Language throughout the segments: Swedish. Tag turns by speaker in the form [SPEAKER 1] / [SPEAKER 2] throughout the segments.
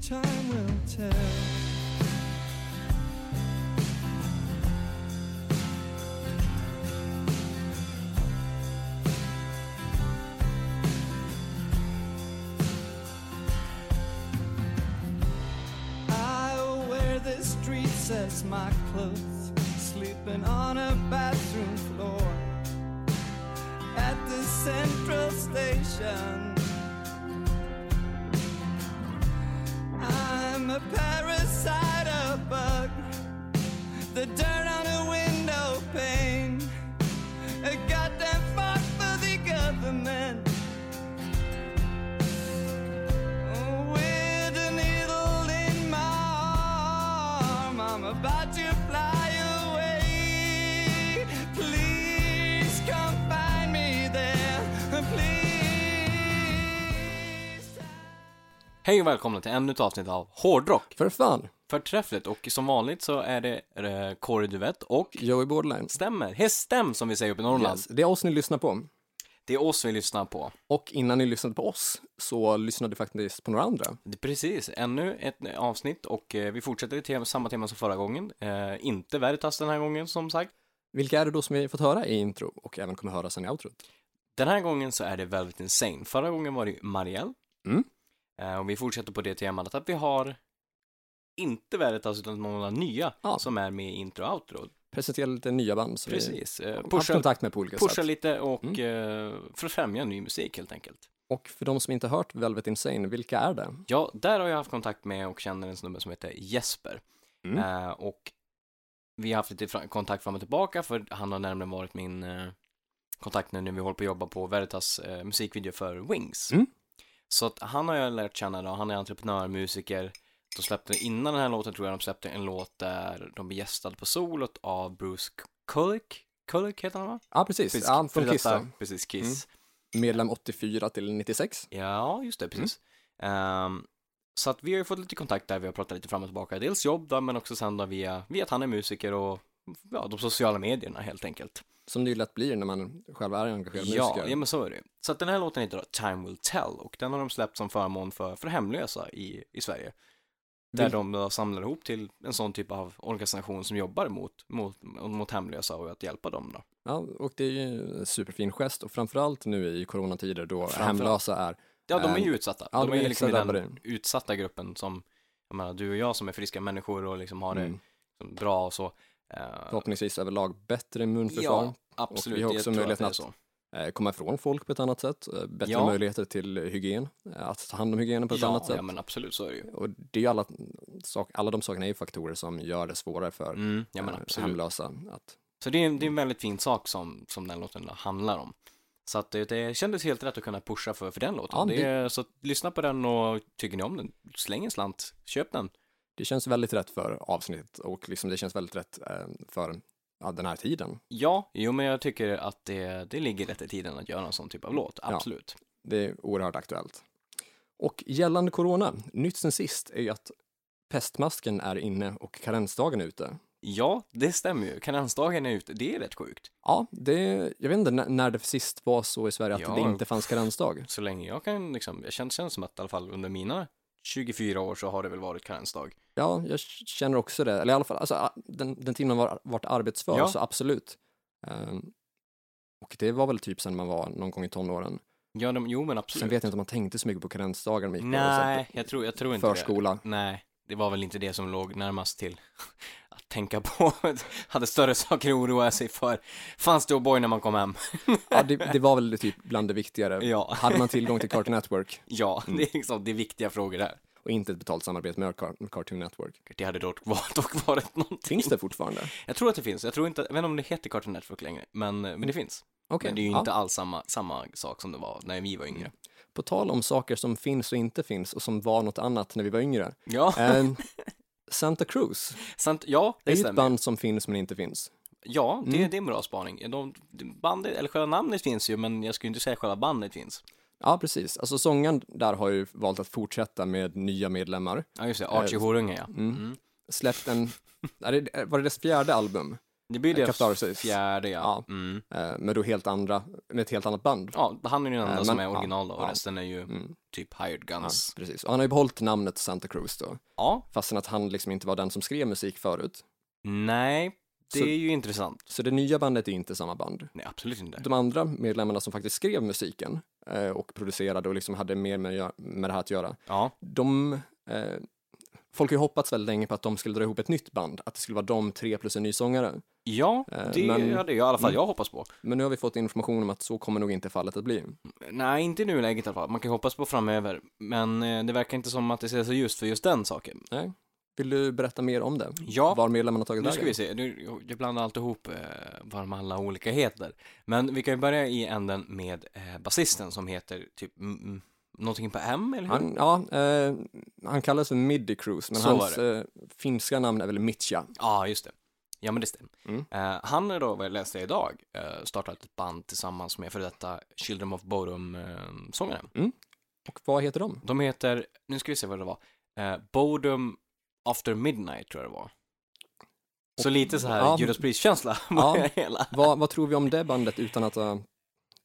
[SPEAKER 1] time will tell. I wear the streets as my clothes, sleeping on a bathroom floor at the central station. I'm a parasite, a bug, the dirt on a window pane, a goddamn fart for the government. With a needle in my arm, I'm about to fly away. Please come find me there. Please.
[SPEAKER 2] Hej och välkomna till ännu ett avsnitt av Hårdrock.
[SPEAKER 3] För fan,
[SPEAKER 2] Förträffligt och som vanligt så är det eh, Kåre Duvett och
[SPEAKER 3] Joey Borderline.
[SPEAKER 2] Stämmer, Hästem som vi säger uppe i Norrland.
[SPEAKER 3] Yes, det är oss ni lyssnar på.
[SPEAKER 2] Det är oss vi lyssnar på.
[SPEAKER 3] Och innan ni lyssnade på oss så lyssnade ni faktiskt på några andra.
[SPEAKER 2] Det- Precis, ännu ett eh, avsnitt och eh, vi fortsätter i tema, samma tema som förra gången. Eh, inte Veritas den här gången som sagt.
[SPEAKER 3] Vilka är det då som vi fått höra i intro och även kommer höra sen i outrot?
[SPEAKER 2] Den här gången så är det Velvet Insane. Förra gången var det ju Marielle.
[SPEAKER 3] Mm.
[SPEAKER 2] Eh, och vi fortsätter på det temat att vi har inte Veritas utan några nya
[SPEAKER 3] Ja.
[SPEAKER 2] som är med i intro och outro.
[SPEAKER 3] Presentera lite nya band som
[SPEAKER 2] Precis. Eh,
[SPEAKER 3] vi har haft
[SPEAKER 2] pusha,
[SPEAKER 3] kontakt med på olika
[SPEAKER 2] pusha
[SPEAKER 3] sätt.
[SPEAKER 2] lite och
[SPEAKER 3] Mm.
[SPEAKER 2] eh, för att främja ny musik helt enkelt.
[SPEAKER 3] Och för de som inte hört Velvet Insane, vilka är det?
[SPEAKER 2] Ja, där har jag haft kontakt med och känner en snubbe som heter Jesper.
[SPEAKER 3] Mm.
[SPEAKER 2] Eh, och vi har haft lite fra- kontakt fram och tillbaka för han har nämligen varit min eh, kontakt nu när vi håller på att jobba på Veritas eh, musikvideo för Wings.
[SPEAKER 3] Mm.
[SPEAKER 2] Så att han har jag lärt känna då, han är entreprenör, musiker. De släppte, innan den här låten tror jag de släppte en låt där de blev gästade på solot av Bruce Kulick. Kulick heter han va?
[SPEAKER 3] Ja, precis.
[SPEAKER 2] Precis,
[SPEAKER 3] ja, från
[SPEAKER 2] före
[SPEAKER 3] Kiss
[SPEAKER 2] detta-
[SPEAKER 3] då.
[SPEAKER 2] Precis, Kiss.
[SPEAKER 3] Mm. Medlem 84 till 96.
[SPEAKER 2] Ja, just det,
[SPEAKER 3] Mm.
[SPEAKER 2] precis. Ehm, så att vi har ju fått lite kontakt där, vi har pratat lite fram och tillbaka, dels jobb då, men också sen då via, via att han är musiker och ja, de sociala medierna helt enkelt.
[SPEAKER 3] Som det ju lätt blir när man själv är engagerad
[SPEAKER 2] Ja,
[SPEAKER 3] musiker.
[SPEAKER 2] ja, men så är det. Så att den här låten heter då Time Will Tell och den har de släppt som förmån för, för hemlösa i, i Sverige. Där
[SPEAKER 3] Vil-
[SPEAKER 2] de då samlar ihop till en sån typ av organisation som jobbar mot, mot, mot hemlösa och att hjälpa dem då.
[SPEAKER 3] ja, och det är ju en superfin gest och framförallt nu i coronatider då
[SPEAKER 2] Framförallt.
[SPEAKER 3] hemlösa är
[SPEAKER 2] Ja, de är ju
[SPEAKER 3] Ehm,
[SPEAKER 2] utsatta.
[SPEAKER 3] ja,
[SPEAKER 2] de
[SPEAKER 3] de
[SPEAKER 2] är
[SPEAKER 3] är
[SPEAKER 2] ju liksom i
[SPEAKER 3] extra
[SPEAKER 2] den
[SPEAKER 3] drabbade.
[SPEAKER 2] utsatta gruppen som, jag menar, du och jag som är friska människor och liksom har det
[SPEAKER 3] mm,
[SPEAKER 2] som bra och så. Eh,
[SPEAKER 3] förhoppningsvis överlag bättre immunförsvar.
[SPEAKER 2] ja, absolut.
[SPEAKER 3] vi har
[SPEAKER 2] Jag
[SPEAKER 3] också
[SPEAKER 2] tror
[SPEAKER 3] möjligheten
[SPEAKER 2] det är så.
[SPEAKER 3] eh, komma ifrån folk på ett annat sätt, eh, bättre
[SPEAKER 2] Ja.
[SPEAKER 3] möjligheter till hygien, eh, att ta hand om hygienen på ett
[SPEAKER 2] ja,
[SPEAKER 3] annat sätt.
[SPEAKER 2] Ja, men absolut så är det ju.
[SPEAKER 3] Och det är ju alla, sak, alla de sakerna är ju faktorer som gör det svårare för
[SPEAKER 2] Mm, ja, men
[SPEAKER 3] eh,
[SPEAKER 2] absolut.
[SPEAKER 3] hemlösa att
[SPEAKER 2] Så det är, en-
[SPEAKER 3] Mm.
[SPEAKER 2] det är en väldigt fin sak som, som den låten handlar om. Så att det, det kändes helt rätt att kunna pusha för, för den låten.
[SPEAKER 3] Ja,
[SPEAKER 2] det
[SPEAKER 3] det-
[SPEAKER 2] är, så att lyssna på den och tycker ni om den, släng en slant, köp den.
[SPEAKER 3] det känns väldigt rätt för avsnittet och liksom det känns väldigt rätt eh, för ja, den här tiden.
[SPEAKER 2] Ja, jo men jag tycker att det, det ligger rätt i tiden att göra en sån typ av låt,
[SPEAKER 3] Ja.
[SPEAKER 2] absolut.
[SPEAKER 3] Det är oerhört aktuellt. Och gällande corona, nytt sen sist är ju att pestmasken är inne och karensdagen är ute.
[SPEAKER 2] Ja, det stämmer ju. Karensdagen är ute, det är rätt sjukt.
[SPEAKER 3] Ja, det, jag vet inte när, när det sist var så i Sverige att
[SPEAKER 2] Ja.
[SPEAKER 3] det inte fanns karensdag.
[SPEAKER 2] Så länge jag kan liksom, jag känns, känns som att i alla fall under mina 24 år så har det väl varit karensdag.
[SPEAKER 3] Ja, jag känner också det. Eller i alla fall, alltså, a- den, den tiden man var, varit arbetsför,
[SPEAKER 2] Ja.
[SPEAKER 3] så absolut. Ehm, och det var väl typ sen man var någon gång i tonåren.
[SPEAKER 2] Ja, de, jo men absolut.
[SPEAKER 3] Sen vet jag inte om man tänkte så mycket på karensdagar. när man gick på
[SPEAKER 2] Nej,
[SPEAKER 3] så
[SPEAKER 2] jag tror, jag tror
[SPEAKER 3] här
[SPEAKER 2] inte
[SPEAKER 3] förskola.
[SPEAKER 2] det. Nej, det var väl inte det som låg närmast till att tänka på. Hade större saker att oroa sig för. Fanns det O'boy när man kom hem?
[SPEAKER 3] Ja, det, det var väl typ bland det viktigare.
[SPEAKER 2] Ja,
[SPEAKER 3] Hade man tillgång till Cartoon Network
[SPEAKER 2] ja, det är liksom, det är viktiga frågor där.
[SPEAKER 3] och inte ett betalt samarbete med Car- Cartoon Network?
[SPEAKER 2] Det hade dock, var- dock varit någonting.
[SPEAKER 3] Finns det fortfarande?
[SPEAKER 2] Jag tror att det finns. Jag tror inte, jag vet inte om det heter Cartoon Network längre, men, men det finns.
[SPEAKER 3] Okej.
[SPEAKER 2] Men det är ju
[SPEAKER 3] ja. Mm.
[SPEAKER 2] inte alls samma, samma sak som det var när vi var yngre.
[SPEAKER 3] På tal om saker som finns och inte finns och som var något annat när vi var yngre.
[SPEAKER 2] Ja,
[SPEAKER 3] Ehm, Santa Cruz,
[SPEAKER 2] Eh, sant, ja,
[SPEAKER 3] det
[SPEAKER 2] det
[SPEAKER 3] är ju ett
[SPEAKER 2] stämmer.
[SPEAKER 3] band som finns men inte finns.
[SPEAKER 2] Ja, det,
[SPEAKER 3] Mm.
[SPEAKER 2] det är en bra spaning. De, bandet, eller själva namnet finns ju, men jag skulle inte säga själva bandet finns.
[SPEAKER 3] Ja, precis. Alltså sångaren där har ju valt att fortsätta med nya medlemmar. mm.
[SPEAKER 2] Ja, just det. Archie Horunge, ja.
[SPEAKER 3] Släppt en, är det- var det dess fjärde album?
[SPEAKER 2] Det blir det
[SPEAKER 3] Catharsis.
[SPEAKER 2] fjärde, ja. Mm.
[SPEAKER 3] Eh, Men då helt andra, med ett helt annat band.
[SPEAKER 2] Ja, han är ju den enda
[SPEAKER 3] Eh,
[SPEAKER 2] som
[SPEAKER 3] men-
[SPEAKER 2] är
[SPEAKER 3] ja,
[SPEAKER 2] original då, och
[SPEAKER 3] ja.
[SPEAKER 2] resten är ju
[SPEAKER 3] Mm.
[SPEAKER 2] typ hired
[SPEAKER 3] Ja,
[SPEAKER 2] guns.
[SPEAKER 3] precis. Och han har ju behållit namnet Santa Cruz då,
[SPEAKER 2] Ja,
[SPEAKER 3] fastän att han liksom inte var den som skrev musik förut.
[SPEAKER 2] nej, det
[SPEAKER 3] Så-
[SPEAKER 2] är ju intressant.
[SPEAKER 3] Så det nya bandet är inte samma band.
[SPEAKER 2] Nej, absolut inte.
[SPEAKER 3] De andra medlemmarna som faktiskt skrev musiken eh, och producerade och liksom hade mer med, att göra- med det här att göra,
[SPEAKER 2] Ja,
[SPEAKER 3] de... Eh, folk har ju hoppats väldigt länge på att de skulle dra ihop ett nytt band, att det skulle vara de tre plus en ny sångare.
[SPEAKER 2] ja
[SPEAKER 3] Eh,
[SPEAKER 2] det
[SPEAKER 3] men-
[SPEAKER 2] hade jag i alla fall jag hoppas på.
[SPEAKER 3] Men nu har vi fått information om att så kommer nog inte fallet att bli.
[SPEAKER 2] Nej, inte i nuläget i alla fall. Man kan ju hoppas på framöver. Men eh, det verkar inte som att det ser så ljust för just den saken.
[SPEAKER 3] Nej. Vill du berätta mer om det?
[SPEAKER 2] Ja,
[SPEAKER 3] Var medlemmarna har tagit
[SPEAKER 2] nu ska vi
[SPEAKER 3] vägen?
[SPEAKER 2] se. Nu, jag blandar allt ihop eh, vad de alla olika heter. Men vi kan ju börja i änden med eh, basisten som heter typ mm, mm, någonting på M, eller hur?
[SPEAKER 3] Han, ja, eh, han kallas för Midi Cruz, men
[SPEAKER 2] Så
[SPEAKER 3] hans eh, finska namn är väl Mitja.
[SPEAKER 2] Ja, just det. Ja, men det stämmer.
[SPEAKER 3] Mm.
[SPEAKER 2] Eh, han är då, vad jag läste idag, eh, startat ett band tillsammans med för detta Children of eh, Bodom-sångaren.
[SPEAKER 3] Och vad heter de?
[SPEAKER 2] De heter, nu ska vi se vad det var, eh, Bodom After Midnight tror jag det var. Så lite så här
[SPEAKER 3] ja.
[SPEAKER 2] Judas Priest-känsla på
[SPEAKER 3] Ja.
[SPEAKER 2] hela.
[SPEAKER 3] Vad, vad tror vi om det bandet utan att... eh,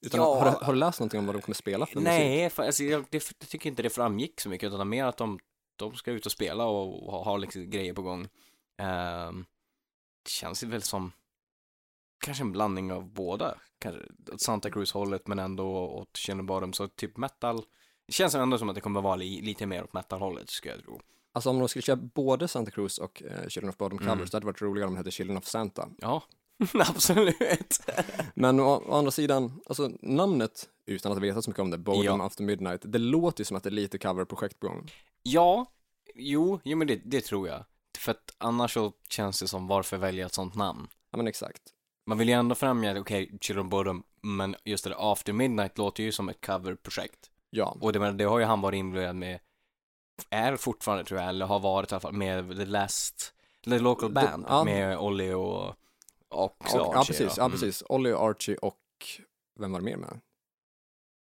[SPEAKER 3] Utan
[SPEAKER 2] Ja.
[SPEAKER 3] att har, du- har du läst någonting om vad de kommer spela för musik?
[SPEAKER 2] Nej, för, alltså, jag, det, jag tycker inte det framgick så mycket, utan mer att de, de ska ut och spela och, ha, ha liksom grejer på gång. Ehm, det känns ju väl som kanske en blandning av båda, kanske åt Santa Cruz-hållet men ändå åt Shannon Bottom, så typ metal. Det känns ändå som att det kommer vara li, lite mer åt metal-hållet, skulle jag tro.
[SPEAKER 3] Alltså om de skulle köra både Santa Cruz och eh, Children of Bodom covers,
[SPEAKER 2] Mm.
[SPEAKER 3] det hade varit roligare om de hette Children of Santa.
[SPEAKER 2] Ja, absolut.
[SPEAKER 3] Men å, å andra sidan, alltså namnet, utan att veta så mycket om det, Bodom
[SPEAKER 2] Ja.
[SPEAKER 3] After Midnight, det låter ju som att det är lite coverprojekt på gång.
[SPEAKER 2] Ja, jo, jo men det, det tror jag. För att annars så känns det som varför välja ett sånt namn?
[SPEAKER 3] Ja men exakt.
[SPEAKER 2] Man vill ju ändå främja, okej, Children of Bodom, men just det där After Midnight låter ju som ett coverprojekt.
[SPEAKER 3] Ja,
[SPEAKER 2] Och det, men, det har ju han varit involverad med, är fortfarande tror jag, eller har varit i alla fall, med The Last, The Local
[SPEAKER 3] The-
[SPEAKER 2] Band,
[SPEAKER 3] ja.
[SPEAKER 2] med Olli och, och,
[SPEAKER 3] och, ja
[SPEAKER 2] Archie
[SPEAKER 3] precis,
[SPEAKER 2] då.
[SPEAKER 3] ja
[SPEAKER 2] Mm.
[SPEAKER 3] precis. Olli och Archie och vem var det mer med?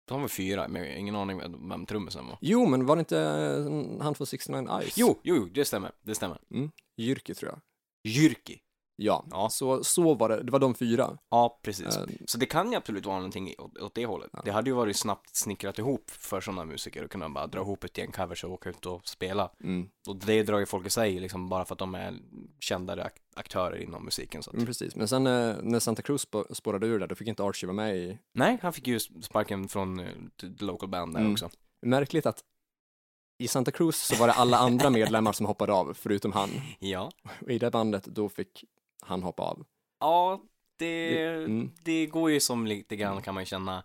[SPEAKER 2] De var fyra, men jag har ingen aning vem- vem trummisen var.
[SPEAKER 3] Jo, men var det inte eh, han från 69 Ice?
[SPEAKER 2] Jo, jo, jo, det stämmer, det stämmer.
[SPEAKER 3] Jyrki tror jag.
[SPEAKER 2] Jyrki.
[SPEAKER 3] Ja,
[SPEAKER 2] Ja.
[SPEAKER 3] Så, så var det, det var de fyra.
[SPEAKER 2] Ja, precis.
[SPEAKER 3] Eh,
[SPEAKER 2] Så det kan ju absolut vara någonting i- åt, åt det hållet. Det hade ju varit snabbt snickrat ihop för sådana musiker att kunna bara dra ihop ett gäng covers och åka ut och spela.
[SPEAKER 3] mm.
[SPEAKER 2] Och det drar ju folk i sig liksom bara för att de är kändare ak- aktörer inom musiken. Så att...
[SPEAKER 3] Men precis, men sen eh, när Santa Cruz spå- spårade ur där, då fick inte Archie vara med i...
[SPEAKER 2] Nej, han fick ju sparken från eh, the the local band där
[SPEAKER 3] Mm.
[SPEAKER 2] också.
[SPEAKER 3] Märkligt att i Santa Cruz så var det alla andra medlemmar som hoppade av, förutom han.
[SPEAKER 2] Ja.
[SPEAKER 3] Och i det bandet, då fick han hoppa av.
[SPEAKER 2] Ja, det,
[SPEAKER 3] Mm.
[SPEAKER 2] det går ju som lite grann kan man ju känna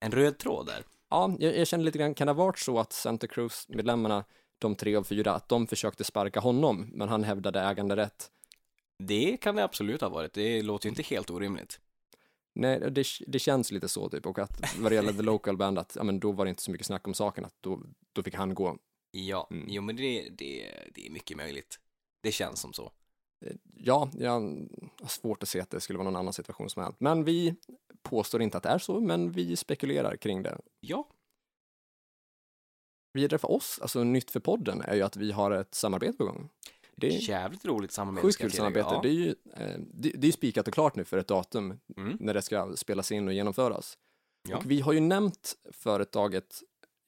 [SPEAKER 2] en röd tråd där.
[SPEAKER 3] Ja, jag, jag känner lite grann, kan det ha varit så att Santa Cruz-medlemmarna, de tre av fyra, att de försökte sparka honom, men han hävdade äganderätt.
[SPEAKER 2] Det kan det absolut ha varit. Det låter ju inte helt orimligt.
[SPEAKER 3] Nej, det, det känns lite så typ, och att vad det gäller The Local Band, att ja, men då var det inte så mycket snack om saken, att då, då fick han gå.
[SPEAKER 2] Ja,
[SPEAKER 3] Mm.
[SPEAKER 2] jo men det, det, det är mycket möjligt. Det känns som så.
[SPEAKER 3] Ja, jag har svårt att se att det skulle vara någon annan situation som har hänt, men vi påstår inte att det är så, men vi spekulerar kring det.
[SPEAKER 2] Ja,
[SPEAKER 3] Vidare för oss, alltså nytt för podden, är ju att vi har ett samarbete på gång. Det är
[SPEAKER 2] jävligt roligt samarbete.
[SPEAKER 3] sjukt
[SPEAKER 2] ska jag
[SPEAKER 3] kul
[SPEAKER 2] tillägga.
[SPEAKER 3] samarbete. Det är ju eh, det, det är spikat och klart nu för ett datum
[SPEAKER 2] Ja. Mm.
[SPEAKER 3] när det ska spelas in och genomföras.
[SPEAKER 2] Ja.
[SPEAKER 3] Och vi har ju nämnt företaget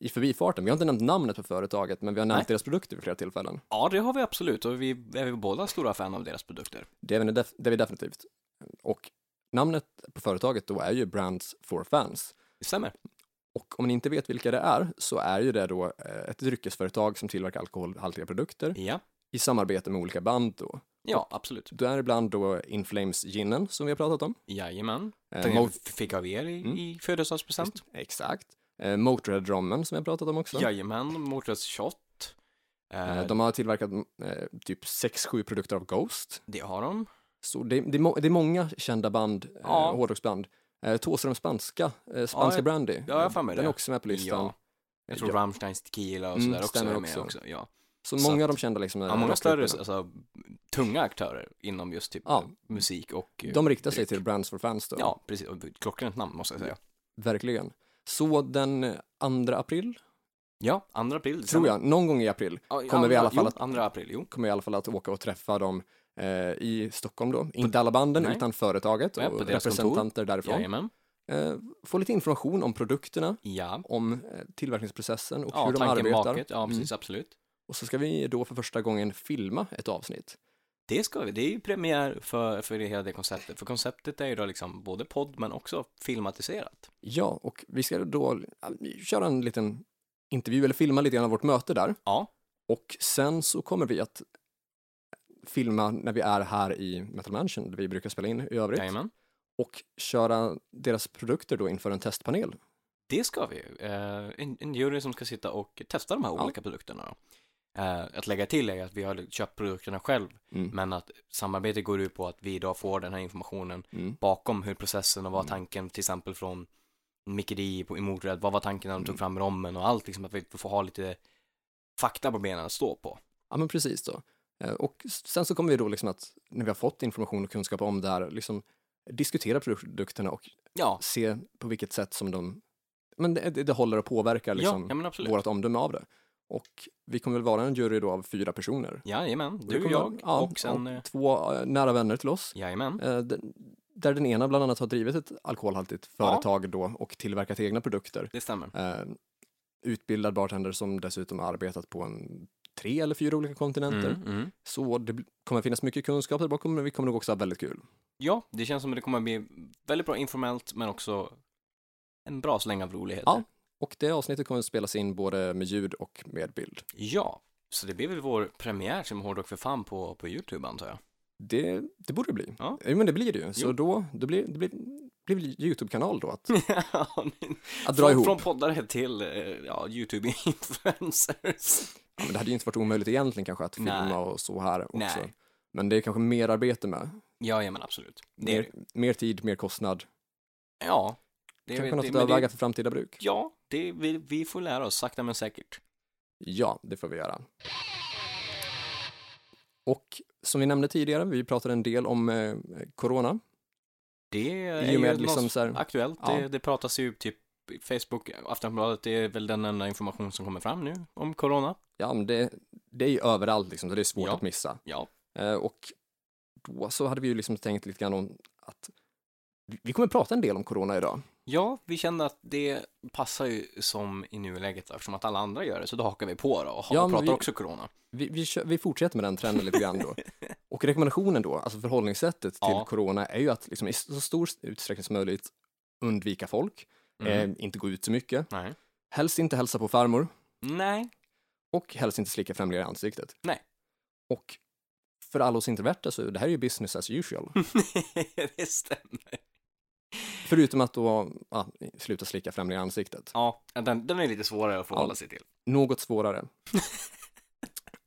[SPEAKER 3] i förbifarten. Vi har inte nämnt namnet på företaget, men vi har nämnt
[SPEAKER 2] Nej.
[SPEAKER 3] deras produkter vid flera tillfällen.
[SPEAKER 2] ja, det har vi absolut och vi är vi båda stora fan av deras produkter.
[SPEAKER 3] Det är, vi def- det är vi definitivt. Och namnet på företaget då är ju Brands for Fans.
[SPEAKER 2] Det stämmer.
[SPEAKER 3] Och om ni inte vet vilka det är, så är ju det då eh, ett dryckesföretag som tillverkar alkoholhaltiga produkter
[SPEAKER 2] Ja,
[SPEAKER 3] i samarbete med olika band då.
[SPEAKER 2] ja absolut.
[SPEAKER 3] Då är det ibland då In Flames ginen som vi har pratat om.
[SPEAKER 2] Jajamän.
[SPEAKER 3] Eh,
[SPEAKER 2] Den
[SPEAKER 3] Mo-
[SPEAKER 2] jag fick av er i,
[SPEAKER 3] Mm.
[SPEAKER 2] i födelsedagspresent.
[SPEAKER 3] Exakt. Eh, Motörhead-rommen som vi har pratat om också.
[SPEAKER 2] Jajamän, Motors Shot. Eh,
[SPEAKER 3] Eh, De har tillverkat eh, typ 6-7 produkter av Ghost.
[SPEAKER 2] Det har de.
[SPEAKER 3] Så det, det, är må- det är många kända band,
[SPEAKER 2] Ja.
[SPEAKER 3] ja. hårdrocksband. Eh, Thåström spanska, eh, spanska
[SPEAKER 2] jag-
[SPEAKER 3] brandy.
[SPEAKER 2] jag har för mig
[SPEAKER 3] Den
[SPEAKER 2] det.
[SPEAKER 3] är också med på listan.
[SPEAKER 2] Ja. Jag tror
[SPEAKER 3] Ja.
[SPEAKER 2] Rammsteins Tequila och
[SPEAKER 3] Mm,
[SPEAKER 2] sådär också
[SPEAKER 3] stämmer
[SPEAKER 2] är med
[SPEAKER 3] också.
[SPEAKER 2] också. Ja.
[SPEAKER 3] Så
[SPEAKER 2] Så
[SPEAKER 3] många
[SPEAKER 2] att-
[SPEAKER 3] av de kända liksom. eh,
[SPEAKER 2] Ja, många större,
[SPEAKER 3] rockgrupperna.
[SPEAKER 2] alltså tunga aktörer inom just typ
[SPEAKER 3] Ja.
[SPEAKER 2] musik och... eh,
[SPEAKER 3] De riktar sig
[SPEAKER 2] dryck.
[SPEAKER 3] till Brands for Fans då.
[SPEAKER 2] Ja, precis. Och Klockrent namn måste jag säga.
[SPEAKER 3] Verkligen. Så den eh, 2 april,
[SPEAKER 2] Ja, andra april. det
[SPEAKER 3] tror
[SPEAKER 2] stämmer.
[SPEAKER 3] jag, någon gång i april,
[SPEAKER 2] Ja,
[SPEAKER 3] Kommer vi i alla fall
[SPEAKER 2] jo,
[SPEAKER 3] att-
[SPEAKER 2] andra april, jo.
[SPEAKER 3] kommer jag i alla fall att åka och träffa dem eh, i Stockholm då, inte alla banden
[SPEAKER 2] Nej.
[SPEAKER 3] utan företaget
[SPEAKER 2] Nej, på
[SPEAKER 3] och
[SPEAKER 2] deras kontor.
[SPEAKER 3] representanter därifrån.
[SPEAKER 2] Jajamän.
[SPEAKER 3] Eh, få lite information om produkterna,
[SPEAKER 2] Ja.
[SPEAKER 3] om eh, tillverkningsprocessen och
[SPEAKER 2] Ja,
[SPEAKER 3] hur de
[SPEAKER 2] tanken
[SPEAKER 3] arbetar. Mm.
[SPEAKER 2] baket. Ja, precis, absolut.
[SPEAKER 3] Och så ska vi då för första gången filma ett avsnitt.
[SPEAKER 2] Det ska vi. Det är ju premiär för, för det hela det konceptet. För konceptet är ju då liksom både podd men också filmatiserat.
[SPEAKER 3] Ja, och vi ska då ja, köra en liten intervju eller filma lite grann av vårt möte där.
[SPEAKER 2] Ja.
[SPEAKER 3] Och sen så kommer vi att eh, filma när vi är här i Metal Mansion, där vi brukar spela in i övrigt,
[SPEAKER 2] Jajamän.
[SPEAKER 3] och köra deras produkter då inför en testpanel.
[SPEAKER 2] Det ska vi. Eh, en, en jury som ska sitta och testa de här
[SPEAKER 3] Ja.
[SPEAKER 2] olika produkterna. Eh, att lägga till är att vi har köpt produkterna själv,
[SPEAKER 3] Mm.
[SPEAKER 2] men att samarbetet går ut på att vi idag får den här informationen
[SPEAKER 3] Mm.
[SPEAKER 2] bakom hur processen och vad tanken till exempel från Micke D på i Mordred, vad var tanken när de
[SPEAKER 3] Mm.
[SPEAKER 2] tog fram rommen och allt liksom, att vi får ha lite fakta på benen att stå på.
[SPEAKER 3] Ja, men precis då. Eh, Och s- sen så kommer vi då liksom att, när vi har fått information och kunskap om det här, liksom diskutera produkterna och
[SPEAKER 2] Ja,
[SPEAKER 3] se på vilket sätt som de, men det, det det håller och påverkar liksom
[SPEAKER 2] ja, ja men absolut.
[SPEAKER 3] vårt omdöme av det. Och vi kommer väl vara en jury då av fyra personer.
[SPEAKER 2] Jajamän,
[SPEAKER 3] Det
[SPEAKER 2] du och
[SPEAKER 3] kommer-
[SPEAKER 2] jag
[SPEAKER 3] ja,
[SPEAKER 2] och sen, eh,
[SPEAKER 3] två eh, nära vänner till oss.
[SPEAKER 2] jajamän,
[SPEAKER 3] Eh, d- Där den ena bland annat har drivit ett alkoholhaltigt
[SPEAKER 2] Ja.
[SPEAKER 3] företag då och tillverkat egna produkter.
[SPEAKER 2] det stämmer.
[SPEAKER 3] Eh, Utbildad bartender som dessutom har arbetat på en tre eller fyra olika kontinenter.
[SPEAKER 2] Mm, mm.
[SPEAKER 3] Så det bl- kommer finnas mycket kunskap där bakom, men vi kommer nog också ha väldigt kul.
[SPEAKER 2] Ja, det känns som att det kommer att bli väldigt bra informellt men också en bra släng av roligheter.
[SPEAKER 3] Ja. Och det avsnittet kommer att spelas in både med ljud och med bild.
[SPEAKER 2] Ja, så det blir väl vår premiär som Hårdrock för fan på, på YouTube antar jag.
[SPEAKER 3] Det, det borde det bli.
[SPEAKER 2] Ja.
[SPEAKER 3] Jo, men det blir det ju. Så
[SPEAKER 2] Jo.
[SPEAKER 3] då, det blir det blir, det blir Youtube-kanal då att, att dra
[SPEAKER 2] från,
[SPEAKER 3] ihop.
[SPEAKER 2] från poddare till eh, ja, YouTube-influencers.
[SPEAKER 3] Ja, men det hade ju inte varit omöjligt egentligen kanske att filma
[SPEAKER 2] Nej.
[SPEAKER 3] och så här också.
[SPEAKER 2] Nej.
[SPEAKER 3] Men det är kanske mer arbete med.
[SPEAKER 2] Ja, ja men absolut. Det är,
[SPEAKER 3] Mer, mer tid, mer kostnad.
[SPEAKER 2] ja. Det,
[SPEAKER 3] kanske något
[SPEAKER 2] det-
[SPEAKER 3] att
[SPEAKER 2] men det-
[SPEAKER 3] överväga för framtida bruk.
[SPEAKER 2] Ja, det, vi, vi får lära oss sakta men säkert.
[SPEAKER 3] Ja, det får vi göra. Och som vi nämnde tidigare, vi pratade en del om eh, corona.
[SPEAKER 2] Det Eh, är
[SPEAKER 3] I och
[SPEAKER 2] ju
[SPEAKER 3] med
[SPEAKER 2] något
[SPEAKER 3] liksom så här,
[SPEAKER 2] aktuellt.
[SPEAKER 3] ja.
[SPEAKER 2] Det, det pratas ju typ i Facebook, Aftonbladet, det är väl den enda information som kommer fram nu om corona.
[SPEAKER 3] ja, men det, det är ju överallt liksom, så det är svårt
[SPEAKER 2] Ja.
[SPEAKER 3] att missa.
[SPEAKER 2] Ja,
[SPEAKER 3] Eh, och då så hade vi ju liksom tänkt lite grann om att vi- vi kommer prata en del om corona idag.
[SPEAKER 2] Ja, vi kände att det passar ju som i nuläget eftersom att alla andra gör det, så då hakar vi på då och har-
[SPEAKER 3] Ja, men
[SPEAKER 2] pratar
[SPEAKER 3] vi-
[SPEAKER 2] också corona.
[SPEAKER 3] Vi, vi, kö- vi fortsätter med den trenden lite grann då. Och rekommendationen då, alltså förhållningssättet till
[SPEAKER 2] Ja.
[SPEAKER 3] corona är ju att liksom i så stor utsträckning som möjligt undvika folk,
[SPEAKER 2] Mm.
[SPEAKER 3] eh, inte gå ut så mycket,
[SPEAKER 2] Nej.
[SPEAKER 3] helst inte hälsa på farmor
[SPEAKER 2] Nej,
[SPEAKER 3] och helst inte slicka främlingar i ansiktet.
[SPEAKER 2] Nej.
[SPEAKER 3] Och för alla oss introverta så det här är ju business as usual.
[SPEAKER 2] det stämmer.
[SPEAKER 3] Förutom att då ja, sluta slicka främlingar i ansiktet.
[SPEAKER 2] Ja, den, den är lite svårare att förhålla sig till.
[SPEAKER 3] Något svårare.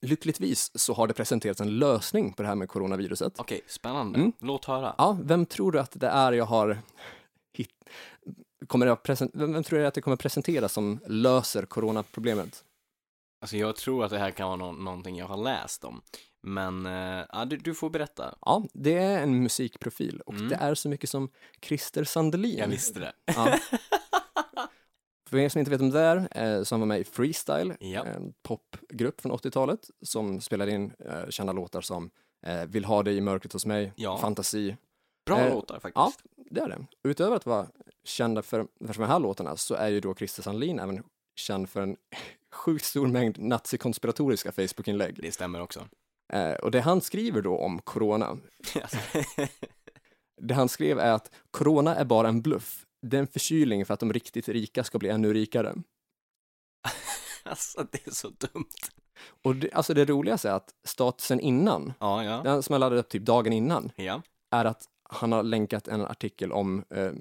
[SPEAKER 3] Lyckligtvis så har det presenterats en lösning på det här med coronaviruset.
[SPEAKER 2] Okej, spännande.
[SPEAKER 3] Mm.
[SPEAKER 2] Låt höra.
[SPEAKER 3] Ja, vem tror du att det är jag har hit... Kommer jag presen... vem, vem tror du att det kommer presenteras som löser coronaproblemet?
[SPEAKER 2] Alltså jag tror att det här kan vara nå- någonting jag har läst om. Men, eh, ja, du, du får berätta.
[SPEAKER 3] Ja, det är en musikprofil och
[SPEAKER 2] Mm.
[SPEAKER 3] det är så mycket som Christer Sandelin.
[SPEAKER 2] Jag visste det.
[SPEAKER 3] Ja. För er som inte vet om det är, eh, som var med i Freestyle,
[SPEAKER 2] Ja.
[SPEAKER 3] en popgrupp från 80-talet som spelade in eh, kända låtar som eh, Vill ha dig i mörkret hos mig,
[SPEAKER 2] Ja.
[SPEAKER 3] Fantasi.
[SPEAKER 2] Bra
[SPEAKER 3] Eh,
[SPEAKER 2] låtar faktiskt.
[SPEAKER 3] Ja, det är det. Utöver att vara kända för, för de här låtarna så är ju då Christer Sandlin även känd för en sjukt stor mängd nazikonspiratoriska Facebook-inlägg.
[SPEAKER 2] Det stämmer också.
[SPEAKER 3] Eh, och det han skriver då om corona,
[SPEAKER 2] Alltså,
[SPEAKER 3] det han skrev är att corona är bara en bluff. Det är en förkylning för att de riktigt rika ska bli ännu rikare.
[SPEAKER 2] alltså det är så dumt.
[SPEAKER 3] Och det, alltså det roligaste är att statusen innan,
[SPEAKER 2] Ja, ja.
[SPEAKER 3] den som jag laddade upp typ dagen innan,
[SPEAKER 2] Ja.
[SPEAKER 3] är att han har länkat en artikel om eh,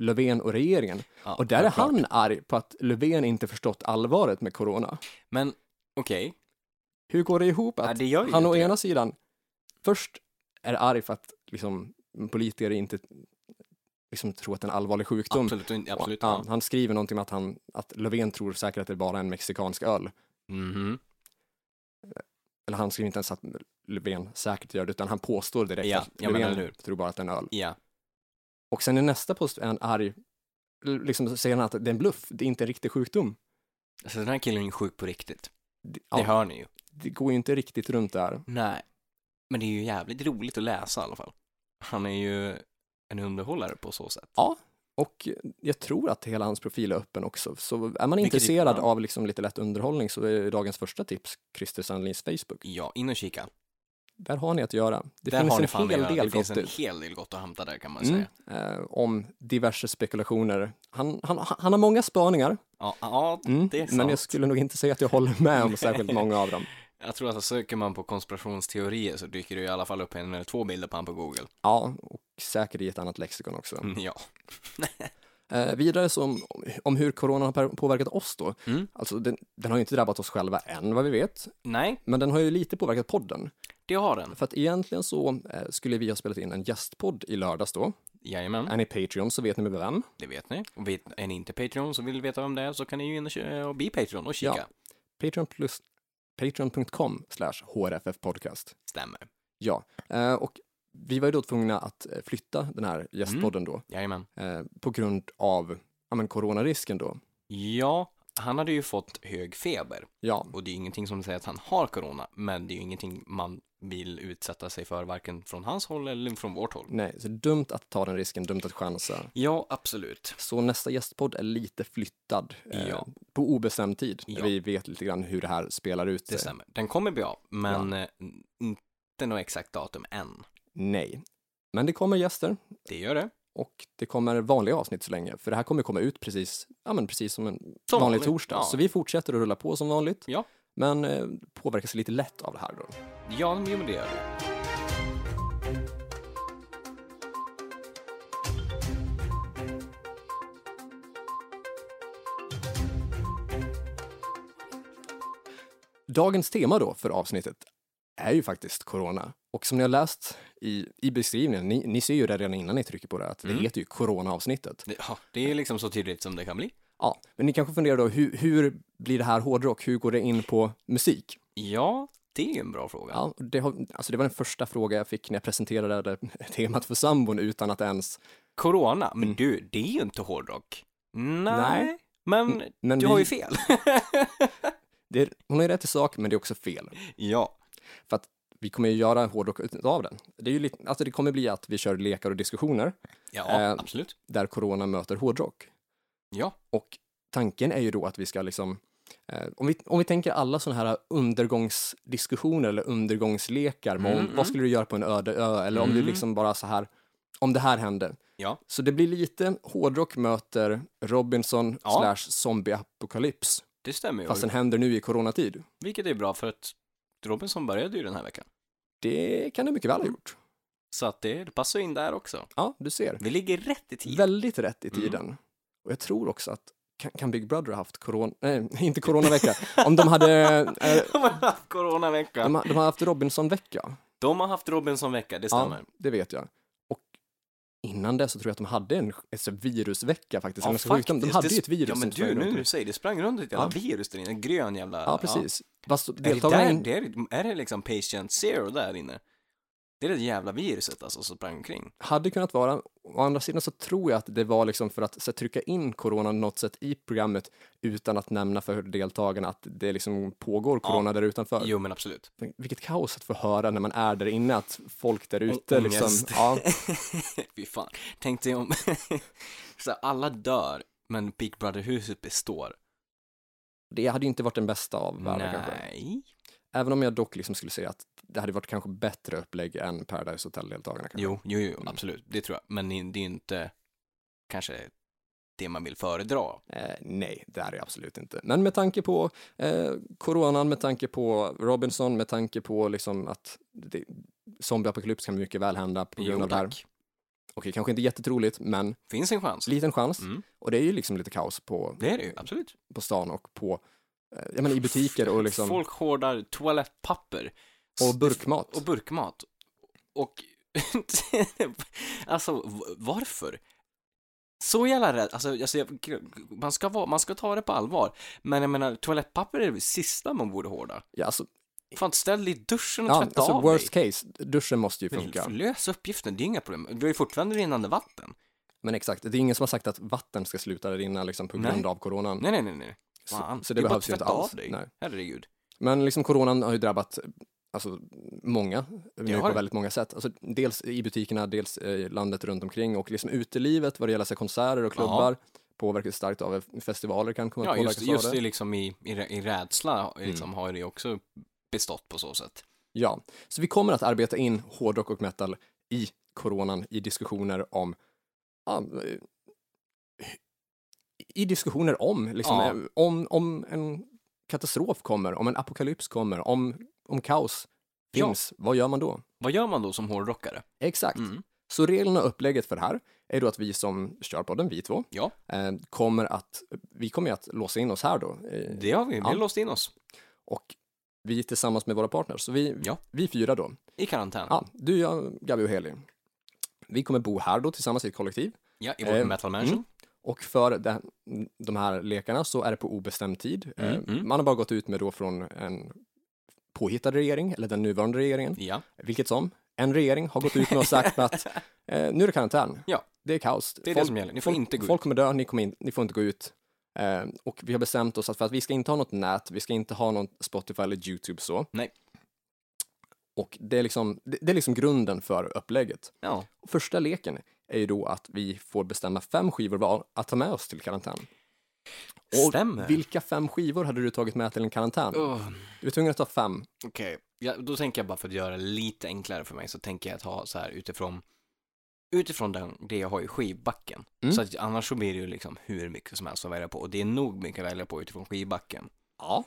[SPEAKER 3] Löfven och regeringen.
[SPEAKER 2] ja
[SPEAKER 3] Och där är
[SPEAKER 2] såklart.
[SPEAKER 3] han arg på att Löfven inte förstått allvaret med corona.
[SPEAKER 2] Men, okej.
[SPEAKER 3] Hur går det ihop
[SPEAKER 2] Ja,
[SPEAKER 3] att
[SPEAKER 2] det gör ju
[SPEAKER 3] han å
[SPEAKER 2] inte det.
[SPEAKER 3] ena sidan först är arg för att liksom, politiker inte liksom, tror att det är en allvarlig sjukdom.
[SPEAKER 2] Absolut, absolut.
[SPEAKER 3] Och, ja,
[SPEAKER 2] Ja.
[SPEAKER 3] han skriver någonting om att, han, att Löfven tror säkert att det är bara är en mexikansk öl. Mm-hmm.
[SPEAKER 2] Mhm.
[SPEAKER 3] Eller han skriver inte ens att Löfven säkert gör det, utan han påstår direkt
[SPEAKER 2] Ja,
[SPEAKER 3] att
[SPEAKER 2] ja, men
[SPEAKER 3] Löfven
[SPEAKER 2] eller hur.
[SPEAKER 3] tror bara att det är en öl.
[SPEAKER 2] Ja.
[SPEAKER 3] Och sen i nästa post är han arg, liksom säger han att det är en bluff, det är inte en riktig sjukdom.
[SPEAKER 2] Alltså den här killen är ju sjuk på riktigt.
[SPEAKER 3] Det,
[SPEAKER 2] Det
[SPEAKER 3] ja,
[SPEAKER 2] hör ni ju.
[SPEAKER 3] det går ju inte riktigt runt där.
[SPEAKER 2] Nej. Men det är ju jävligt roligt att läsa i alla fall. Han är ju en underhållare på så sätt.
[SPEAKER 3] Och jag tror att hela hans profil är öppen också. Så är man
[SPEAKER 2] Vilket
[SPEAKER 3] intresserad
[SPEAKER 2] tips, ja.
[SPEAKER 3] av liksom lite lätt underhållning så är dagens första tips Christer Sandlins Facebook.
[SPEAKER 2] Ja, in och kika.
[SPEAKER 3] Där har ni att göra. Det
[SPEAKER 2] där har ni
[SPEAKER 3] finns
[SPEAKER 2] fan
[SPEAKER 3] en
[SPEAKER 2] att
[SPEAKER 3] hel
[SPEAKER 2] göra. Det
[SPEAKER 3] del
[SPEAKER 2] finns
[SPEAKER 3] gott
[SPEAKER 2] en
[SPEAKER 3] ut
[SPEAKER 2] hel del gott att hämta där kan man
[SPEAKER 3] Mm.
[SPEAKER 2] säga.
[SPEAKER 3] eh, om diverse spekulationer. Han, han, han har många spaningar,
[SPEAKER 2] Ja, ja
[SPEAKER 3] mm,
[SPEAKER 2] Det är sant.
[SPEAKER 3] men jag skulle nog inte säga att jag håller med om särskilt många av dem.
[SPEAKER 2] jag tror att alltså, söker man på konspirationsteorier så dyker det i alla fall upp en eller två bilder på han på Google.
[SPEAKER 3] Ja, och säkert i ett annat lexikon också.
[SPEAKER 2] Ja.
[SPEAKER 3] Eh, vidare så om, om hur corona har per- påverkat oss då.
[SPEAKER 2] Mm.
[SPEAKER 3] Alltså den, den har ju inte drabbat oss själva än vad vi vet,
[SPEAKER 2] Nej,
[SPEAKER 3] men den har ju lite påverkat podden.
[SPEAKER 2] det har den.
[SPEAKER 3] För att egentligen så eh, skulle vi ha spelat in en gästpodd i lördags då.
[SPEAKER 2] Jajamän.
[SPEAKER 3] Är ni Patreon så vet ni med vem.
[SPEAKER 2] Det vet ni. Och vet, är ni inte Patreon så vill veta vem det är så kan ni ju in och kö- och bli Patreon och kika.
[SPEAKER 3] Ja. Patreon plus Patreon.com slash HRFF podcast.
[SPEAKER 2] Stämmer.
[SPEAKER 3] Ja, eh, och vi var ju då tvungna att eh, flytta den här gästpodden då
[SPEAKER 2] Jajamän.
[SPEAKER 3] eh, på grund av ja, men coronarisken då.
[SPEAKER 2] Ja, han hade ju fått hög feber
[SPEAKER 3] Ja,
[SPEAKER 2] och det är ju ingenting som säger att han har corona, men det är ju ingenting man vill utsätta sig för varken från hans håll eller från vårt håll.
[SPEAKER 3] nej, så dumt att ta den risken, dumt att chansa.
[SPEAKER 2] Ja, absolut.
[SPEAKER 3] Så nästa gästpodd är lite flyttad eh,
[SPEAKER 2] Ja.
[SPEAKER 3] på obestämd tid.
[SPEAKER 2] Ja.
[SPEAKER 3] Vi vet lite grann hur det här spelar ut
[SPEAKER 2] Det stämmer. Den kommer bli av, men eh, inte något exakt datum än.
[SPEAKER 3] Nej, men det kommer gäster
[SPEAKER 2] Det gör det.
[SPEAKER 3] och det kommer vanliga avsnitt så länge, för det här kommer komma ut precis, ja, men precis som en
[SPEAKER 2] Som
[SPEAKER 3] vanlig
[SPEAKER 2] vanligt,
[SPEAKER 3] torsdag.
[SPEAKER 2] ja.
[SPEAKER 3] Så vi fortsätter att rulla på som vanligt,
[SPEAKER 2] Ja.
[SPEAKER 3] men eh, påverkas lite lätt av det här då.
[SPEAKER 2] Ja, men jo, men det gör det.
[SPEAKER 3] Dagens tema då för avsnittet är ju faktiskt corona. Och som ni har läst i, i beskrivningen, ni, ni ser ju det redan innan ni trycker på det, att
[SPEAKER 2] Mm.
[SPEAKER 3] det heter ju corona-avsnittet.
[SPEAKER 2] Det, ja, det är liksom så tydligt som det kan bli.
[SPEAKER 3] Ja, men ni kanske funderar då, hur, hur blir det här hårdrock? Hur går det in på musik?
[SPEAKER 2] Ja, det är ju en bra fråga.
[SPEAKER 3] Ja, det, har, alltså det var den första fråga jag fick när jag presenterade det, temat för sambon utan att ens...
[SPEAKER 2] Corona, men du, det är ju inte hårdrock. Nej,
[SPEAKER 3] Mm. Nej.
[SPEAKER 2] men
[SPEAKER 3] Men
[SPEAKER 2] du
[SPEAKER 3] vi-
[SPEAKER 2] har ju fel.
[SPEAKER 3] Det är, hon har ju rätt i sak, men det är också fel.
[SPEAKER 2] ja,
[SPEAKER 3] För att vi kommer ju göra hårdrock av den. Det, är ju lite, alltså det kommer bli att vi kör lekar och diskussioner
[SPEAKER 2] ja,
[SPEAKER 3] Eh,
[SPEAKER 2] absolut.
[SPEAKER 3] där corona möter hårdrock.
[SPEAKER 2] Ja,
[SPEAKER 3] Och tanken är ju då att vi ska liksom, eh, om, vi, om vi tänker alla sådana här undergångsdiskussioner eller undergångslekar, med
[SPEAKER 2] Mm,
[SPEAKER 3] om, vad skulle du göra på en öde ö? Eller om du
[SPEAKER 2] Mm.
[SPEAKER 3] liksom bara så här, om det här hände.
[SPEAKER 2] Ja.
[SPEAKER 3] Så det blir lite hårdrock möter Robinson
[SPEAKER 2] Ja.
[SPEAKER 3] slash zombieapokalyps,
[SPEAKER 2] det stämmer ju.
[SPEAKER 3] fast den händer nu i coronatid.
[SPEAKER 2] Vilket är bra för att Robinson började ju den här veckan.
[SPEAKER 3] Det kan du mycket väl ha gjort.
[SPEAKER 2] Så att det, det passar in där också.
[SPEAKER 3] Ja, du ser.
[SPEAKER 2] Vi ligger rätt i tid.
[SPEAKER 3] Väldigt rätt i
[SPEAKER 2] Mm.
[SPEAKER 3] tiden. Och jag tror också att kan, kan Big Brother ha haft corona, nej, inte coronavecka, om de hade, eh,
[SPEAKER 2] De har haft coronavecka.
[SPEAKER 3] de, ha- de har haft Robinson-vecka.
[SPEAKER 2] De har haft Robinson-vecka, det
[SPEAKER 3] Ja,
[SPEAKER 2] stämmer.
[SPEAKER 3] det vet jag. Och innan det så tror jag att de hade en alltså, virusvecka faktiskt.
[SPEAKER 2] Ja,
[SPEAKER 3] eller så sjukdom. de
[SPEAKER 2] faktiskt.
[SPEAKER 3] hade
[SPEAKER 2] Det-
[SPEAKER 3] ju ett virus.
[SPEAKER 2] Ja, men
[SPEAKER 3] som sprang
[SPEAKER 2] du, nu
[SPEAKER 3] runt.
[SPEAKER 2] när du säger det, sprang runt ett jävla virus där inne, en grön jävla...
[SPEAKER 3] Ja, precis. Fast
[SPEAKER 2] Är, det där,
[SPEAKER 3] deltagarna... in-
[SPEAKER 2] det är, är det liksom patient zero där inne? Det är det jävla viruset alltså som sprang omkring.
[SPEAKER 3] hade kunnat vara. Å andra sidan så tror jag att det var liksom för att så, här, trycka in corona något sätt i programmet utan att nämna för deltagarna att det liksom pågår corona där utanför.
[SPEAKER 2] Jo, men absolut.
[SPEAKER 3] Vilket kaos att få höra när man är där inne att folk där ute
[SPEAKER 2] Ångest.
[SPEAKER 3] liksom, ja,
[SPEAKER 2] Fy fan. Tänk dig om... så här, alla dör, men Big Brother-huset består.
[SPEAKER 3] det hade ju inte varit den bästa av världar kanske.
[SPEAKER 2] Nej.
[SPEAKER 3] Även om jag dock liksom skulle säga att det hade varit kanske bättre upplägg än Paradise Hotel-deltagarna kanske.
[SPEAKER 2] Jo, jo,
[SPEAKER 3] Mm.
[SPEAKER 2] jo, absolut. Det tror jag. Men det är ju inte kanske det man vill föredra.
[SPEAKER 3] Eh, nej, det är det absolut inte. Men med tanke på eh, coronan, med tanke på Robinson, med tanke på liksom att det, zombieapokalyps kan mycket väl hända på grund
[SPEAKER 2] Jo,
[SPEAKER 3] av det här.
[SPEAKER 2] tack.
[SPEAKER 3] Okej, kanske inte jättetroligt, men
[SPEAKER 2] Finns en chans.
[SPEAKER 3] liten chans.
[SPEAKER 2] Mm.
[SPEAKER 3] Och det är ju liksom lite kaos på,
[SPEAKER 2] Det är det ju, absolut.
[SPEAKER 3] på stan och på, eh, jag menar i butiker och liksom,
[SPEAKER 2] Folk hårdar toalettpapper.
[SPEAKER 3] och burkmat.
[SPEAKER 2] och burkmat. Och alltså v- varför? Så jävla rädd, alltså, alltså jag, man, ska vara, man ska ta det på allvar. Men jag menar, toalettpapper är det sista man borde hårda.
[SPEAKER 3] Ja, alltså,
[SPEAKER 2] Fan, ställ dig i duschen och
[SPEAKER 3] ja,
[SPEAKER 2] tvätta
[SPEAKER 3] alltså
[SPEAKER 2] av
[SPEAKER 3] worst
[SPEAKER 2] dig.
[SPEAKER 3] case, duschen måste ju funka.
[SPEAKER 2] Men Lös uppgiften, det är inga problem. Du har ju fortfarande rinnande vatten.
[SPEAKER 3] Men exakt, det är ingen som har sagt att vatten ska sluta rinna liksom på
[SPEAKER 2] Nej.
[SPEAKER 3] grund av coronan.
[SPEAKER 2] Nej, nej, nej, nej.
[SPEAKER 3] Så-
[SPEAKER 2] Fan.
[SPEAKER 3] så det
[SPEAKER 2] är bara
[SPEAKER 3] behövs ju
[SPEAKER 2] att
[SPEAKER 3] inte
[SPEAKER 2] tvätta
[SPEAKER 3] alls.
[SPEAKER 2] Av dig.
[SPEAKER 3] Nej.
[SPEAKER 2] Herregud.
[SPEAKER 3] Men liksom coronan har ju drabbat alltså många, nu
[SPEAKER 2] har
[SPEAKER 3] på
[SPEAKER 2] det.
[SPEAKER 3] väldigt många sätt. Alltså, dels i butikerna, dels eh, i landet runt omkring och liksom utelivet vad det gäller så här, konserter och klubbar påverkas starkt av eh, festivaler kan komma att
[SPEAKER 2] Ja, just,
[SPEAKER 3] påverkas
[SPEAKER 2] just
[SPEAKER 3] av
[SPEAKER 2] det
[SPEAKER 3] det. Mm.
[SPEAKER 2] liksom i, i, rä- i rädsla liksom, har det också bestått på så sätt.
[SPEAKER 3] Ja, så vi kommer att arbeta in hårdrock och metal i coronan i diskussioner om ja, eh, i diskussioner om, liksom,
[SPEAKER 2] Ja.
[SPEAKER 3] eh, om, om en katastrof kommer, om en apokalyps kommer, om, om kaos
[SPEAKER 2] Ja.
[SPEAKER 3] finns, vad gör man då?
[SPEAKER 2] Vad gör man då som hårdrockare?
[SPEAKER 3] Exakt.
[SPEAKER 2] Mm.
[SPEAKER 3] Så reglerna och upplägget för det här är då att vi som kör podden, vi två,
[SPEAKER 2] Ja,
[SPEAKER 3] eh, kommer att, vi kommer ju att låsa in oss här då. eh,
[SPEAKER 2] det har vi. Vi har
[SPEAKER 3] Ja.
[SPEAKER 2] låst in oss
[SPEAKER 3] Och vi tillsammans med våra partners, så vi,
[SPEAKER 2] Ja.
[SPEAKER 3] vi fyra då.
[SPEAKER 2] i karantän. Ja,
[SPEAKER 3] Ja, du, jag, Gabi och Heli. Vi kommer bo här då tillsammans i ett kollektiv
[SPEAKER 2] i vår
[SPEAKER 3] Eh,
[SPEAKER 2] metal mansion.
[SPEAKER 3] och för de, de här lekarna så är det på obestämd tid. Eh,
[SPEAKER 2] Mm, mm.
[SPEAKER 3] Man har bara gått ut med då från en påhittad regering, eller den nuvarande regeringen,
[SPEAKER 2] Ja,
[SPEAKER 3] vilket som, en regering har gått ut med och sagt att eh, nu är det karantän.
[SPEAKER 2] Ja.
[SPEAKER 3] Det är kaos.
[SPEAKER 2] det är det som gäller. Ni får
[SPEAKER 3] folk,
[SPEAKER 2] inte gå
[SPEAKER 3] Folk
[SPEAKER 2] ut.
[SPEAKER 3] kommer dö, ni, kommer in, ni får inte gå ut. Eh, och vi har bestämt oss att för att vi ska inte ha något nät, vi ska inte ha någon Spotify eller YouTube så.
[SPEAKER 2] Nej.
[SPEAKER 3] Och det är liksom, det, det är liksom grunden för upplägget.
[SPEAKER 2] Ja.
[SPEAKER 3] Och Första leken är ju då att vi får bestämma fem skivor var att ta med oss till karantän.
[SPEAKER 2] Stämmer.
[SPEAKER 3] vilka fem skivor hade du tagit med till en karantän?
[SPEAKER 2] Oh,
[SPEAKER 3] Du är tvungen att ta fem.
[SPEAKER 2] Okej, ja, då tänker jag bara för att göra det lite enklare för mig så tänker jag att ha så här utifrån utifrån den, det jag har i skivbacken.
[SPEAKER 3] Mm.
[SPEAKER 2] Så att annars så blir det ju liksom hur mycket som helst att välja på och det är nog mycket att välja på utifrån skivbacken.
[SPEAKER 3] Ja.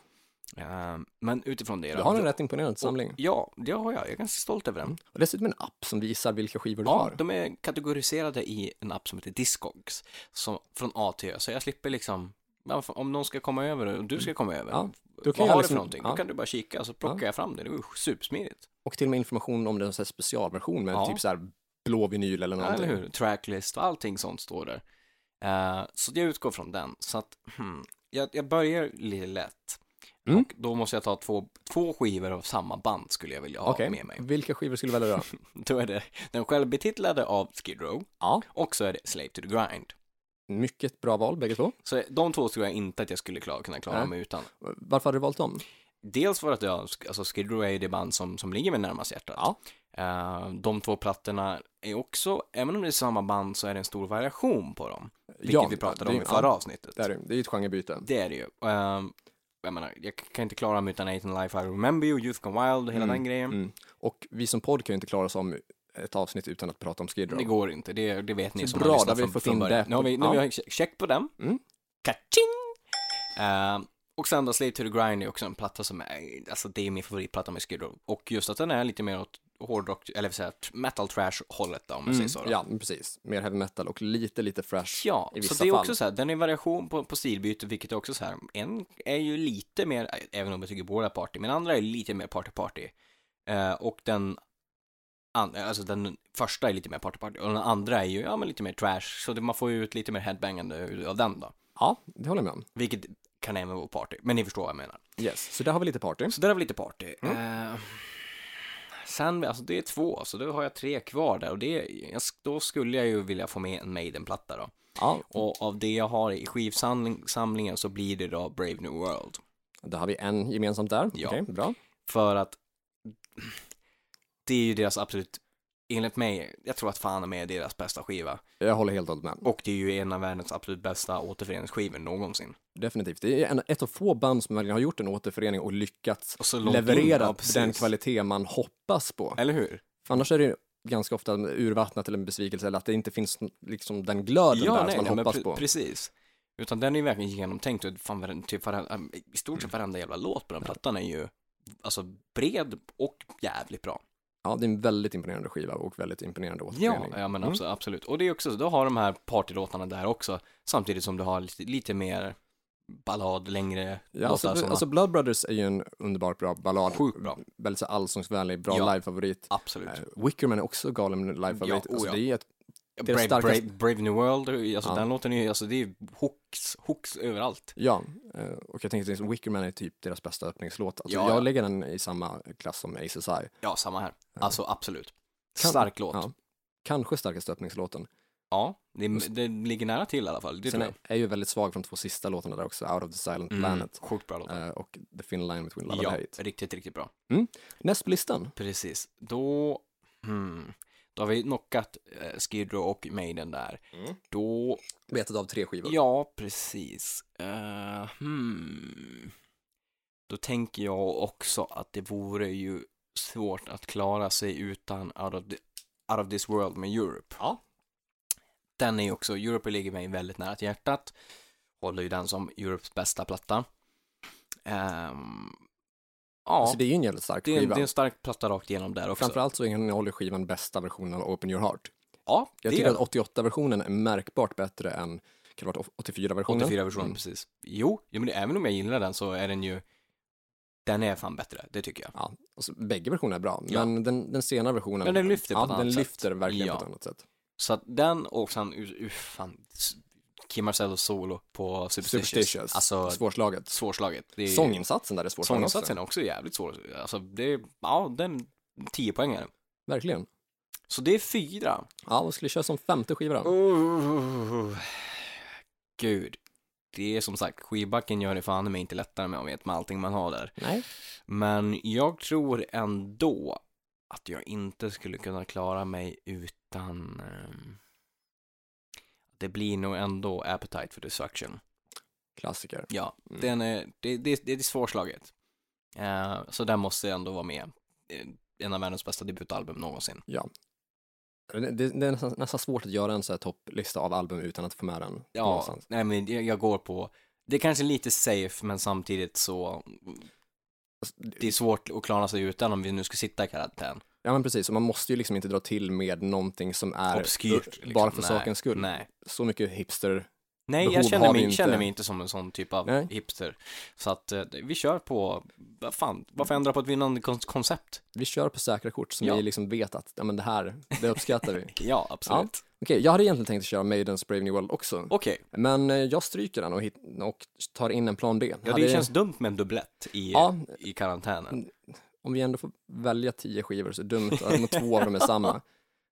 [SPEAKER 2] Ehm, men utifrån det
[SPEAKER 3] Du har en rätt imponerande samling.
[SPEAKER 2] Ja, det har jag. Jag är ganska stolt över den.
[SPEAKER 3] Och dessutom en app som visar vilka skivor du
[SPEAKER 2] Ja,
[SPEAKER 3] har.
[SPEAKER 2] de är kategoriserade i en app som heter Discogs, som, från A till Ö, så jag slipper liksom, ja, om någon ska komma över och du ska komma över,
[SPEAKER 3] Mm. Ja, då
[SPEAKER 2] vad
[SPEAKER 3] kan jag
[SPEAKER 2] har du för
[SPEAKER 3] liksom-
[SPEAKER 2] någonting? Då
[SPEAKER 3] ja.
[SPEAKER 2] kan du bara kika så plockar jag fram det, det är ju supersmidigt.
[SPEAKER 3] Och till och med information om den så här specialversion med
[SPEAKER 2] Ja.
[SPEAKER 3] typ så här blå vinyl eller
[SPEAKER 2] Ja, eller
[SPEAKER 3] någonting.
[SPEAKER 2] hur? Tracklist och allting sånt står där. Eh, så jag utgår från den. Så att, hmm, jag, jag börjar lite lätt.
[SPEAKER 3] Mm.
[SPEAKER 2] Och då måste jag ta två, två skivor av samma band skulle jag vilja ha
[SPEAKER 3] Okej,
[SPEAKER 2] med mig.
[SPEAKER 3] vilka skivor skulle du välja då?
[SPEAKER 2] Då är det den självbetitlade av Skid Row
[SPEAKER 3] ja.
[SPEAKER 2] och så är det Slave to the Grind.
[SPEAKER 3] Mycket bra val bägge två.
[SPEAKER 2] Så de två tror jag inte att jag skulle klara, kunna klara
[SPEAKER 3] Nej.
[SPEAKER 2] mig utan.
[SPEAKER 3] Varför hade du valt dem?
[SPEAKER 2] Dels för att jag, alltså Skid Row är ju det band som, som ligger mig närmast hjärtat.
[SPEAKER 3] Ja.
[SPEAKER 2] Eh, de två plattorna är också, även om det är samma band så är det en stor variation på dem. Vilket
[SPEAKER 3] Ja,
[SPEAKER 2] vi pratade
[SPEAKER 3] det-
[SPEAKER 2] om i förra
[SPEAKER 3] ja,
[SPEAKER 2] avsnittet.
[SPEAKER 3] Det är det ju. Det är ju ett genrebyte.
[SPEAKER 2] Det är det ju. Ehm, jag menar, jag kan inte klara mig utan 18 Life I Remember You, Youth Gone Wild och hela den grejen.
[SPEAKER 3] Mm. Och vi som podd kan ju inte klara oss om ett avsnitt utan att prata om Skid Row.
[SPEAKER 2] Det går inte, det, det vet ni
[SPEAKER 3] Så
[SPEAKER 2] som
[SPEAKER 3] bra,
[SPEAKER 2] har lyssnat
[SPEAKER 3] där vi
[SPEAKER 2] från,
[SPEAKER 3] fått
[SPEAKER 2] från
[SPEAKER 3] in
[SPEAKER 2] början.
[SPEAKER 3] det.
[SPEAKER 2] Nu har vi, nu
[SPEAKER 3] Ja.
[SPEAKER 2] har vi check- check på den.
[SPEAKER 3] Mm.
[SPEAKER 2] Kaching! Ehm, och sen då Slave to the Grind är också en platta som är, alltså det är min favoritplatta med Skid Row. Och just att den är lite mer åt hårdrock, eller så här, metal trash hållet då, om jag säger så. Då.
[SPEAKER 3] Mm. Ja, men precis. Mer heavy metal och lite, lite fresh.
[SPEAKER 2] Ja, så
[SPEAKER 3] i vissa
[SPEAKER 2] det är
[SPEAKER 3] fall.
[SPEAKER 2] också så här, den är en variation på, på stilbyte, vilket är också så här, en är ju lite mer, även om jag tycker båda är party, men andra är lite mer party-party. Eh, och den, an, alltså den första är lite mer party-party, och den andra är ju, ja men lite mer trash, så det, man får ju ut lite mer headbangande av den då.
[SPEAKER 3] Ja, det håller jag med om.
[SPEAKER 2] Vilket kan även vara party, men ni förstår vad jag menar.
[SPEAKER 3] Yes. Så där har vi lite party.
[SPEAKER 2] Så där har vi lite party.
[SPEAKER 3] Mm.
[SPEAKER 2] Eh, sen, alltså det är två, så då har jag tre kvar där, och det, jag, då skulle jag ju vilja få med en Maiden-platta då.
[SPEAKER 3] Ja,
[SPEAKER 2] Och av det jag har i skivsamlingen så blir det då Brave New World.
[SPEAKER 3] där har vi en gemensamt där.
[SPEAKER 2] Ja.
[SPEAKER 3] Okej, bra.
[SPEAKER 2] För att det är ju deras absolut, enligt mig, jag tror att fan med är deras bästa skiva.
[SPEAKER 3] Jag håller helt och hållet med.
[SPEAKER 2] Och det är ju en av världens absolut bästa återföreningsskivor någonsin.
[SPEAKER 3] Definitivt. Det är en, ett av få band som verkligen har gjort en återförening och lyckats
[SPEAKER 2] Och så långt in, ja,
[SPEAKER 3] leverera
[SPEAKER 2] precis.
[SPEAKER 3] den kvalitet man hoppas på.
[SPEAKER 2] Eller hur?
[SPEAKER 3] Annars är det ju ganska ofta urvattnat eller en besvikelse eller att det inte finns liksom den glöden där som man
[SPEAKER 2] men
[SPEAKER 3] hoppas
[SPEAKER 2] pre-
[SPEAKER 3] på.
[SPEAKER 2] precis. Utan den är ju verkligen genomtänkt och fan, varen- typ varenda, i stort sett varenda jävla låt på den plattan är ju alltså bred och jävligt bra.
[SPEAKER 3] Ja, det är en väldigt imponerande skiva och väldigt imponerande
[SPEAKER 2] Ja, eh,
[SPEAKER 3] återförening.
[SPEAKER 2] ja men absolut, absolut. Och det är också, så, då har de här partylåtarna där också, samtidigt som du har lite, lite mer ballad, längre
[SPEAKER 3] Ja,
[SPEAKER 2] låtar
[SPEAKER 3] alltså,
[SPEAKER 2] som
[SPEAKER 3] alltså eh, Blood Brothers är ju en underbart bra ballad.
[SPEAKER 2] Sjukt bra.
[SPEAKER 3] Väldigt så här allsångsvänlig, bra
[SPEAKER 2] Ja.
[SPEAKER 3] livefavorit.
[SPEAKER 2] absolut.
[SPEAKER 3] Eh, Wickerman är också galen livefavorit.
[SPEAKER 2] Ja, oh
[SPEAKER 3] alltså,
[SPEAKER 2] ja.
[SPEAKER 3] det är ett, det är
[SPEAKER 2] Brave,
[SPEAKER 3] det starkaste-
[SPEAKER 2] Brave, Brave New World, alltså
[SPEAKER 3] Ja.
[SPEAKER 2] den låten är ju, alltså det är ju hooks, hooks överallt.
[SPEAKER 3] ja, eh, och jag tänkte liksom, Wickerman är typ deras bästa öppningslåt. Alltså,
[SPEAKER 2] Ja,
[SPEAKER 3] jag
[SPEAKER 2] ja.
[SPEAKER 3] lägger den i samma klass som ACSI.
[SPEAKER 2] Ja, samma här. Alltså absolut.
[SPEAKER 3] Kan-
[SPEAKER 2] Stark låt.
[SPEAKER 3] Ja. Kanske starkaste öppningslåten.
[SPEAKER 2] Ja, det, det ligger nära till i alla fall. Det
[SPEAKER 3] Sen
[SPEAKER 2] tror jag. Mm.
[SPEAKER 3] är, är ju väldigt svag från de två sista låtarna där också, Out of the Silent Planet
[SPEAKER 2] Sjukt bra låt.
[SPEAKER 3] eh, och The Thin Line Between Love and
[SPEAKER 2] Ja,
[SPEAKER 3] Hate.
[SPEAKER 2] riktigt, riktigt bra.
[SPEAKER 3] Näst på listan,
[SPEAKER 2] Precis. Då, hmm, då har vi knockat eh, Skid Row och Maiden där.
[SPEAKER 3] Mm.
[SPEAKER 2] Då,
[SPEAKER 3] betet av tre skivor.
[SPEAKER 2] ja precis. Eh, hmm. Då tänker jag också att det vore ju svårt att klara sig utan Out of, the, out of this world med Europe.
[SPEAKER 3] Ja.
[SPEAKER 2] Den är ju också, Europe ligger mig väldigt nära till hjärtat. Håller ju den som Europes bästa platta. Ehm, ja.
[SPEAKER 3] Alltså det är ju en jävligt stark
[SPEAKER 2] Det är, en,
[SPEAKER 3] skiva.
[SPEAKER 2] det är en stark platta rakt igenom där också.
[SPEAKER 3] Framförallt så innehåller skivan bästa versionen av Open Your Heart.
[SPEAKER 2] ja,
[SPEAKER 3] Jag
[SPEAKER 2] det
[SPEAKER 3] tycker
[SPEAKER 2] är
[SPEAKER 3] att 84-versionen är märkbart bättre än kan det vara 84-versionen.
[SPEAKER 2] 84-versionen,
[SPEAKER 3] Mm.
[SPEAKER 2] precis. Jo, jo, men det, även om jag gillar den så är den ju, den är fan bättre, det tycker jag.
[SPEAKER 3] Ja, alltså, bägge versioner är bra,
[SPEAKER 2] Ja.
[SPEAKER 3] men den, den senare versionen,
[SPEAKER 2] Men den lyfter på
[SPEAKER 3] ja,
[SPEAKER 2] ett
[SPEAKER 3] den
[SPEAKER 2] annat sätt.
[SPEAKER 3] lyfter verkligen
[SPEAKER 2] Ja.
[SPEAKER 3] på ett annat sätt.
[SPEAKER 2] Så att den och sen, uh, uh, fan, s- Kim Marcellos solo på Superstitious.
[SPEAKER 3] Superstitious,
[SPEAKER 2] Alltså,
[SPEAKER 3] svårslaget.
[SPEAKER 2] svårslaget. Det är,
[SPEAKER 3] Sånginsatsen där är svårslagen
[SPEAKER 2] sånginsatsen är också jävligt svår. Alltså, det är, ja, den, 10 poängare.
[SPEAKER 3] också. Verkligen.
[SPEAKER 2] Så det är fyra.
[SPEAKER 3] Ja, vad skulle jag köra som femte skiva då?
[SPEAKER 2] Oh, gud. Det är som sagt, skivbacken gör det fan i mig inte lättare med, med allting man har där.
[SPEAKER 3] Nej.
[SPEAKER 2] Men jag tror ändå att jag inte skulle kunna klara mig utan... ehm, det blir nog ändå Appetite for Destruction.
[SPEAKER 3] Klassiker.
[SPEAKER 2] Ja,
[SPEAKER 3] Mm.
[SPEAKER 2] den är, det, det, det är svårslaget. Eh, så den måste ändå vara med. Eh, En av världens bästa debutalbum någonsin.
[SPEAKER 3] Det, det det är nästan, nästan svårt att göra en så här topplista av album utan att få med den.
[SPEAKER 2] Ja,
[SPEAKER 3] någonstans.
[SPEAKER 2] nej men jag, jag går på... Det är kanske lite safe, men samtidigt så...
[SPEAKER 3] Alltså, det-
[SPEAKER 2] Det är svårt att klara sig utan om vi nu ska sitta i karantän.
[SPEAKER 3] Ja, men precis. Och man måste ju liksom inte dra till med någonting som är
[SPEAKER 2] Obskyrt. liksom.
[SPEAKER 3] bara för
[SPEAKER 2] Nej,
[SPEAKER 3] sakens skull.
[SPEAKER 2] Nej.
[SPEAKER 3] Så mycket hipster.
[SPEAKER 2] Nej,
[SPEAKER 3] Behov
[SPEAKER 2] jag känner
[SPEAKER 3] har
[SPEAKER 2] mig,
[SPEAKER 3] vi inte.
[SPEAKER 2] känner mig inte som en sån typ av
[SPEAKER 3] Nej.
[SPEAKER 2] hipster. Så att eh, vi kör på, vad fan,
[SPEAKER 3] Mm.
[SPEAKER 2] varför ändra på ett vinnande kon- koncept?
[SPEAKER 3] Vi kör på säkra kort som
[SPEAKER 2] Ja.
[SPEAKER 3] vi liksom vet att ja, men det här, det uppskattar vi. Okej,
[SPEAKER 2] Ja, absolut.
[SPEAKER 3] jag hade egentligen tänkt att köra Maidens Brave New World också.
[SPEAKER 2] Okej,
[SPEAKER 3] Men eh, jag stryker den och, hit, och tar in en plan B.
[SPEAKER 2] ja, det
[SPEAKER 3] Hade-
[SPEAKER 2] känns dumt med en dubblett i,
[SPEAKER 3] Ja, Mm.
[SPEAKER 2] i karantänen.
[SPEAKER 3] om vi ändå får välja tio skivor så är det dumt att de två av dem är samma.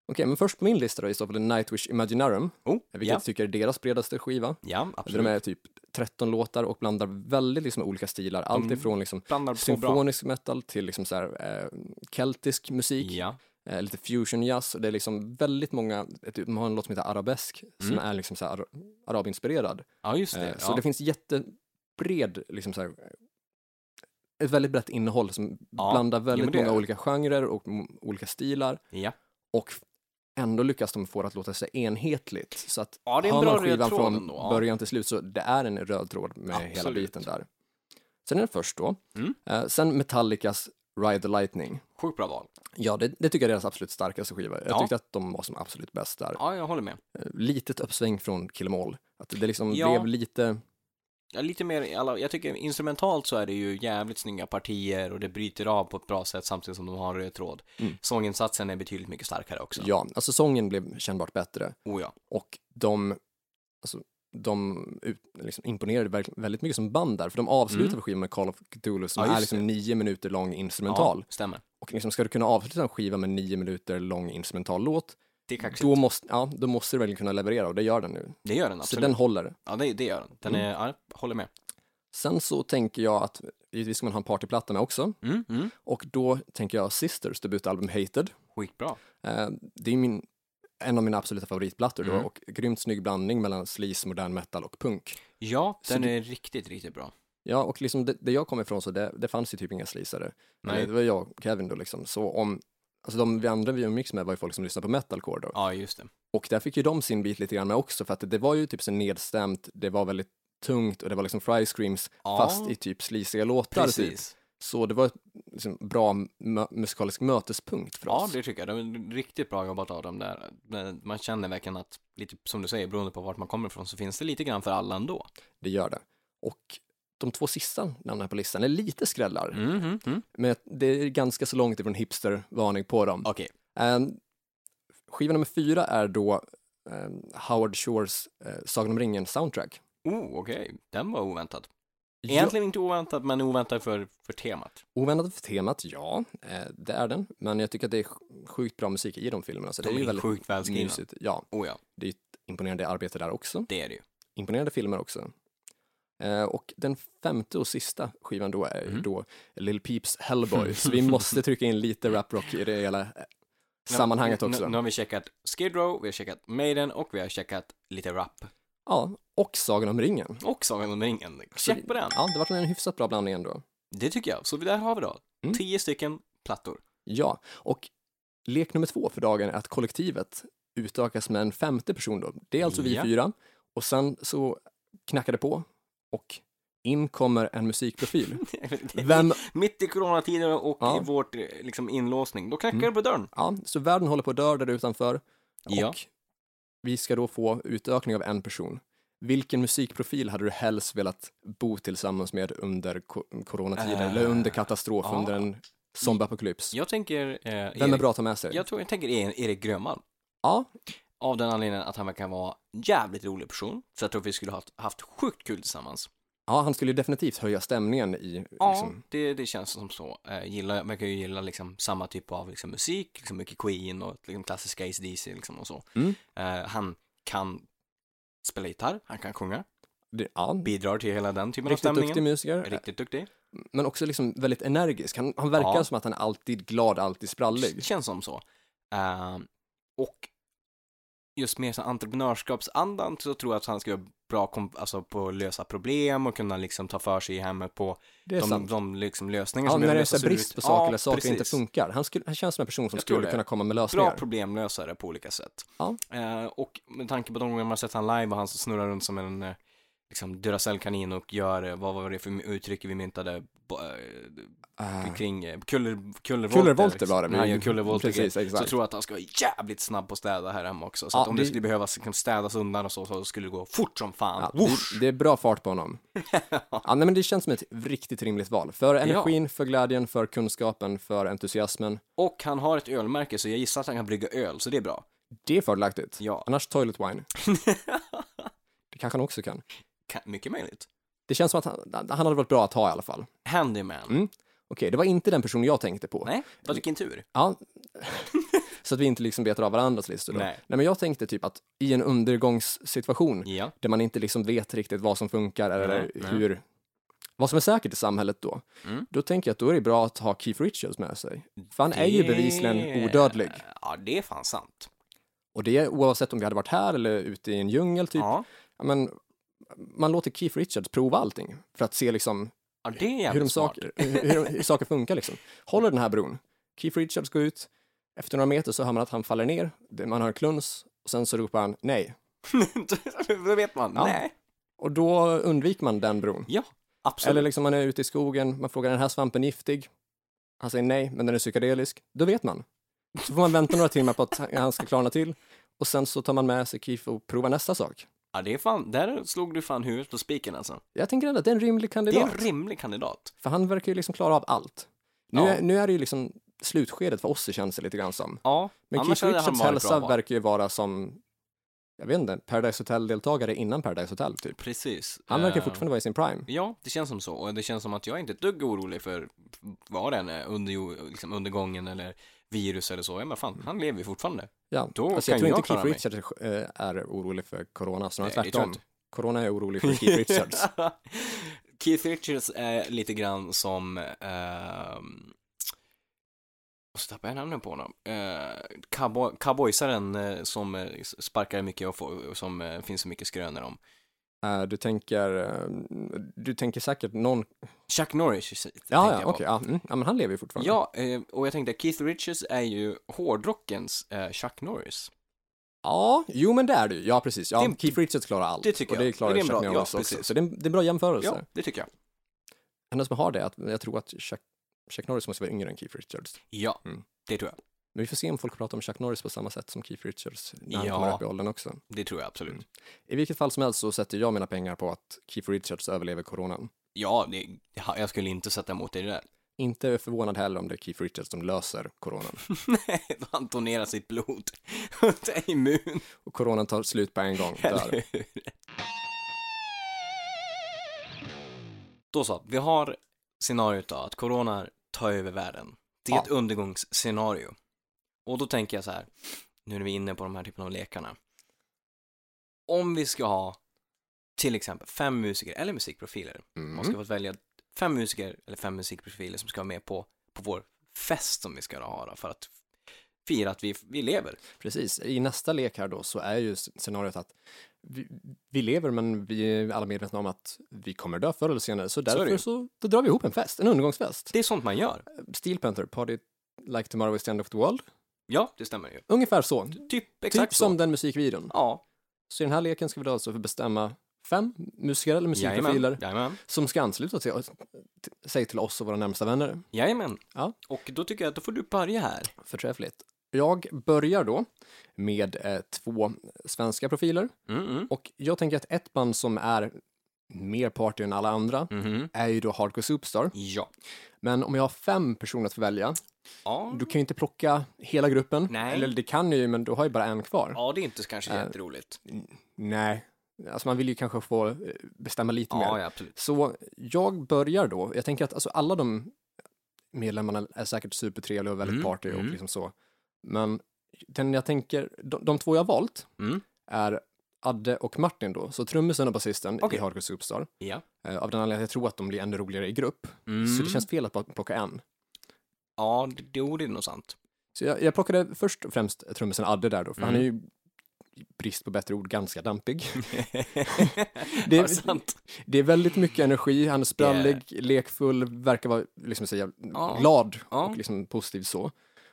[SPEAKER 3] Okej, men först på min lista då är i så fall Nightwish Imaginarum,
[SPEAKER 2] Oh,
[SPEAKER 3] vilket
[SPEAKER 2] ja,
[SPEAKER 3] jag tycker är deras bredaste skiva.
[SPEAKER 2] ja,
[SPEAKER 3] Där de
[SPEAKER 2] absolut.
[SPEAKER 3] är typ 13 låtar och blandar väldigt liksom olika stilar, allt
[SPEAKER 2] Mm.
[SPEAKER 3] ifrån liksom
[SPEAKER 2] Blandar så bra.
[SPEAKER 3] symfonisk metal till liksom så här, eh, keltisk musik,
[SPEAKER 2] Ja,
[SPEAKER 3] eh, lite fusion jazz. Det är liksom väldigt många, typ, de har en låt som heter Arabesk som
[SPEAKER 2] Mm.
[SPEAKER 3] är liksom så här, ara- arabinspirerad.
[SPEAKER 2] ja just det.
[SPEAKER 3] Eh, så
[SPEAKER 2] ja.
[SPEAKER 3] det finns jättebred, liksom så här, ett väldigt brett innehåll som
[SPEAKER 2] Ja,
[SPEAKER 3] blandar
[SPEAKER 2] men
[SPEAKER 3] väldigt
[SPEAKER 2] det är
[SPEAKER 3] många
[SPEAKER 2] det.
[SPEAKER 3] olika genrer och m- olika stilar
[SPEAKER 2] ja.
[SPEAKER 3] och f- ändå lyckas de få det att låta sig enhetligt. Så att
[SPEAKER 2] ja, det är en
[SPEAKER 3] hör
[SPEAKER 2] bra
[SPEAKER 3] man
[SPEAKER 2] röd
[SPEAKER 3] skivan
[SPEAKER 2] tråd
[SPEAKER 3] från
[SPEAKER 2] ändå. Ja.
[SPEAKER 3] början till slut så det är en röd tråd med hela
[SPEAKER 2] Absolut.
[SPEAKER 3] biten där. Sen är det först då.
[SPEAKER 2] Mm.
[SPEAKER 3] Eh, sen Metallicas Ride the Lightning.
[SPEAKER 2] Sjukt bra val.
[SPEAKER 3] Ja, det, det tycker jag är deras absolut starkaste skiva. Jag
[SPEAKER 2] Ja.
[SPEAKER 3] tyckte att de var som absolut bäst där.
[SPEAKER 2] Ja, jag håller med.
[SPEAKER 3] Eh, Litet uppsväng från Kill 'em All. Att det liksom
[SPEAKER 2] Ja.
[SPEAKER 3] blev lite,
[SPEAKER 2] Ja, lite mer, i alla, jag tycker instrumentalt så är det ju jävligt snygga partier och det bryter av på ett bra sätt samtidigt som de har en röd tråd.
[SPEAKER 3] Mm.
[SPEAKER 2] Sånginsatsen är betydligt mycket starkare också. Ja.
[SPEAKER 3] ja, alltså sången blev kännbart bättre.
[SPEAKER 2] Oh, ja.
[SPEAKER 3] Och de, alltså, de ut, liksom imponerade verk- väldigt mycket som band där, för de avslutar
[SPEAKER 2] Mm.
[SPEAKER 3] skivan med Call of Cthulhu som
[SPEAKER 2] Ja, just
[SPEAKER 3] är liksom nio minuter lång instrumental.
[SPEAKER 2] Ja, stämmer.
[SPEAKER 3] Och liksom, ska du kunna avsluta en skiva med nio minuter lång instrumental låt,
[SPEAKER 2] Det är kaxigt.
[SPEAKER 3] då måste, ja, då måste du väl kunna leverera och det gör den nu.
[SPEAKER 2] Det gör den
[SPEAKER 3] Så
[SPEAKER 2] absolut.
[SPEAKER 3] den Mm. håller.
[SPEAKER 2] Ja, det, det gör den. Den är, ja, jag håller med.
[SPEAKER 3] Sen så tänker jag att givetvis ska man ha en partyplatta med också.
[SPEAKER 2] Mm, mm.
[SPEAKER 3] Och då tänker jag Sisters debutalbum Hated.
[SPEAKER 2] Skitbra.
[SPEAKER 3] Eh, det är min, en av mina absoluta favoritplattor
[SPEAKER 2] Mm.
[SPEAKER 3] då och grymt snygg blandning mellan sleaze, modern metal och punk.
[SPEAKER 2] Ja,
[SPEAKER 3] Så
[SPEAKER 2] den
[SPEAKER 3] det-
[SPEAKER 2] är riktigt, riktigt bra.
[SPEAKER 3] Ja, och liksom det, det jag kom ifrån så det, det fanns ju typ inga sleazare.
[SPEAKER 2] Nej.
[SPEAKER 3] Eh, Det var jag och Kevin då liksom. Så om, alltså de vi andra vi umgicks med var ju folk som lyssnade på metalcore då.
[SPEAKER 2] Ja, just det.
[SPEAKER 3] Och där fick ju de sin bit lite grann med också för att det var ju typ så nedstämt, det var väldigt tungt och det var liksom fry screams
[SPEAKER 2] Ja.
[SPEAKER 3] fast i typ sleaziga låtar. Typ.
[SPEAKER 2] Precis.
[SPEAKER 3] Så det var ett liksom, bra mö- musikalisk mötespunkt för
[SPEAKER 2] Ja,
[SPEAKER 3] oss.
[SPEAKER 2] det tycker jag. De är riktigt bra jobbat av dem där. Men Man känner verkligen att, lite som du säger, beroende på vart man kommer ifrån så finns det lite grann för alla ändå.
[SPEAKER 3] Det gör det. Och de två sista namnen på listan är lite skrällar,
[SPEAKER 2] Mm, mm, mm.
[SPEAKER 3] men det är ganska så långt ifrån hipstervarning på dem.
[SPEAKER 2] Okej.
[SPEAKER 3] Ehm, skiva nummer fyra är då ehm, Howard Shores eh, Sagan om ringen soundtrack.
[SPEAKER 2] Oh, okej. Den var oväntad. Egentligen inte oväntad, men oväntad för, för temat.
[SPEAKER 3] Jo, oväntat för temat, ja, eh, det är den. Men jag tycker att det är sj- sjukt bra musik i de filmerna, så det är
[SPEAKER 2] De
[SPEAKER 3] ju
[SPEAKER 2] är
[SPEAKER 3] väldigt
[SPEAKER 2] sjukt välskrivna.
[SPEAKER 3] mysigt. Ja,
[SPEAKER 2] Oh ja.
[SPEAKER 3] det är ju ett imponerande arbete där också.
[SPEAKER 2] Det är det ju.
[SPEAKER 3] Imponerande filmer också. Eh, och den femte och sista skivan då är
[SPEAKER 2] Mhm.
[SPEAKER 3] då Lil Peeps Hellboy, så vi måste trycka in lite rap rock i det hela eh, sammanhanget
[SPEAKER 2] Nu-
[SPEAKER 3] också.
[SPEAKER 2] Nu, nu har vi checkat Skid Row, vi har checkat Maiden och vi har checkat lite rap.
[SPEAKER 3] Ja, och Sagan om ringen.
[SPEAKER 2] Och Sagan om ringen.
[SPEAKER 3] Så-
[SPEAKER 2] Check på den!
[SPEAKER 3] Ja, det var en hyfsat bra blandning ändå.
[SPEAKER 2] Det tycker jag. Så där har vi då.
[SPEAKER 3] Mm.
[SPEAKER 2] Tio stycken plattor.
[SPEAKER 3] Ja, och lek nummer två för dagen är att kollektivet utökas med en femte person då. Det är alltså vi
[SPEAKER 2] Ja.
[SPEAKER 3] fyra och sen så knackar det på och in kommer en musikprofil. Vem,
[SPEAKER 2] Mitt i coronatiden och
[SPEAKER 3] Ja.
[SPEAKER 2] i vårt eh, liksom, inlåsning, då knackar
[SPEAKER 3] Mm.
[SPEAKER 2] det på dörren.
[SPEAKER 3] ja, så världen håller på att dö där utanför
[SPEAKER 2] Ja.
[SPEAKER 3] och vi ska då få utökning av en person. Vilken musikprofil hade du helst velat bo tillsammans med under ko- coronatiden
[SPEAKER 2] Eh,
[SPEAKER 3] eller under katastrof,
[SPEAKER 2] ja.
[SPEAKER 3] under en zombieapokalyps?
[SPEAKER 2] Jag tänker... Eh,
[SPEAKER 3] Vem är
[SPEAKER 2] Erik-
[SPEAKER 3] bra att ta med sig?
[SPEAKER 2] Jag tror jag tänker E- Erik Grönvall.
[SPEAKER 3] Ja,
[SPEAKER 2] Av den anledningen att han verkar vara en jävligt rolig person. Så jag tror vi skulle ha haft, haft sjukt kul tillsammans.
[SPEAKER 3] ja, han skulle ju definitivt höja stämningen i
[SPEAKER 2] Ja,
[SPEAKER 3] liksom,
[SPEAKER 2] det, det känns som så. Eh, gillar, verkar ju gilla liksom samma typ av liksom, musik, liksom mycket Queen och liksom, klassiska ACDC liksom och så.
[SPEAKER 3] Mm.
[SPEAKER 2] Eh, han kan spela gitarr, han kan sjunga,
[SPEAKER 3] Det, ja,
[SPEAKER 2] bidrar till hela den typen av
[SPEAKER 3] riktigt
[SPEAKER 2] stämningen.
[SPEAKER 3] duktig musiker,
[SPEAKER 2] Riktigt duktig.
[SPEAKER 3] men också liksom väldigt energisk. Han, han verkar
[SPEAKER 2] Ja.
[SPEAKER 3] som att han är alltid glad, alltid sprallig.
[SPEAKER 2] Känns som så. Eh, och just med så entreprenörskapsandan så tror jag att han ska vara bra kom, alltså, på att lösa problem och kunna liksom ta för sig i hemmet på
[SPEAKER 3] Det är
[SPEAKER 2] de,
[SPEAKER 3] sant.
[SPEAKER 2] de liksom lösningar
[SPEAKER 3] Ja,
[SPEAKER 2] som behöver
[SPEAKER 3] när det är
[SPEAKER 2] lösas
[SPEAKER 3] så här brist
[SPEAKER 2] ut.
[SPEAKER 3] på saker
[SPEAKER 2] Ja,
[SPEAKER 3] eller saker inte
[SPEAKER 2] precis.
[SPEAKER 3] funkar. Han, skulle, han känns som en person som
[SPEAKER 2] Jag tror
[SPEAKER 3] skulle
[SPEAKER 2] det.
[SPEAKER 3] kunna komma med
[SPEAKER 2] Bra
[SPEAKER 3] lösningar.
[SPEAKER 2] problemlösare på olika sätt.
[SPEAKER 3] Ja.
[SPEAKER 2] Eh, och med tanke på de gånger man har sett han live och han som snurrar runt som en eh, liksom Duracell-kanin och gör, eh, vad var det för uttryck vi myntade bo- eh,
[SPEAKER 3] Eh,
[SPEAKER 2] kring eh, kuller, kullervolter?
[SPEAKER 3] Kullervolter var det.
[SPEAKER 2] När Han gör kullervolter.
[SPEAKER 3] Precis,
[SPEAKER 2] Precis, så
[SPEAKER 3] exakt.
[SPEAKER 2] tror jag att han ska vara jävligt snabb på att städa här hemma också. Så
[SPEAKER 3] Ja,
[SPEAKER 2] att om det
[SPEAKER 3] det-
[SPEAKER 2] skulle behövas liksom, städas undan och så, så skulle det gå fort som fan.
[SPEAKER 3] Ja,
[SPEAKER 2] Ja,
[SPEAKER 3] det, det är bra fart på honom. ja, nej, men det känns som ett riktigt rimligt val. För energin, för glädjen, för kunskapen, för entusiasmen.
[SPEAKER 2] Och han har ett ölmärke så jag gissar att han kan brygga öl, så det är bra.
[SPEAKER 3] Det är fördelaktigt.
[SPEAKER 2] Ja,
[SPEAKER 3] Annars toilet wine. Det kanske han också kan.
[SPEAKER 2] kan, mycket möjligt.
[SPEAKER 3] Det känns som att han, han hade varit bra att ha i alla fall. Okej,
[SPEAKER 2] Handyman.
[SPEAKER 3] Mm. det var inte den person jag tänkte på.
[SPEAKER 2] Nej, vad vilken tur.
[SPEAKER 3] Ja. så att vi inte liksom betar av varandras listor. Då.
[SPEAKER 2] Nej.
[SPEAKER 3] Nej, men jag tänkte typ att i en undergångssituation
[SPEAKER 2] Ja.
[SPEAKER 3] där man inte liksom vet riktigt vad som funkar eller
[SPEAKER 2] Nej, nej.
[SPEAKER 3] hur, vad som är säkert i samhället då,
[SPEAKER 2] Mm.
[SPEAKER 3] då tänker jag att då är det bra att ha Keith Richards med sig. För han är ju bevisligen odödlig.
[SPEAKER 2] Ja, det är fan sant.
[SPEAKER 3] Och det är oavsett om vi hade varit här eller ute i en djungel typ.
[SPEAKER 2] Ja.
[SPEAKER 3] Ja, Men man låter Keith Richards prova allting för att se liksom
[SPEAKER 2] ja, det är jävligt
[SPEAKER 3] hur, de
[SPEAKER 2] smart.
[SPEAKER 3] saker, hur, hur saker funkar liksom. Håller den här bron? Keith Richards går ut, efter några meter så hör man att han faller ner, Det- man hör en kluns och sen så ropar han nej.
[SPEAKER 2] Då vet man.
[SPEAKER 3] Ja.
[SPEAKER 2] Nej.
[SPEAKER 3] Och då undviker man den bron.
[SPEAKER 2] Ja, absolut.
[SPEAKER 3] Eller liksom man är ute i skogen, man frågar är den här svampen giftig? Han säger nej, men den är psykedelisk. Då vet man. Så får man vänta några timmar på att han ska klarna till och sen så tar man med sig Keith och provar nästa sak.
[SPEAKER 2] Ja, det är fan, där slog du fan huvudet på spiken alltså.
[SPEAKER 3] Jag tänker ändå att det är en rimlig
[SPEAKER 2] Det är
[SPEAKER 3] kandidat,
[SPEAKER 2] en rimlig kandidat.
[SPEAKER 3] för han verkar ju liksom klara av allt. Nu,
[SPEAKER 2] Ja.
[SPEAKER 3] är, nu är det ju liksom slutskedet för oss, det känns det lite grann som.
[SPEAKER 2] Ja,
[SPEAKER 3] Men
[SPEAKER 2] annars
[SPEAKER 3] Keith
[SPEAKER 2] hade han
[SPEAKER 3] Richards
[SPEAKER 2] varit bra
[SPEAKER 3] hälsa
[SPEAKER 2] val.
[SPEAKER 3] verkar ju vara som, jag vet inte, Paradise Hotel-deltagare innan Paradise Hotel typ.
[SPEAKER 2] Precis.
[SPEAKER 3] Han verkar
[SPEAKER 2] Eh,
[SPEAKER 3] fortfarande vara i sin prime.
[SPEAKER 2] Ja, det känns som så. Och det känns som att jag är inte ett dugg orolig för vad det än är, under, liksom undergången eller virus eller så. Ja, men fan, han lever ju fortfarande.
[SPEAKER 3] Ja.
[SPEAKER 2] då
[SPEAKER 3] alltså, jag
[SPEAKER 2] kan
[SPEAKER 3] tror
[SPEAKER 2] jag
[SPEAKER 3] inte Keith
[SPEAKER 2] klara mig.
[SPEAKER 3] Richards eh, är orolig för corona, snarare
[SPEAKER 2] Nej, det tror jag
[SPEAKER 3] tvärtom. Corona är orolig för Keith Richards.
[SPEAKER 2] Keith Richards är lite grann som, ehm, och så tappade jag namnet på honom, eh, cowboy, cowboysaren eh, som eh, sparkar mycket och, får, och som eh, finns så mycket skrönor om.
[SPEAKER 3] Eh, du tänker, eh, du tänker säkert någon,
[SPEAKER 2] Chuck Norris
[SPEAKER 3] ja,
[SPEAKER 2] tänkte
[SPEAKER 3] ja
[SPEAKER 2] jag
[SPEAKER 3] okej,
[SPEAKER 2] på.
[SPEAKER 3] ja, mm, ja, men han lever ju fortfarande.
[SPEAKER 2] Ja, eh, och jag tänkte att Keith Richards är ju hårdrockens eh, Chuck Norris.
[SPEAKER 3] Ja, jo men det är du, ja precis, ja,
[SPEAKER 2] Det-
[SPEAKER 3] Keith Richards klarar allt.
[SPEAKER 2] det tycker
[SPEAKER 3] Och det
[SPEAKER 2] jag.
[SPEAKER 3] klarar
[SPEAKER 2] Det är en
[SPEAKER 3] Chuck
[SPEAKER 2] bra- ja,
[SPEAKER 3] Norris också,
[SPEAKER 2] precis.
[SPEAKER 3] så det är, en- det är en bra jämförelse.
[SPEAKER 2] Ja, det tycker jag.
[SPEAKER 3] Enda som har det är att jag tror att Chuck, Chuck Norris måste vara yngre än Keith Richards.
[SPEAKER 2] Ja,
[SPEAKER 3] Mm.
[SPEAKER 2] det tror jag.
[SPEAKER 3] Men vi får se om folk pratar om Chuck Norris på samma sätt som Keith Richards när han
[SPEAKER 2] Ja.
[SPEAKER 3] kommer upp i åldern också.
[SPEAKER 2] Det tror jag absolut.
[SPEAKER 3] Mm. I vilket fall som helst så sätter jag mina pengar på att Keith Richards överlever coronan.
[SPEAKER 2] Ja, det, jag skulle inte sätta emot dig där.
[SPEAKER 3] Inte förvånad heller om det är Keith Richards som löser coronan.
[SPEAKER 2] Nej, då han donerar sitt blod. Det är immun.
[SPEAKER 3] Och coronan tar slut på en gång. Där.
[SPEAKER 2] Eller hur? Då så, vi har scenariot då, att corona tar över världen. Det är
[SPEAKER 3] Ja.
[SPEAKER 2] ett undergångsscenario. Och då tänker jag så här, nu när vi är inne på de här typen av lekarna. om vi ska ha till exempel fem musiker eller musikprofiler, man ska
[SPEAKER 4] Mm.
[SPEAKER 2] få välja fem musiker eller fem musikprofiler som ska vara med på, på vår fest som vi ska ha då, för att fira att vi, vi lever.
[SPEAKER 3] Precis, i nästa lek här då så är ju scenariot att vi, vi lever men vi är alla medvetna om att vi kommer dö förr eller senare så
[SPEAKER 2] är det
[SPEAKER 3] därför
[SPEAKER 2] ju.
[SPEAKER 3] så då drar vi ihop en fest, en undergångsfest.
[SPEAKER 2] Det är sånt man gör.
[SPEAKER 3] Steel Panther, Party Like Tomorrow is the end of the world.
[SPEAKER 2] Ja, det stämmer ju.
[SPEAKER 3] Ungefär så.
[SPEAKER 2] Typ exakt
[SPEAKER 3] typ
[SPEAKER 2] så.
[SPEAKER 3] som den musikvideon.
[SPEAKER 2] Ja,
[SPEAKER 3] Så i den här leken ska vi då alltså bestämma fem musiker eller musikprofiler
[SPEAKER 2] jajamän, jajamän,
[SPEAKER 3] som ska ansluta till, till, sig till oss och våra närmsta vänner.
[SPEAKER 2] jajamän.
[SPEAKER 3] Ja.
[SPEAKER 2] Och då tycker jag att då får du börja här.
[SPEAKER 3] Förträffligt. Jag börjar då med eh, två svenska profiler
[SPEAKER 2] Mm, mm,
[SPEAKER 3] och jag tänker att ett band som är mer party än alla andra
[SPEAKER 2] mhm.
[SPEAKER 3] är ju då Hardcore Superstar.
[SPEAKER 2] Ja.
[SPEAKER 3] Men om jag har fem personer att välja,
[SPEAKER 2] Ja.
[SPEAKER 3] du kan ju inte plocka hela gruppen.
[SPEAKER 2] Nej.
[SPEAKER 3] Eller det kan du ju, men du har ju bara en kvar.
[SPEAKER 2] ja, det är inte kanske
[SPEAKER 3] Äh,
[SPEAKER 2] jätteroligt.
[SPEAKER 3] Nej, alltså man vill ju kanske få eh, bestämma lite mer.
[SPEAKER 2] Ja, ja, absolut.
[SPEAKER 3] Så jag börjar då. Jag tänker att alltså alla de medlemmarna är säkert supertrevliga och väldigt
[SPEAKER 2] Mm,
[SPEAKER 3] party och
[SPEAKER 2] mm.
[SPEAKER 3] liksom så. Men den jag tänker, de, de två jag valt
[SPEAKER 2] Mm.
[SPEAKER 3] är Adde och Martin då, så trummisen och basisten
[SPEAKER 2] Okej.
[SPEAKER 3] i Hardcore Superstar.
[SPEAKER 2] Ja.
[SPEAKER 3] Eh, av den anledningen att jag tror att de blir ännu roligare i grupp.
[SPEAKER 2] Mm.
[SPEAKER 3] Så det känns fel att bara plocka en.
[SPEAKER 2] Ja, det, jo, det är nog sant.
[SPEAKER 3] Så jag, jag plockade först och främst trummisen Adde där då, för han
[SPEAKER 2] Mm.
[SPEAKER 3] är ju i brist på bättre ord, ganska dampig.
[SPEAKER 2] det är sant.
[SPEAKER 3] Det är väldigt mycket energi, han är sprallig, lekfull, verkar vara liksom, säga,
[SPEAKER 2] Ja.
[SPEAKER 3] glad
[SPEAKER 2] Ja.
[SPEAKER 3] och liksom positiv så.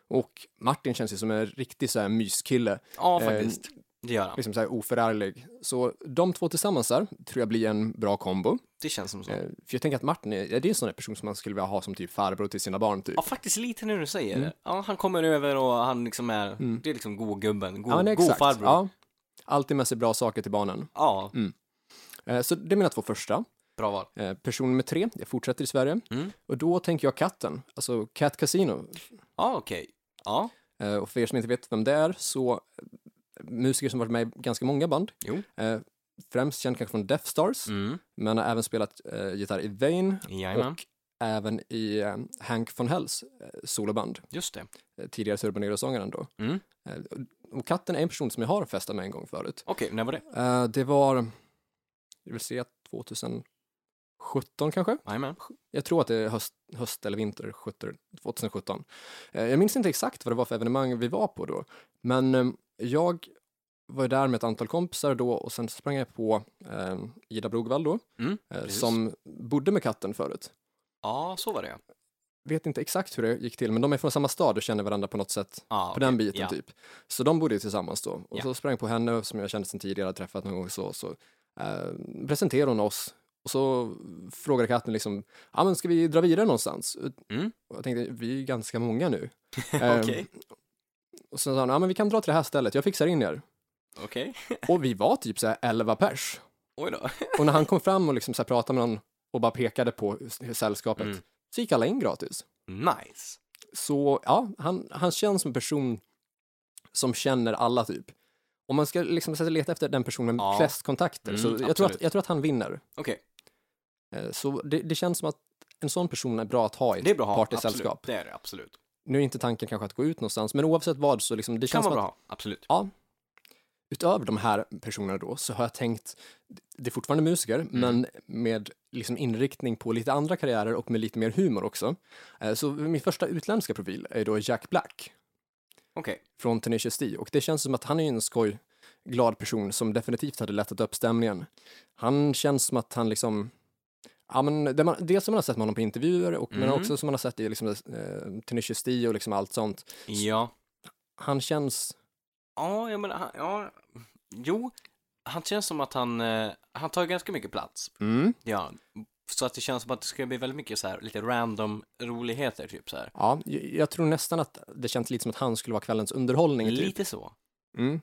[SPEAKER 3] Och Martin känns ju som en riktig så här myskille,
[SPEAKER 2] Ja,
[SPEAKER 3] Eh,
[SPEAKER 2] faktiskt. Det gör han.
[SPEAKER 3] liksom så här oförarglig. Så de två tillsammans där tror jag blir en bra kombo.
[SPEAKER 2] Det känns som så.
[SPEAKER 3] Eh, för jag tänker att Martin är, är det en sån där person som man skulle vilja ha som typ farbror till sina barn typ.
[SPEAKER 2] Ja, faktiskt lite när du säger
[SPEAKER 3] mm.
[SPEAKER 2] det. Ja, han kommer över och han liksom är, det är liksom godgubben, god,
[SPEAKER 3] men
[SPEAKER 2] god farbror. Ja.
[SPEAKER 3] Mm. Ja. Mm. Alltid med sig bra saker till barnen. Eh, så det är mina två första.
[SPEAKER 2] bra val.
[SPEAKER 3] Eh, person nummer tre, jag fortsätter i Sverige.
[SPEAKER 2] Mm.
[SPEAKER 3] Och då tänker jag katten, alltså Cat Casino
[SPEAKER 2] Ja, okej. Ja,
[SPEAKER 3] Eh, Och för er som inte vet vem det är så eh, musiker som varit med i ganska många band.
[SPEAKER 2] Jo.
[SPEAKER 3] Eh, Främst känd kanske från Death Stars,
[SPEAKER 2] mm.
[SPEAKER 3] men har även spelat eh, gitarr i Vain
[SPEAKER 2] jajamän.
[SPEAKER 3] och även i eh, Hank von Hells eh, soloband,
[SPEAKER 2] Just det.
[SPEAKER 3] eh, tidigare Turbonegra-sångaren då.
[SPEAKER 2] Mm.
[SPEAKER 3] Eh, och- och katten är en person som jag har festat med en gång förut.
[SPEAKER 2] Okej, när var det?
[SPEAKER 3] Eh, det var, jag vill se, 2017 kanske?
[SPEAKER 2] Jajamän.
[SPEAKER 3] Jag tror att det är höst, höst eller vinter 17 2017. Eh, Jag minns inte exakt vad det var för evenemang vi var på då, men eh, jag var ju där med ett antal kompisar då och sen sprang jag på eh, Ida Brogvall då,
[SPEAKER 2] Mm,
[SPEAKER 3] eh,
[SPEAKER 2] precis.
[SPEAKER 3] som bodde med katten förut.
[SPEAKER 2] Ja, så var det.
[SPEAKER 3] Vet inte exakt hur det gick till, men de är från samma stad och känner varandra på något sätt,
[SPEAKER 2] Ja,
[SPEAKER 3] på
[SPEAKER 2] okej.
[SPEAKER 3] den biten
[SPEAKER 2] ja.
[SPEAKER 3] typ. Så de bodde ju tillsammans då, och
[SPEAKER 2] Ja.
[SPEAKER 3] så sprang jag på henne som jag kände sedan tidigare, hade träffat någon gång så, så eh, presenterade hon oss och så frågade katten liksom, ja men ska vi dra vidare någonstans?
[SPEAKER 2] Mm.
[SPEAKER 3] Och jag tänkte, vi är ju ganska många nu.
[SPEAKER 2] Okej,
[SPEAKER 3] Ehm, och sen sa han, ja men vi kan dra till det här stället, jag fixar in er.
[SPEAKER 2] okej.
[SPEAKER 3] Och vi var typ så här 11 pers.
[SPEAKER 2] Oj då.
[SPEAKER 3] Och när han kom fram och liksom så här pratade med någon och bara pekade på s- sällskapet,
[SPEAKER 2] Mm.
[SPEAKER 3] så gick alla in gratis.
[SPEAKER 2] Nice.
[SPEAKER 3] Så ja, han, han känns som en person som känner alla typ. Om man ska liksom så här leta efter den personen med
[SPEAKER 2] Ja.
[SPEAKER 3] flest kontakter,
[SPEAKER 2] Mm,
[SPEAKER 3] så jag tror,
[SPEAKER 2] absolut.
[SPEAKER 3] att, jag tror att han vinner.
[SPEAKER 2] Okej,
[SPEAKER 3] Eh, Så det, det känns som att en sån person är bra att ha i
[SPEAKER 2] det är
[SPEAKER 3] ett
[SPEAKER 2] bra att ha. Absolut.
[SPEAKER 3] partysällskap.
[SPEAKER 2] Det är det, absolut.
[SPEAKER 3] Nu är inte tanken kanske att gå ut någonstans, men oavsett vad så liksom, det
[SPEAKER 2] kan
[SPEAKER 3] känns
[SPEAKER 2] vara
[SPEAKER 3] som
[SPEAKER 2] bra
[SPEAKER 3] att
[SPEAKER 2] att ha. Absolut.
[SPEAKER 3] utöver de här personerna då så har jag tänkt, det är fortfarande musiker,
[SPEAKER 2] Mm.
[SPEAKER 3] men med liksom inriktning på lite andra karriärer och med lite mer humor också. Eh, Så min första utländska profil är då Jack Black
[SPEAKER 2] Okej.
[SPEAKER 3] från Tenacious D och det känns som att han är ju en skoj, glad person som definitivt hade lättat upp stämningen. Han känns som att han liksom Ja, men det man, dels som man har sett med honom på intervjuer, och, men
[SPEAKER 2] Mm.
[SPEAKER 3] också som man har sett i liksom, eh, Tenacious D och liksom allt sånt.
[SPEAKER 2] Ja.
[SPEAKER 3] Han känns,
[SPEAKER 2] Ja, jag menar, han, ja. Jo, han känns som att han, eh, han tar ganska mycket plats. Ja. Så att det känns som att det ska bli väldigt mycket så här, lite random roligheter typ så här.
[SPEAKER 3] ja, jag, jag tror nästan att det känns lite som att han skulle vara kvällens underhållning. typ.
[SPEAKER 2] Lite så.
[SPEAKER 3] Mm.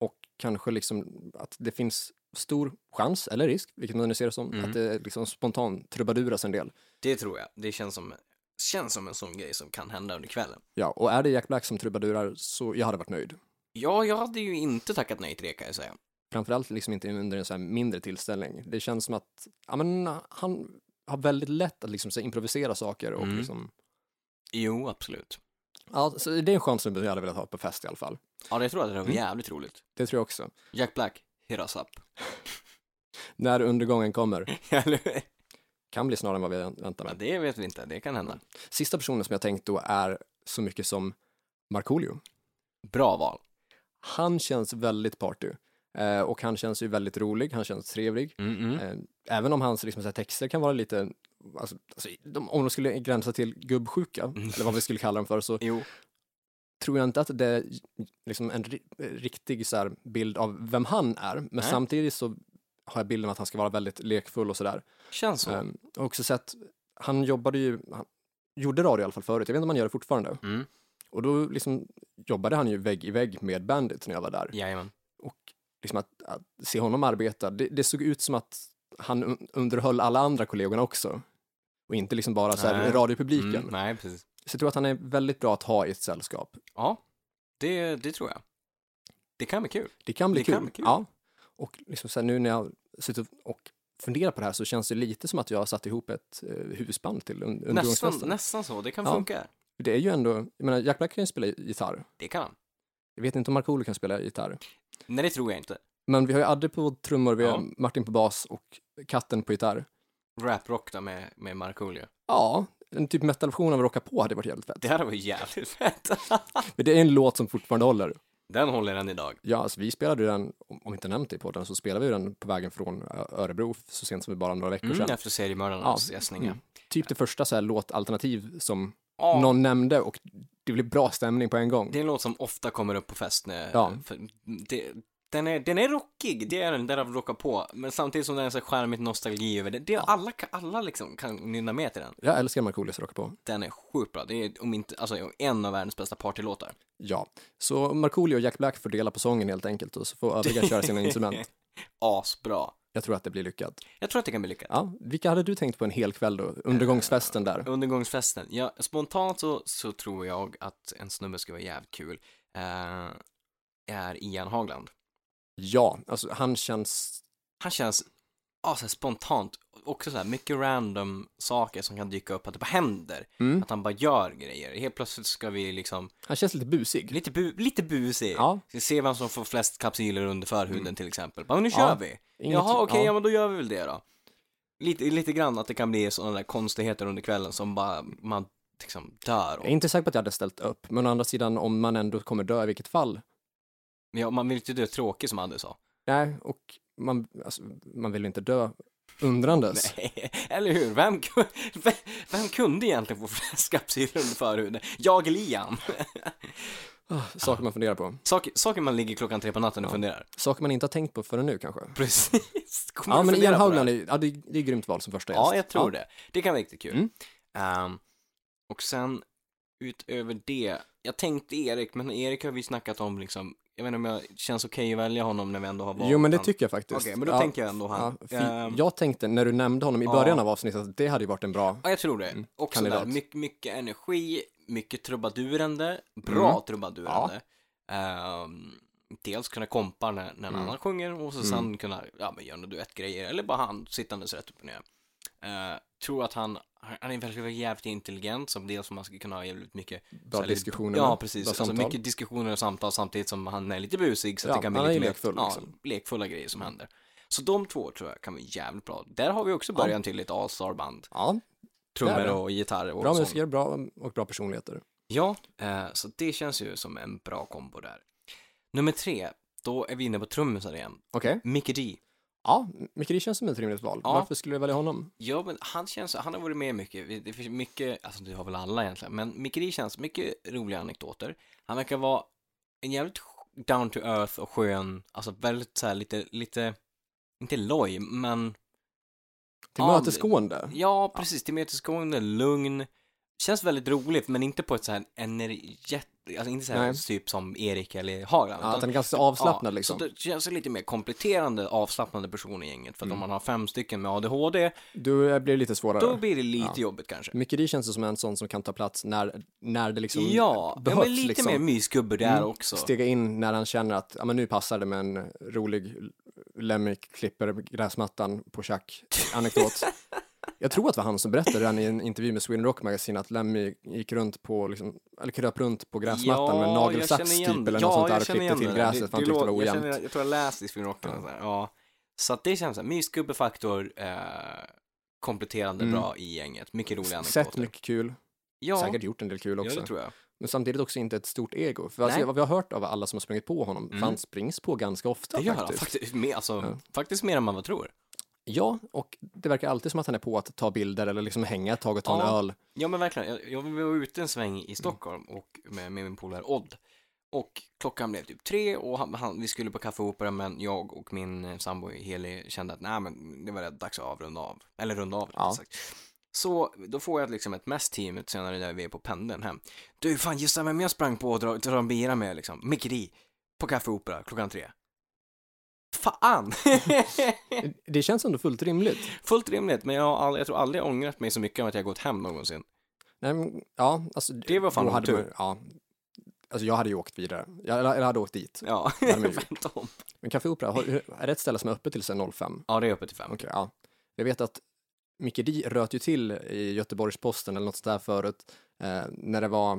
[SPEAKER 3] Och kanske liksom att det finns stor chans, eller risk, vilket man nu ser det som,
[SPEAKER 2] Mm.
[SPEAKER 3] att det liksom spontant trubaduras en del.
[SPEAKER 2] Det tror jag. Det känns som, känns som en sån grej som kan hända under kvällen.
[SPEAKER 3] Ja, och är det Jack Black som trubadurar så jag hade varit nöjd.
[SPEAKER 2] Ja, jag hade ju inte tackat nej till det kan jag säga.
[SPEAKER 3] Framförallt liksom inte under en så här mindre tillställning. Det känns som att, ja men ah, han har väldigt lätt att liksom så här improvisera saker och
[SPEAKER 2] Mm.
[SPEAKER 3] liksom,
[SPEAKER 2] Jo, absolut.
[SPEAKER 3] ja, så det är en chans som jag hade velat ha på fest i alla fall.
[SPEAKER 2] Ja, det tror jag det var
[SPEAKER 3] Mm.
[SPEAKER 2] jävligt roligt.
[SPEAKER 3] Det tror jag också.
[SPEAKER 2] Jack Black, Hit us up.
[SPEAKER 3] När undergången kommer.
[SPEAKER 2] Eller hur?
[SPEAKER 3] Kan bli snarare än vad vi väntar
[SPEAKER 2] Men
[SPEAKER 3] med.
[SPEAKER 2] det vet vi inte, det kan hända.
[SPEAKER 3] Sista personen som jag tänkt då är så mycket som Markoolio.
[SPEAKER 2] Bra val.
[SPEAKER 3] Han känns väldigt party. Eh, och han känns ju väldigt rolig, han känns trevlig.
[SPEAKER 2] Mm,
[SPEAKER 3] Eh, även om hans liksom, så här, texter kan vara lite, alltså, alltså, de, om de skulle gränsa till gubbsjuka, eller vad vi skulle kalla dem för, så
[SPEAKER 2] Jo.
[SPEAKER 3] tror jag inte att det är liksom en ri- riktig så här, bild av vem han är. Men
[SPEAKER 2] Nej.
[SPEAKER 3] samtidigt så har jag bilden av att han ska vara väldigt lekfull och sådär.
[SPEAKER 2] Känns så.
[SPEAKER 3] Ehm, Jag har också sett, han jobbade ju, han gjorde radio i alla fall förut, jag vet inte om han gör det fortfarande.
[SPEAKER 2] Mm.
[SPEAKER 3] Och då liksom jobbade han ju vägg i vägg med Bandit när jag var där.
[SPEAKER 2] Jajamän.
[SPEAKER 3] Och liksom att, att se honom arbeta, det, det såg ut som att han un- underhöll alla andra kollegorna också. Och inte liksom bara så här
[SPEAKER 2] Nej.
[SPEAKER 3] radiopubliken.
[SPEAKER 2] Mm, nej, precis.
[SPEAKER 3] Så jag tror att han är väldigt bra att ha i ett sällskap.
[SPEAKER 2] Ja, det, det tror jag. Det kan bli kul.
[SPEAKER 3] Det kan bli
[SPEAKER 2] Det
[SPEAKER 3] kul.
[SPEAKER 2] kan bli kul.
[SPEAKER 3] Ja. Och liksom så här, nu när jag sitter och funderar på det här så känns det lite som att jag har satt ihop ett eh, husband till un-
[SPEAKER 2] Nästan,
[SPEAKER 3] undergångsfesten.
[SPEAKER 2] nästan så, det kan
[SPEAKER 3] Ja.
[SPEAKER 2] funka.
[SPEAKER 3] Det är ju ändå, jag menar Jack Black kan ju spela gitarr.
[SPEAKER 2] Det kan han.
[SPEAKER 3] Jag vet inte om Markoolio kan spela gitarr.
[SPEAKER 2] Nej, det tror jag inte.
[SPEAKER 3] Men vi har ju Adde på trummor, vi har
[SPEAKER 2] Ja.
[SPEAKER 3] Martin på bas och katten på gitarr.
[SPEAKER 2] Rap-rock då med, med Markoolio.
[SPEAKER 3] Ja, en typ metalversion av Rocka på hade varit jävligt fett.
[SPEAKER 2] Det här var ju jävligt fett.
[SPEAKER 3] Men det är en låt som fortfarande håller.
[SPEAKER 2] Den håller än idag.
[SPEAKER 3] Ja, alltså vi spelade ju den, om om inte nämnt det i podden, så spelade vi den på vägen från Ö- Örebro så sent som bara några veckor
[SPEAKER 2] Mm,
[SPEAKER 3] sedan.
[SPEAKER 2] efter seriemördarnas gästningar.
[SPEAKER 3] Mm. Typ det första så här låtalternativ som
[SPEAKER 2] Ja,
[SPEAKER 3] någon nämnde och det blev bra stämning på en gång.
[SPEAKER 2] Det är en låt som ofta kommer upp på fest när,
[SPEAKER 3] Ja.
[SPEAKER 2] för, det, den, är, den är rockig, det är den, därav rockar på, men samtidigt som den är så charmigt nostalgi över det, det alla, kan- alla liksom kan nynna med till den.
[SPEAKER 3] Jag älskar Markoolios Rocka på.
[SPEAKER 2] Den är sjukt bra, det är om inte, alltså en av världens bästa partylåtar.
[SPEAKER 3] Ja, så Markoolio och Jack Black får dela på sången helt enkelt och så får övriga köra sina instrument.
[SPEAKER 2] Asbra.
[SPEAKER 3] Jag tror att det blir lyckat.
[SPEAKER 2] Jag tror att det kan bli lyckat.
[SPEAKER 3] Ja, vilka hade du tänkt på en hel kväll då? Undergångsfesten där.
[SPEAKER 2] Undergångsfesten. Ja, spontant så, så tror jag att en snubbe skulle vara jävligt kul. Eh, är Ian Hagland.
[SPEAKER 3] Ja, alltså han känns...
[SPEAKER 2] Han känns ah, så här spontant, också så här mycket random saker som kan dyka upp, att det bara händer.
[SPEAKER 3] Mm.
[SPEAKER 2] Att han bara gör grejer. Helt plötsligt ska vi liksom,
[SPEAKER 3] Han känns lite busig.
[SPEAKER 2] lite, bu, lite busig.
[SPEAKER 3] Ja, Mm.
[SPEAKER 2] Ska se vem som får flest kapsyler under förhuden till exempel. Bara, nu
[SPEAKER 3] Ja,
[SPEAKER 2] kör vi!
[SPEAKER 3] inget...
[SPEAKER 2] Jaha, okej, ja.
[SPEAKER 3] ja.
[SPEAKER 2] men då gör vi väl det då. Lite, lite grann att det kan bli sådana där konstigheter under kvällen som bara, man liksom dör
[SPEAKER 3] Jag är inte säker på att jag hade ställt upp, men å andra sidan om man ändå kommer dö i vilket fall.
[SPEAKER 2] Men Ja, man vill inte dö tråkig som Anders sa.
[SPEAKER 3] Nej, och man, alltså, man vill inte dö undrandes.
[SPEAKER 2] Nej, eller hur? Vem, ku- vem, vem kunde egentligen få flest kapsyler under förhuden? Jag eller Ian?
[SPEAKER 3] Ah, Saker man funderar på.
[SPEAKER 2] Saker, saker man ligger klockan tre på natten och
[SPEAKER 3] Ja.
[SPEAKER 2] funderar.
[SPEAKER 3] Saker man inte har tänkt på förrän nu kanske.
[SPEAKER 2] Precis. Kommer
[SPEAKER 3] Ja,
[SPEAKER 2] du
[SPEAKER 3] men
[SPEAKER 2] fundera
[SPEAKER 3] Ian
[SPEAKER 2] på det
[SPEAKER 3] Haugland,
[SPEAKER 2] här?
[SPEAKER 3] är, ja, det, är, det är ett grymt val som första
[SPEAKER 2] Ja, jag tror det. Det kan vara riktigt kul.
[SPEAKER 3] Mm.
[SPEAKER 2] Ehm, och sen utöver det, jag tänkte Erik, men Erik har vi snackat om liksom, jag vet inte om jag känns okej att välja honom när vi ändå har valt
[SPEAKER 3] Jo, men det
[SPEAKER 2] han.
[SPEAKER 3] tycker jag faktiskt.
[SPEAKER 2] Okej, men då
[SPEAKER 3] ja,
[SPEAKER 2] tänker jag ändå han.
[SPEAKER 3] Ja, fi-
[SPEAKER 2] Ehm,
[SPEAKER 3] jag tänkte när du nämnde honom i
[SPEAKER 2] ja.
[SPEAKER 3] början av avsnittet att det hade ju varit en bra.
[SPEAKER 2] Ja, jag tror det. Också där,
[SPEAKER 3] Mm, kandidat.
[SPEAKER 2] mycket, mycket energi, mycket trubadurande, bra
[SPEAKER 3] Mm.
[SPEAKER 2] trubadurande. Ehm, dels kunna kompa när, när en
[SPEAKER 3] Mm.
[SPEAKER 2] annan sjunger och så
[SPEAKER 3] Mm.
[SPEAKER 2] sen kunna ja, men göra några duettgrejer eller bara han sittandes rätt upp och ner. Eh, tror att han, han är väldigt, väldigt jävligt intelligent som dels som man ska kunna ha jävligt mycket
[SPEAKER 3] Bra
[SPEAKER 2] så här lite-
[SPEAKER 3] diskussioner.
[SPEAKER 2] Ja,
[SPEAKER 3] med-
[SPEAKER 2] precis.
[SPEAKER 3] Bra
[SPEAKER 2] Alltså
[SPEAKER 3] samtal.
[SPEAKER 2] mycket diskussioner och samtal samtidigt som han är lite busig så att
[SPEAKER 3] Ja,
[SPEAKER 2] det kan bli
[SPEAKER 3] han är
[SPEAKER 2] lite
[SPEAKER 3] ju
[SPEAKER 2] mer-
[SPEAKER 3] lekfull,
[SPEAKER 2] ja,
[SPEAKER 3] liksom.
[SPEAKER 2] lekfulla grejer som händer. Så de två tror jag kan bli jävligt bra. Där har vi också
[SPEAKER 3] Ja.
[SPEAKER 2] början till ett A-star-band
[SPEAKER 3] Ja, Där
[SPEAKER 2] trummor
[SPEAKER 3] är.
[SPEAKER 2] och gitarr och
[SPEAKER 3] bra
[SPEAKER 2] sånt.
[SPEAKER 3] musiker, bra och bra personligheter.
[SPEAKER 2] Ja, eh, så det känns ju som en bra kombo där. Nummer tre, då är vi inne på trummisar igen.
[SPEAKER 3] Okej.
[SPEAKER 2] Mickey D.
[SPEAKER 3] Ja, Micke, det känns som ett rimligt val.
[SPEAKER 2] Ja.
[SPEAKER 3] Varför skulle du välja honom?
[SPEAKER 2] Ja, men han känns, han har varit med mycket, Vi- det finns mycket, alltså det har väl alla egentligen, men Mickey D känns mycket roliga anekdoter. Han verkar vara en jävligt sk- down to earth och skön, alltså väldigt så här lite, lite, inte loj, men
[SPEAKER 3] Tillmötesgående.
[SPEAKER 2] ja, precis, tillmötesgående, lugn, känns väldigt roligt, men inte på ett så här energi, alltså inte så här
[SPEAKER 3] Nej.
[SPEAKER 2] typ som Erik eller Hagland.
[SPEAKER 3] Ja,
[SPEAKER 2] utan-
[SPEAKER 3] att han är ganska avslappnad
[SPEAKER 2] Ja,
[SPEAKER 3] liksom.
[SPEAKER 2] Så det känns lite mer kompletterande avslappnade person i gänget. För att
[SPEAKER 3] Mm.
[SPEAKER 2] om man har fem stycken med ADHD,
[SPEAKER 3] Du blir det lite svårare.
[SPEAKER 2] då blir det lite
[SPEAKER 3] Ja. Mm.
[SPEAKER 2] jobbigt kanske.
[SPEAKER 3] Micke D känns det som en sån som kan ta plats när, när det liksom
[SPEAKER 2] ja,
[SPEAKER 3] behövs.
[SPEAKER 2] ja, men lite
[SPEAKER 3] liksom.
[SPEAKER 2] mer mysgubbe där
[SPEAKER 3] Mm.
[SPEAKER 2] också.
[SPEAKER 3] Stega in när han känner att ja, men nu passar det med en rolig Lemmy klipper gräsmattan på tjack anekdot. Jag tror att det var han som berättade redan i en intervju med Sweden Rock Magazine att Lemmy gick runt på, liksom, eller kröp runt på gräsmattan med en nagelsax typ eller något sånt där och klippte till gräset för han tyckte det var
[SPEAKER 2] Jag,
[SPEAKER 3] ojämnt.
[SPEAKER 2] känner, jag tror jag läste i Sweden Rock eller något sånt där. alltså. ja. Så att det känns såhär, mysgubbefaktor, eh, kompletterande
[SPEAKER 3] Mm.
[SPEAKER 2] bra i gänget, mycket roliga
[SPEAKER 3] Sett
[SPEAKER 2] anekdoter.
[SPEAKER 3] mycket kul,
[SPEAKER 2] Ja,
[SPEAKER 3] säkert gjort en del kul
[SPEAKER 2] ja,
[SPEAKER 3] också.
[SPEAKER 2] det tror jag.
[SPEAKER 3] Men samtidigt också inte ett stort ego. För
[SPEAKER 2] Nej.
[SPEAKER 3] alltså, vad vi har hört av alla som har sprungit på honom, för
[SPEAKER 2] Mm.
[SPEAKER 3] han springs på ganska ofta
[SPEAKER 2] Det gör han
[SPEAKER 3] faktiskt.
[SPEAKER 2] faktiskt, mer, alltså,
[SPEAKER 3] Ja.
[SPEAKER 2] faktiskt mer än man vad tror.
[SPEAKER 3] Ja, och det verkar alltid som att han är på att ta bilder eller liksom hänga ett tag och ta en
[SPEAKER 2] Ja.
[SPEAKER 3] öl.
[SPEAKER 2] Ja men verkligen, jag, jag var ute en sväng i Stockholm och med, med min polare Odd. Och klockan blev typ tre och han, han, vi skulle på Café Opera men jag och min eh, sambo Heli kände att nej men det var rätt dags att avrunda av. Eller runda av
[SPEAKER 3] Ja.
[SPEAKER 2] ja. sagt. Så då får jag liksom ett mest teamet senare när vi är på pendeln hem. Du fan gissa vem jag sprang på och drar dra en bira med liksom. Mickey D. På Café Opera klockan tre. Fan!
[SPEAKER 3] Det känns ändå fullt rimligt.
[SPEAKER 2] Fullt rimligt men jag, har aldrig, jag tror aldrig jag ångrat mig så mycket om att jag gått hem någonsin.
[SPEAKER 3] Nej, men, ja, alltså,
[SPEAKER 2] Det var fan
[SPEAKER 3] då hade
[SPEAKER 2] otur.
[SPEAKER 3] man, ja, alltså jag hade ju åkt vidare, jag, eller, eller hade åkt dit.
[SPEAKER 2] Ja,
[SPEAKER 3] hade man ju gjort.
[SPEAKER 2] tvärtom.
[SPEAKER 3] Men Café Opera, har, är det ett ställe som är öppet till sen 05?
[SPEAKER 2] Ja, det är öppet till fem.
[SPEAKER 3] Okej, ja. Jag vet att Micke Di röt ju till i Göteborgs-Posten eller något sånt där förut, eh, när det var,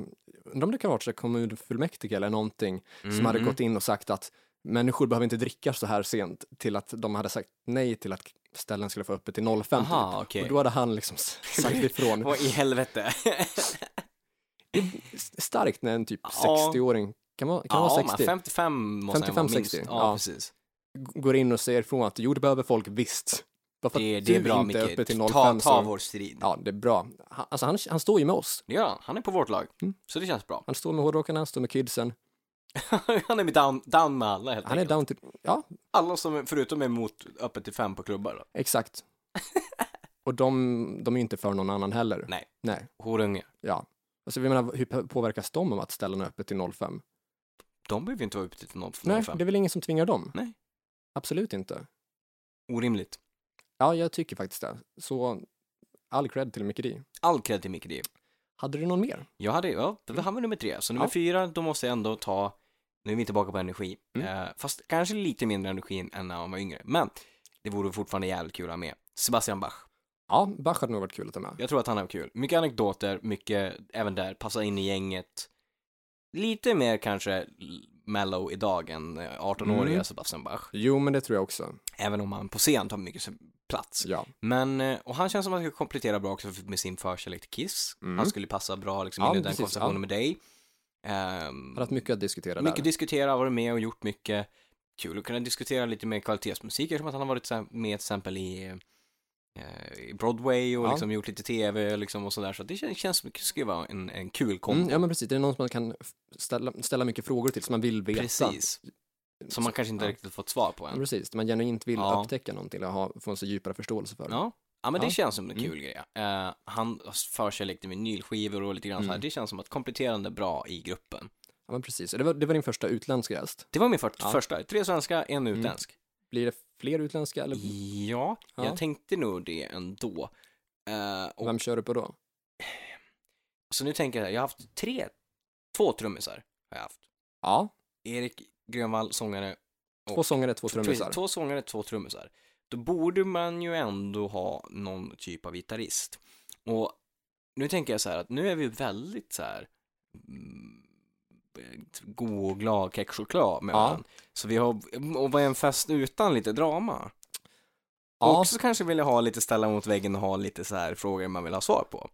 [SPEAKER 3] undrar om det kan ha varit så här kommunfullmäktige eller någonting, som
[SPEAKER 2] Mhm.
[SPEAKER 3] hade gått in och sagt att människor behöver inte dricka så här sent, till att de hade sagt nej till att ställen skulle få öppet till 05. typ.
[SPEAKER 2] Aha, okej.
[SPEAKER 3] Och då hade han liksom sagt ifrån.
[SPEAKER 2] Vad i helvete?
[SPEAKER 3] s- starkt när en typ
[SPEAKER 2] Ja.
[SPEAKER 3] 60-åring, kan vara, kan
[SPEAKER 2] ja,
[SPEAKER 3] vara
[SPEAKER 2] man,
[SPEAKER 3] 60,
[SPEAKER 2] 55 måste
[SPEAKER 3] 55,
[SPEAKER 2] han vara minst.
[SPEAKER 3] 60,
[SPEAKER 2] Ja,
[SPEAKER 3] ja.
[SPEAKER 2] precis.
[SPEAKER 3] g- går in och säger ifrån att jo, det behöver folk visst. Bara för
[SPEAKER 2] Det,
[SPEAKER 3] att
[SPEAKER 2] det är
[SPEAKER 3] du
[SPEAKER 2] bra,
[SPEAKER 3] inte är uppe
[SPEAKER 2] Micke.
[SPEAKER 3] till 05
[SPEAKER 2] Ta, ta
[SPEAKER 3] så-
[SPEAKER 2] vår strid.
[SPEAKER 3] Ja, det är bra. Han, alltså han, han står ju med oss.
[SPEAKER 2] Det gör han. Han är på vårt lag.
[SPEAKER 3] Mm.
[SPEAKER 2] Så det känns bra.
[SPEAKER 3] Han står med hårdrockarna, han står med kidsen.
[SPEAKER 2] han är med down, down med alla helt
[SPEAKER 3] Han är
[SPEAKER 2] enkelt.
[SPEAKER 3] down till, ja,
[SPEAKER 2] Alla som, är- förutom är mot öppet till fem på klubbar då.
[SPEAKER 3] exakt. och de, de är ju inte för någon annan heller.
[SPEAKER 2] Nej.
[SPEAKER 3] Nej,
[SPEAKER 2] Horungar.
[SPEAKER 3] ja. Alltså vi menar, hur p- påverkas de av att ställena är öppet till 05?
[SPEAKER 2] De behöver ju inte vara uppe till 05.
[SPEAKER 3] Nej, det är väl ingen som tvingar dem?
[SPEAKER 2] Nej.
[SPEAKER 3] Absolut inte.
[SPEAKER 2] Orimligt.
[SPEAKER 3] Ja, jag tycker faktiskt det. Så all cred till Micke Di.
[SPEAKER 2] All cred till Micke D.
[SPEAKER 3] Hade du någon mer?
[SPEAKER 2] Jag hade, ja, det var- han var nummer tre. Så nummer
[SPEAKER 3] Mm. Ja.
[SPEAKER 2] fyra, då måste jag ändå ta, nu är vi tillbaka på energi.
[SPEAKER 3] Mm.
[SPEAKER 2] Eh, fast kanske lite mindre energi än när han var yngre. Men det vore fortfarande jävligt kul att ha med. Sebastian Bach.
[SPEAKER 3] Ja, Bach hade nog varit kul att ta med.
[SPEAKER 2] Jag tror att han har kul. Mycket anekdoter, mycket, även där, passa in i gänget. Lite mer kanske mellow idag än eh, 18-åriga
[SPEAKER 3] Mm.
[SPEAKER 2] Sebastian Bach.
[SPEAKER 3] Jo, men det tror jag också.
[SPEAKER 2] Även om han på scen tar mycket plats.
[SPEAKER 3] Ja,
[SPEAKER 2] Men, eh, och han känns som att han ska komplettera bra också med sin förkärlek till Kiss.
[SPEAKER 3] Mm.
[SPEAKER 2] Han skulle passa bra liksom
[SPEAKER 3] Ja,
[SPEAKER 2] in i den
[SPEAKER 3] precis,
[SPEAKER 2] konstellationen
[SPEAKER 3] ja.
[SPEAKER 2] med dig. Ehm,
[SPEAKER 3] har haft mycket att diskutera
[SPEAKER 2] mycket
[SPEAKER 3] där.
[SPEAKER 2] diskutera, varit med och gjort mycket. Kul att kunna diskutera lite mer kvalitetsmusik eftersom att han har varit så här med till exempel i, eh, i Broadway och
[SPEAKER 3] Ja.
[SPEAKER 2] liksom gjort lite tv liksom och sådär. Så det känns, känns som att det skulle vara en, en kul kombo.
[SPEAKER 3] Mm, ja, men precis. Det är någon som man kan f- ställa, ställa mycket frågor till som man vill veta.
[SPEAKER 2] Precis. Som man kanske inte
[SPEAKER 3] Ja.
[SPEAKER 2] riktigt fått svar på
[SPEAKER 3] Ja,
[SPEAKER 2] än.
[SPEAKER 3] precis. Man genuint vill
[SPEAKER 2] Ja.
[SPEAKER 3] upptäcka någonting eller ha, få en så djupare förståelse för.
[SPEAKER 2] Ja. Ja men det
[SPEAKER 3] Ja.
[SPEAKER 2] känns som en
[SPEAKER 3] Mm.
[SPEAKER 2] kul grej. Eh, han förkärlek till vinylskivor och lite grann så här.
[SPEAKER 3] Mm.
[SPEAKER 2] Det känns som att kompletterande bra i gruppen.
[SPEAKER 3] Ja, men precis. Det var, det var din första utländska gäst.
[SPEAKER 2] Det var min för-
[SPEAKER 3] Ja. Mm.
[SPEAKER 2] första. Tre svenska, en utländsk.
[SPEAKER 3] Blir det fler utländska eller
[SPEAKER 2] Ja,
[SPEAKER 3] Ja.
[SPEAKER 2] jag tänkte nog det ändå. Eh, och
[SPEAKER 3] vem kör du på då?
[SPEAKER 2] Så nu tänker jag, jag har haft tre, två trummisar har jag haft.
[SPEAKER 3] Ja,
[SPEAKER 2] Erik Grönvall, sångare.
[SPEAKER 3] två
[SPEAKER 2] Och-
[SPEAKER 3] sångare, två trummisar.
[SPEAKER 2] Två sångare, två trummisar. Då borde man ju ändå ha någon typ av gitarrist. Och nu tänker jag så här att nu är vi väldigt så här mm, god och glad kex choklad med
[SPEAKER 3] Ja.
[SPEAKER 2] varandra. Så vi har, och vad är en fest utan lite drama?
[SPEAKER 3] Ja,
[SPEAKER 2] Och så kanske vill jag ha lite ställa mot väggen och ha lite så här frågor man vill ha svar på.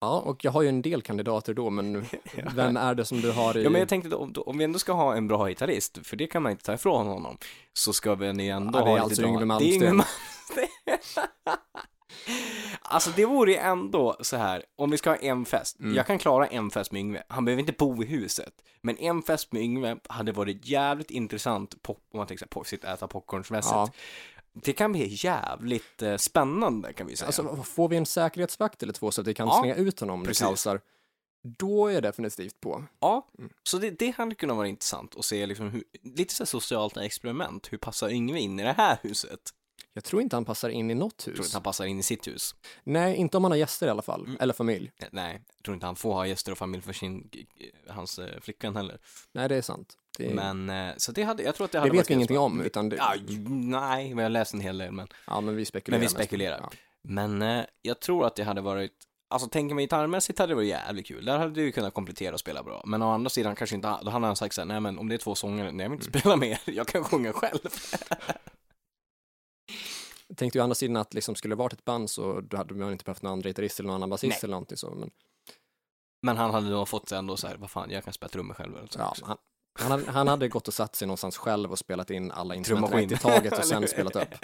[SPEAKER 3] ja, och jag har ju en del kandidater då, men vem är det som du har i...
[SPEAKER 2] Ja men jag tänkte då, om, då- om vi ändå ska ha en bra gitarrist, för det kan man inte ta ifrån honom, så ska vi ju ändå
[SPEAKER 3] Ja, det är
[SPEAKER 2] ha lite
[SPEAKER 3] alltså
[SPEAKER 2] drag.
[SPEAKER 3] Yngwie
[SPEAKER 2] Det är Yngwie
[SPEAKER 3] Malmsteen.
[SPEAKER 2] Malmsteen. alltså det vore ju ändå så här, om vi ska ha en fest,
[SPEAKER 3] Mm.
[SPEAKER 2] jag kan klara en fest med Yngve, han behöver inte bo i huset, men en fest med Yngve hade varit jävligt intressant, pop, om man tänker såhär, sitta och äta popcornsmässigt.
[SPEAKER 3] Ja.
[SPEAKER 2] Det kan bli jävligt eh, spännande kan vi säga.
[SPEAKER 3] Alltså, vad- får vi en säkerhetsvakt eller två så att vi kan slänga ut honom om det
[SPEAKER 2] precis.
[SPEAKER 3] kaosar, då är jag definitivt på.
[SPEAKER 2] Ja,
[SPEAKER 3] Mm.
[SPEAKER 2] så det, det hade kunnat vara intressant att se liksom hur, lite så här socialt experiment, hur passar Yngve in i det här huset?
[SPEAKER 3] Jag tror inte han passar in i något
[SPEAKER 2] Jag tror
[SPEAKER 3] hus.
[SPEAKER 2] inte han passar in i sitt hus.
[SPEAKER 3] Nej, inte om han har gäster i alla fall, eller familj.
[SPEAKER 2] Eh, Nej, jag tror inte han får ha gäster och familj för sin, hans eh, flickvän heller.
[SPEAKER 3] Nej, det är sant. Det,
[SPEAKER 2] Men, eh, så det hade, jag tror att det
[SPEAKER 3] det
[SPEAKER 2] hade
[SPEAKER 3] vet vi
[SPEAKER 2] kul.
[SPEAKER 3] ingenting om, utan det,
[SPEAKER 2] Ja, nej, men jag läste en hel del, men,
[SPEAKER 3] ja, men vi spekulerar.
[SPEAKER 2] men vi
[SPEAKER 3] mest.
[SPEAKER 2] spekulerar.
[SPEAKER 3] Ja.
[SPEAKER 2] Men eh, jag tror att det hade varit, alltså tänker mig gitarrmässigt hade det varit jävligt kul. Där hade du ju kunnat komplettera och spela bra. Men å andra sidan kanske inte, då hade han sagt såhär, nej men om det är två sånger, nej jag vill inte
[SPEAKER 3] Mm.
[SPEAKER 2] spela mer, jag kan sjunga själv.
[SPEAKER 3] Jag tänkte ju å andra sidan att liksom skulle det varit ett band så då hade man inte behövt någon andra gitarrist eller någon annan basist
[SPEAKER 2] Nej.
[SPEAKER 3] eller någonting så. Men
[SPEAKER 2] Men han hade nog fått ändå såhär, vad fan, jag kan spela trummor själv eller så.
[SPEAKER 3] ja, han, han, hade, han hade gått och satt sig någonstans själv och spelat in alla instrument
[SPEAKER 2] Trummaskin.
[SPEAKER 3] rätt i taget och
[SPEAKER 2] Eller hur?
[SPEAKER 3] sen spelat upp.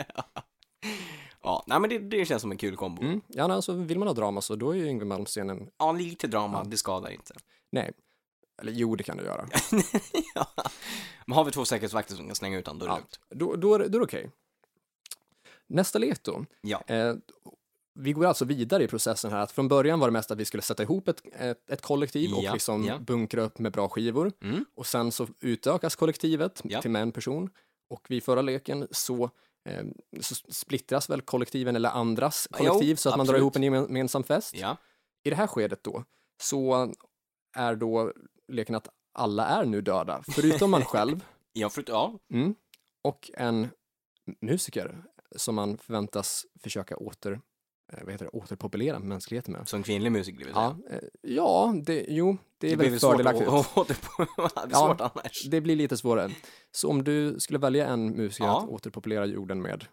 [SPEAKER 2] ja, nej men det, det känns som en kul kombo.
[SPEAKER 3] Mm. Ja, nej, alltså vill man ha drama så då är ju Yngwie Malmsteen en,
[SPEAKER 2] Ja, lite drama, det skadar inte.
[SPEAKER 3] nej. Eller jo, det kan du göra.
[SPEAKER 2] ja. Men har vi två säkerhetsvakter som kan slänga ut honom, då är det
[SPEAKER 3] Ja.
[SPEAKER 2] lugnt.
[SPEAKER 3] Då, då är det, då är det okej. Nästa lek då.
[SPEAKER 2] Ja.
[SPEAKER 3] Eh, vi går alltså vidare i processen här. Att från början var det mest att vi skulle sätta ihop ett, ett, ett kollektiv och
[SPEAKER 2] Ja,
[SPEAKER 3] liksom
[SPEAKER 2] ja.
[SPEAKER 3] bunkra upp med bra skivor.
[SPEAKER 2] Mm.
[SPEAKER 3] Och sen så utökas kollektivet
[SPEAKER 2] Ja.
[SPEAKER 3] till med en person. Och vid förra leken så, eh, så splittras väl kollektiven eller andras
[SPEAKER 2] Ja,
[SPEAKER 3] kollektiv
[SPEAKER 2] jo,
[SPEAKER 3] så att man drar
[SPEAKER 2] absolut.
[SPEAKER 3] ihop en gemen- gemensam fest.
[SPEAKER 2] Ja.
[SPEAKER 3] I det här skedet då så är då leken att alla är nu döda, förutom man själv.
[SPEAKER 2] Ja, förut, ja.
[SPEAKER 3] Mm. Och en musiker som man förväntas försöka åter, eh, vad heter det, återpopulera mänskligheten med.
[SPEAKER 2] Som kvinnlig musiker, det vill säga.
[SPEAKER 3] Ja, eh, ja det, jo, det är
[SPEAKER 2] Det blir
[SPEAKER 3] väl
[SPEAKER 2] väl svårt
[SPEAKER 3] fördelaktigt.
[SPEAKER 2] att återpå... Det blir
[SPEAKER 3] Ja.
[SPEAKER 2] svårt annars.
[SPEAKER 3] Det blir lite svårare. Så om du skulle välja en musiker
[SPEAKER 2] Ja.
[SPEAKER 3] att återpopulera jorden med,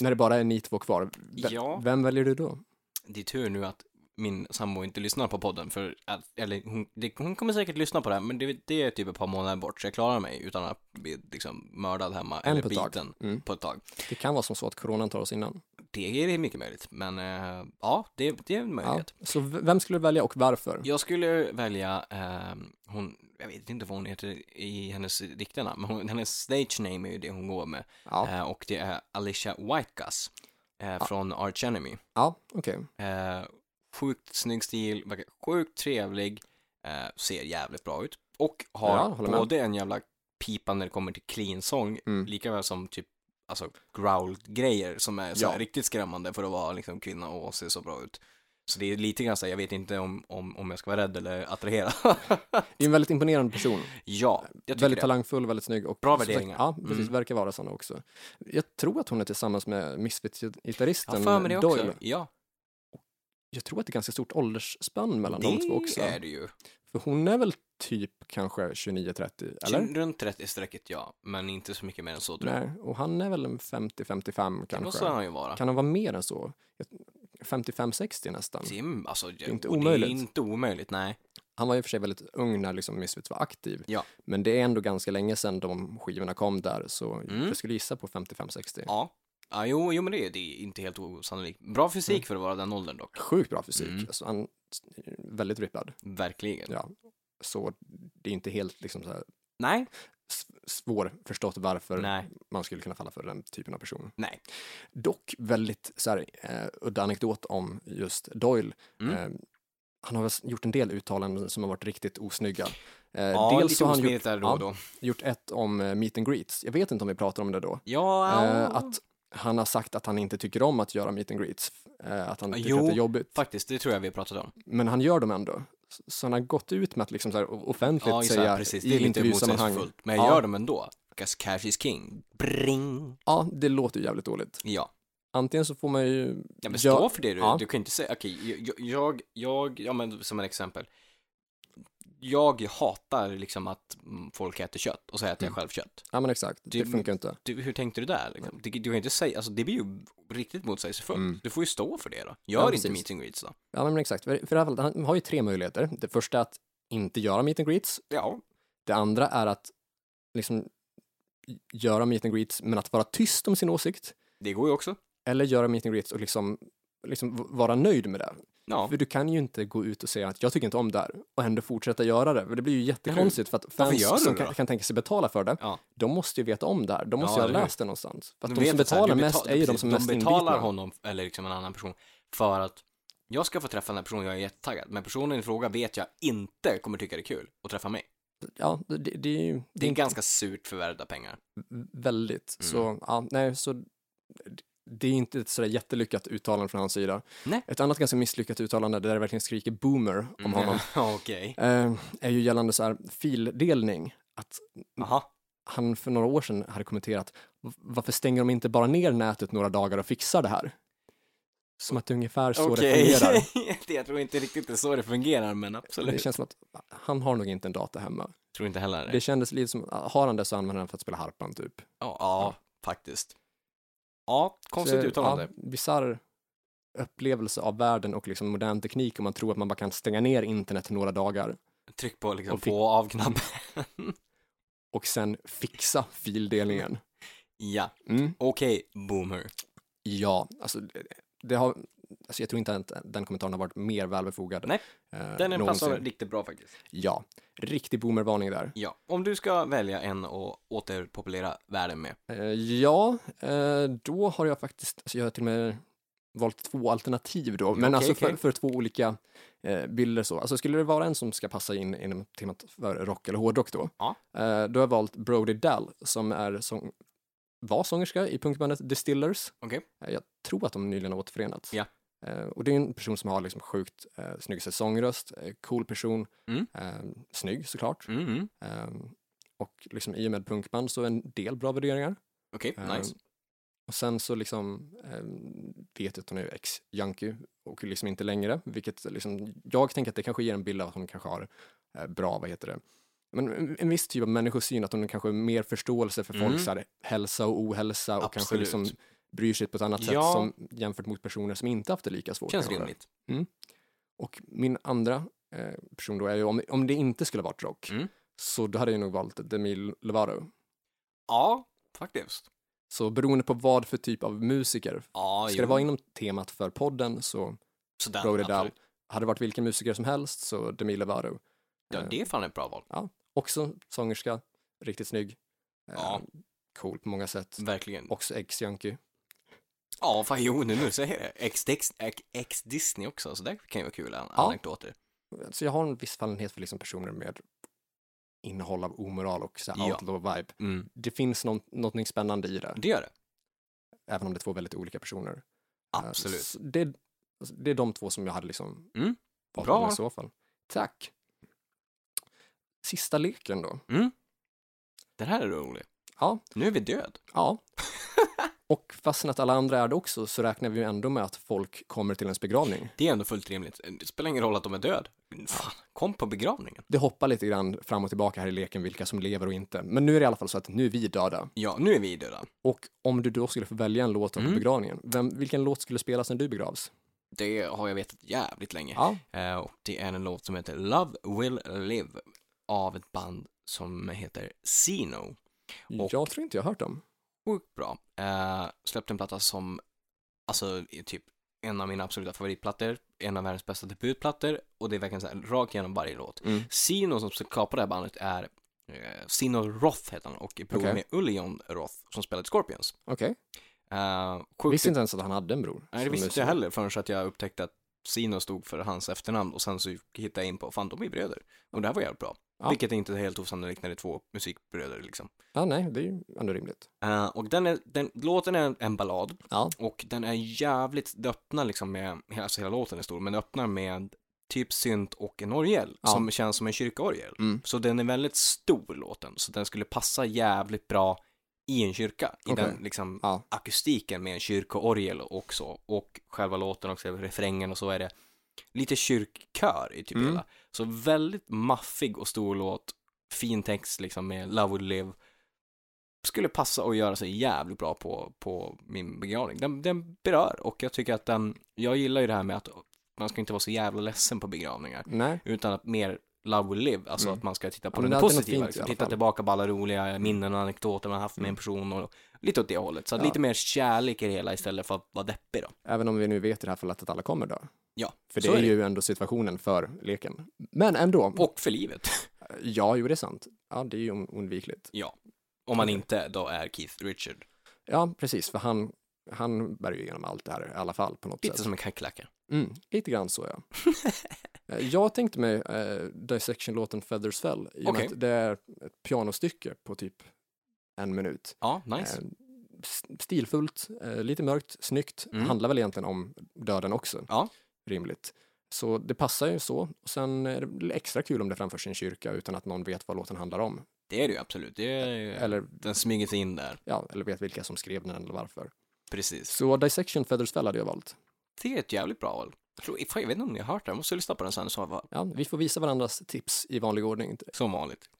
[SPEAKER 3] när det bara är ni två kvar, ve-
[SPEAKER 2] Ja.
[SPEAKER 3] vem väljer du då?
[SPEAKER 2] Det är tur nu att min sambo inte lyssnar på podden, för att, eller hon, det, hon kommer säkert lyssna på det här, men det, det är typ ett par månader bort, så jag klarar mig utan att bli liksom mördad hemma,
[SPEAKER 3] En
[SPEAKER 2] eller
[SPEAKER 3] på ett tag.
[SPEAKER 2] biten
[SPEAKER 3] Mm.
[SPEAKER 2] på ett tag.
[SPEAKER 3] Det kan vara som så att coronan tar oss innan.
[SPEAKER 2] Det är mycket möjligt, men eh, ja, det, det är en
[SPEAKER 3] Ja.
[SPEAKER 2] möjlighet.
[SPEAKER 3] Så v- vem skulle du välja och varför?
[SPEAKER 2] Jag skulle välja, ehm, hon, jag vet inte vad hon heter i hennes riktiga namn, men hon, hennes stage name är ju det hon går med.
[SPEAKER 3] Ja,
[SPEAKER 2] Eh, och det är Alicia Whitecuss eh, från Arch Enemy.
[SPEAKER 3] ja okej.
[SPEAKER 2] Eh, sjukt snygg stil, verkar sjukt trevlig, eh, ser jävligt bra ut. Och har
[SPEAKER 3] Ja, håller med.
[SPEAKER 2] både en jävla pipa när det kommer till clean sång,
[SPEAKER 3] Mm.
[SPEAKER 2] lika väl som typ alltså growl-grejer som är så här
[SPEAKER 3] Ja.
[SPEAKER 2] riktigt skrämmande för att vara liksom kvinna och se så bra ut. Så det är lite grann så här, jag vet inte om, om, om jag ska vara rädd eller attraherad.
[SPEAKER 3] Det är en väldigt imponerande person.
[SPEAKER 2] ja, jag tycker
[SPEAKER 3] Väldigt
[SPEAKER 2] det.
[SPEAKER 3] talangfull, väldigt snygg och
[SPEAKER 2] Bra värderingar.
[SPEAKER 3] Ja, precis.
[SPEAKER 2] Mm.
[SPEAKER 3] Verkar vara sådana också. Jag tror att hon är tillsammans med
[SPEAKER 2] Jag har
[SPEAKER 3] Misfits-gitarristen
[SPEAKER 2] för mig det också.
[SPEAKER 3] Doyle.
[SPEAKER 2] Ja,
[SPEAKER 3] Jag tror att det är ganska stort åldersspann mellan de två också.
[SPEAKER 2] det är det ju.
[SPEAKER 3] För hon är väl typ kanske 29-30, eller?
[SPEAKER 2] Runt 30-strecket ja, men inte så mycket mer än så tror jag.
[SPEAKER 3] Nej, och han är väl en 50-55
[SPEAKER 2] Det
[SPEAKER 3] kanske.
[SPEAKER 2] måste han ju vara.
[SPEAKER 3] Kan han vara mer än så? Jag- 55-60 nästan.
[SPEAKER 2] Tim, alltså, det
[SPEAKER 3] är inte
[SPEAKER 2] och
[SPEAKER 3] omöjligt.
[SPEAKER 2] Det är inte omöjligt, nej.
[SPEAKER 3] Han var i och för sig väldigt ung när liksom Misfits var aktiv.
[SPEAKER 2] Ja.
[SPEAKER 3] Men det är ändå ganska länge sedan de skivorna kom där, så
[SPEAKER 2] Mm.
[SPEAKER 3] jag skulle gissa på 55-60.
[SPEAKER 2] Ja. ja jo, jo, men det, är- det är inte helt osannolikt. Bra fysik
[SPEAKER 3] Mm.
[SPEAKER 2] för att vara den åldern dock.
[SPEAKER 3] Sjukt bra fysik.
[SPEAKER 2] Mm.
[SPEAKER 3] Alltså, han, väldigt rippad.
[SPEAKER 2] Verkligen.
[SPEAKER 3] Ja. Så det är inte helt liksom, så här,
[SPEAKER 2] Nej,
[SPEAKER 3] s- svårförstått varför
[SPEAKER 2] nej,
[SPEAKER 3] man skulle kunna falla för den typen av person.
[SPEAKER 2] nej.
[SPEAKER 3] Dock väldigt så här, eh, udda anekdot om just Doyle.
[SPEAKER 2] Mm.
[SPEAKER 3] Eh, han har väl gjort en del uttalanden som har varit riktigt osnygga. Eh,
[SPEAKER 2] Ja,
[SPEAKER 3] dels
[SPEAKER 2] lite
[SPEAKER 3] så har han
[SPEAKER 2] osmidigt
[SPEAKER 3] gjort,
[SPEAKER 2] där då
[SPEAKER 3] ja.
[SPEAKER 2] och då.
[SPEAKER 3] gjort ett om eh, meet and greets. Jag vet inte om vi pratar om det då.
[SPEAKER 2] Ja,
[SPEAKER 3] Eh, att han har sagt att han inte tycker om att göra meet and greets. Eh, att han tycker
[SPEAKER 2] Jo.
[SPEAKER 3] att det är jobbigt.
[SPEAKER 2] faktiskt, det tror jag vi har pratat om.
[SPEAKER 3] Men han gör dem ändå. Så- Så han har gått ut med att liksom så här o- offentligt
[SPEAKER 2] Ja, just det,
[SPEAKER 3] säga
[SPEAKER 2] precis. Det är
[SPEAKER 3] i
[SPEAKER 2] lite
[SPEAKER 3] intervjusammanhang.
[SPEAKER 2] motsägelsefullt. Men jag
[SPEAKER 3] Ja.
[SPEAKER 2] gör dem ändå. 'Cause Cash is king. Bring.
[SPEAKER 3] Ja, det låter ju jävligt dåligt.
[SPEAKER 2] Ja.
[SPEAKER 3] Antingen så får man ju...
[SPEAKER 2] Ja, men
[SPEAKER 3] gö-
[SPEAKER 2] stå för det du.
[SPEAKER 3] Ja.
[SPEAKER 2] Du kan inte säga, okej, jag, jag, jag, ja men som ett exempel. Jag hatar liksom att mm, folk äter kött och säger att
[SPEAKER 3] Mm.
[SPEAKER 2] jag själv kött.
[SPEAKER 3] Ja, men exakt.
[SPEAKER 2] Det-
[SPEAKER 3] Det funkar ju inte.
[SPEAKER 2] du, hur tänkte du där? Liksom? Du, du kan inte säga, alltså det blir ju riktigt motsägelsefullt.
[SPEAKER 3] Mm.
[SPEAKER 2] Du får ju stå för det då.
[SPEAKER 3] Ja,
[SPEAKER 2] Gör inte
[SPEAKER 3] precis.
[SPEAKER 2] meet and greets då.
[SPEAKER 3] Ja, men exakt. För för i alla fall, han har ju tre möjligheter. Det första är att inte göra meet and greets.
[SPEAKER 2] Ja.
[SPEAKER 3] Det andra är att liksom göra meet and greets, men att vara tyst om sin åsikt.
[SPEAKER 2] Det går ju också.
[SPEAKER 3] Eller göra meet and greets och liksom, liksom v- vara nöjd med det.
[SPEAKER 2] Ja.
[SPEAKER 3] För du kan ju inte gå ut och säga att jag tycker inte om det här och ändå fortsätta göra det. För det blir ju jättekonstigt för att
[SPEAKER 2] Varför gör du
[SPEAKER 3] fans som
[SPEAKER 2] det
[SPEAKER 3] kan,
[SPEAKER 2] då?
[SPEAKER 3] kan tänka sig betala för det,
[SPEAKER 2] Ja.
[SPEAKER 3] de måste ju veta om det här. De måste
[SPEAKER 2] Ja,
[SPEAKER 3] ju ha
[SPEAKER 2] eller hur?
[SPEAKER 3] läst det någonstans. För att
[SPEAKER 2] Du
[SPEAKER 3] de
[SPEAKER 2] vet
[SPEAKER 3] som
[SPEAKER 2] att så här,
[SPEAKER 3] betalar
[SPEAKER 2] du
[SPEAKER 3] mest
[SPEAKER 2] betal-
[SPEAKER 3] är ju de
[SPEAKER 2] precis,
[SPEAKER 3] som är mest
[SPEAKER 2] De betalar
[SPEAKER 3] inbitna.
[SPEAKER 2] honom, eller liksom en annan person, för att jag ska få träffa den här personen, jag är jättetaggad. Men personen i fråga vet jag inte kommer tycka det är kul att träffa mig.
[SPEAKER 3] Ja, det, det, det är ju
[SPEAKER 2] Det är ganska surt förvärvda pengar.
[SPEAKER 3] väldigt.
[SPEAKER 2] Mm.
[SPEAKER 3] Så, ja, nej, så d- det är inte ett sådär jättelyckat uttalande från hans sida.
[SPEAKER 2] Nej. Mm,
[SPEAKER 3] Ett annat ganska misslyckat uttalande där det verkligen skriker boomer om honom
[SPEAKER 2] Ja, Okej.
[SPEAKER 3] eh, är ju gällande så här fildelning. Att
[SPEAKER 2] Jaha.
[SPEAKER 3] han för några år sedan hade kommenterat "V- varför stänger de inte bara ner nätet några dagar och fixar det här? Som att det är ungefär så det
[SPEAKER 2] Okej,
[SPEAKER 3] fungerar.
[SPEAKER 2] jag tror inte riktigt det är så det fungerar, men absolut.
[SPEAKER 3] Det känns som att ah, han har nog inte en dator hemma.
[SPEAKER 2] Tror inte heller.
[SPEAKER 3] Det kändes lite som, ah, har han det så använder han den för att spela harpan typ.
[SPEAKER 2] Ja, ja, faktiskt. Ja, konstigt
[SPEAKER 3] Så,
[SPEAKER 2] uttalande.
[SPEAKER 3] Ja, bisarr upplevelse av världen och liksom modern teknik om man tror att man bara kan stänga ner internet i några dagar
[SPEAKER 2] Tryck på liksom
[SPEAKER 3] Och fick-
[SPEAKER 2] på och avknapp.
[SPEAKER 3] och sen fixa fildelningen.
[SPEAKER 2] ja,
[SPEAKER 3] Mm.
[SPEAKER 2] okej, boomer.
[SPEAKER 3] Ja, alltså det- det har, alltså jag tror inte att den kommentaren har varit mer välbefogad.
[SPEAKER 2] Nej,
[SPEAKER 3] eh,
[SPEAKER 2] Den är
[SPEAKER 3] någonsin.
[SPEAKER 2] passar riktigt bra faktiskt.
[SPEAKER 3] Ja, riktig boomervarning där.
[SPEAKER 2] Ja, om du ska välja en att återpopulera världen med.
[SPEAKER 3] Eh, Ja, eh, då har jag faktiskt, alltså jag har till och med valt två alternativ då, men
[SPEAKER 2] okej,
[SPEAKER 3] alltså
[SPEAKER 2] okej.
[SPEAKER 3] För, för två olika eh, bilder så. Alltså skulle det vara en som ska passa in inom temat för rock eller hårdrock då,
[SPEAKER 2] Ja.
[SPEAKER 3] eh, då har jag valt Brody Dell som är sång, var sångerska i punkbandet Distillers.
[SPEAKER 2] Okej.
[SPEAKER 3] Eh, jag tror att de nyligen har återförenats.
[SPEAKER 2] Ja.
[SPEAKER 3] Eh, och det är en person som har liksom sjukt eh, snygg sångröst, eh, cool person,
[SPEAKER 2] Mm.
[SPEAKER 3] eh, snygg såklart.
[SPEAKER 2] Mm, mm.
[SPEAKER 3] Eh, och liksom i och med punkband så en del bra värderingar.
[SPEAKER 2] Okej,
[SPEAKER 3] Eh,
[SPEAKER 2] nice.
[SPEAKER 3] Och sen så liksom eh, vet jag att hon är ex-junkie och liksom inte längre, vilket liksom, jag tänker att det kanske ger en bild av att hon kanske har eh, bra, vad heter det, men en- en viss typ av människosyn, att hon kanske har mer förståelse för
[SPEAKER 2] Mm.
[SPEAKER 3] folks så här, hälsa och ohälsa och kanske
[SPEAKER 2] Absolut.
[SPEAKER 3] liksom bryr sig på ett annat
[SPEAKER 2] Ja.
[SPEAKER 3] sätt som, jämfört mot personer som inte haft det lika svårt.
[SPEAKER 2] Känns
[SPEAKER 3] kanske.
[SPEAKER 2] rimligt.
[SPEAKER 3] Och min andra eh, person då är ju, om, om det inte skulle varit rock,
[SPEAKER 2] Mm.
[SPEAKER 3] så då hade jag nog valt Demi Lovato.
[SPEAKER 2] Ja, faktiskt.
[SPEAKER 3] Så beroende på vad för typ av musiker
[SPEAKER 2] Ja,
[SPEAKER 3] Ska
[SPEAKER 2] jo.
[SPEAKER 3] det vara inom temat för podden så
[SPEAKER 2] Sådär,
[SPEAKER 3] Brody Dow.
[SPEAKER 2] absolut.
[SPEAKER 3] Hade det varit vilken musiker som helst så Demi Lovato.
[SPEAKER 2] Ja, det är fan ett bra val.
[SPEAKER 3] Också sångerska, riktigt snygg. eh,
[SPEAKER 2] Ja.
[SPEAKER 3] Cool på många sätt.
[SPEAKER 2] Verkligen.
[SPEAKER 3] Också ex-junkie.
[SPEAKER 2] Ja, fan jo, nu, nu säger jag det. Ex-Dix- ex- Ex-Disney också, så det kan ju vara kul an- anekdoter.
[SPEAKER 3] Så jag har en viss fallenhet för liksom personer med innehåll av omoral och så här
[SPEAKER 2] Ja.
[SPEAKER 3] outlaw-vibe.
[SPEAKER 2] Mm.
[SPEAKER 3] Det finns någon, någonting spännande i det,
[SPEAKER 2] Det gör det.
[SPEAKER 3] även om det är två väldigt olika personer. Eh,
[SPEAKER 2] Absolut.
[SPEAKER 3] så Det, alltså, det är de två som jag hade liksom
[SPEAKER 2] Mm.
[SPEAKER 3] valt
[SPEAKER 2] Bra.
[SPEAKER 3] mellan i så fall. Tack. Sista leken då.
[SPEAKER 2] Den här är rolig.
[SPEAKER 3] Ja,
[SPEAKER 2] Nu är vi död.
[SPEAKER 3] Ja. Och fastän att alla andra är det också så räknar vi ju ändå med att folk kommer till ens begravning.
[SPEAKER 2] Det är ändå fullt rimligt. Eh, Det spelar ingen roll att de är död. Fan, kom på begravningen.
[SPEAKER 3] Det hoppar lite grann fram och tillbaka här i leken vilka som lever och inte. Men nu är det i alla fall så att nu är vi döda.
[SPEAKER 2] Ja, nu är vi döda.
[SPEAKER 3] Och om du då skulle få välja en låt
[SPEAKER 2] Mm.
[SPEAKER 3] på begravningen, vem, vilken låt skulle spelas när du begravs?
[SPEAKER 2] Det har jag vetat jävligt länge.
[SPEAKER 3] Ja,
[SPEAKER 2] Eh, och det är en låt som heter Love Will Live av ett band som heter Sino. Och-
[SPEAKER 3] jag tror inte jag har hört dem.
[SPEAKER 2] Sjukt bra. Eh, släppte en platta som, alltså är typ en av mina absoluta favoritplattor, en av världens bästa debutplattor och det är verkligen så här rakt igenom varje låt.
[SPEAKER 3] Mm.
[SPEAKER 2] Sino som skapar det här bandet är eh, Sino Roth heter han och är bror
[SPEAKER 3] Okej.
[SPEAKER 2] med Ullion Roth som spelade Scorpions.
[SPEAKER 3] Okej.
[SPEAKER 2] Eh,
[SPEAKER 3] Jag
[SPEAKER 2] sjukt
[SPEAKER 3] Visste inte ens att han hade en bror.
[SPEAKER 2] Nej, det
[SPEAKER 3] som
[SPEAKER 2] visste inte
[SPEAKER 3] musiker.
[SPEAKER 2] jag heller förrän att jag upptäckte att Sino stod för hans efternamn och sen så hittade jag in på, fan de är bröder. Och det här var jävligt bra.
[SPEAKER 3] Ja.
[SPEAKER 2] Vilket är inte helt osannolikt när det är två musikbröder liksom.
[SPEAKER 3] Ja, nej, det är ju ändå rimligt.
[SPEAKER 2] Eh, och den är, den, låten är en, en ballad
[SPEAKER 3] Ja.
[SPEAKER 2] och den är jävligt, det öppnar liksom med, alltså hela låten är stor, men det öppnar med typ synt och en orgel
[SPEAKER 3] Ja.
[SPEAKER 2] som känns som en kyrkorgel.
[SPEAKER 3] Mm.
[SPEAKER 2] Så den är väldigt stor låten, så den skulle passa jävligt bra i en kyrka, i
[SPEAKER 3] Okej.
[SPEAKER 2] den liksom
[SPEAKER 3] Ja.
[SPEAKER 2] akustiken med en kyrkoorgel också och själva låten också, refrängen och så är det lite kyrkkör i typ
[SPEAKER 3] Mm.
[SPEAKER 2] hela. Så väldigt maffig och stor låt, fin text liksom med Love Will Live. Skulle passa och göra sig jävligt bra på, på min begravning. Den, den berör och jag tycker att den, jag gillar ju det här med att man ska inte vara så jävla ledsen på begravningar
[SPEAKER 3] Nej.
[SPEAKER 2] utan att mer Love will live, alltså
[SPEAKER 3] Mm.
[SPEAKER 2] att man ska titta
[SPEAKER 3] Ja,
[SPEAKER 2] på
[SPEAKER 3] men
[SPEAKER 2] den
[SPEAKER 3] det är alltid något
[SPEAKER 2] positiva,
[SPEAKER 3] fint i
[SPEAKER 2] liksom.
[SPEAKER 3] alla
[SPEAKER 2] titta
[SPEAKER 3] fall.
[SPEAKER 2] tillbaka på alla roliga minnen och anekdoter man haft med en
[SPEAKER 3] Mm.
[SPEAKER 2] person och lite åt det hållet. Så att
[SPEAKER 3] Ja.
[SPEAKER 2] lite mer kärlek i det hela istället för att vara deppig då.
[SPEAKER 3] Även om vi nu vet i det här fallet att alla kommer då.
[SPEAKER 2] Ja,
[SPEAKER 3] För det
[SPEAKER 2] så
[SPEAKER 3] är ju ändå situationen för leken. Men ändå.
[SPEAKER 2] Och för livet,
[SPEAKER 3] Ja, jo, det är sant. Ja, det är ju oundvikligt.
[SPEAKER 2] om man
[SPEAKER 3] Okej.
[SPEAKER 2] inte då är Keith Richard.
[SPEAKER 3] Ja, precis, för han, han bär ju igenom allt det här i alla fall på något
[SPEAKER 2] Lite
[SPEAKER 3] sätt.
[SPEAKER 2] som en kackerlacka.
[SPEAKER 3] Mm, lite grann så, ja. Eh, Jag tänkte mig eh, Dissection-låten Feathers Fell, i och med
[SPEAKER 2] Okej.
[SPEAKER 3] att det är ett pianostycke på typ en minut.
[SPEAKER 2] Ja, nice.
[SPEAKER 3] Eh, s- stilfullt, eh, lite mörkt, snyggt,
[SPEAKER 2] Mm.
[SPEAKER 3] handlar väl egentligen om döden också.
[SPEAKER 2] Ja.
[SPEAKER 3] Rimligt. Så det passar ju så. Och sen är det extra kul om det framförs i en kyrka utan att någon vet vad låten handlar om.
[SPEAKER 2] Det är det ju absolut. Det är ju...
[SPEAKER 3] Eller,
[SPEAKER 2] Den smyger sig in där,
[SPEAKER 3] ja, eller vet vilka som skrev den eller varför.
[SPEAKER 2] precis.
[SPEAKER 3] Så Dissection Feathers Fell hade jag valt.
[SPEAKER 2] Det är ett jävligt bra val. Jag, tror, fan, jag vet inte om ni har hört det, jag måste lyssna på den sen. Så var,
[SPEAKER 3] Ja, vi får visa varandras tips i vanlig ordning.
[SPEAKER 2] som vanligt.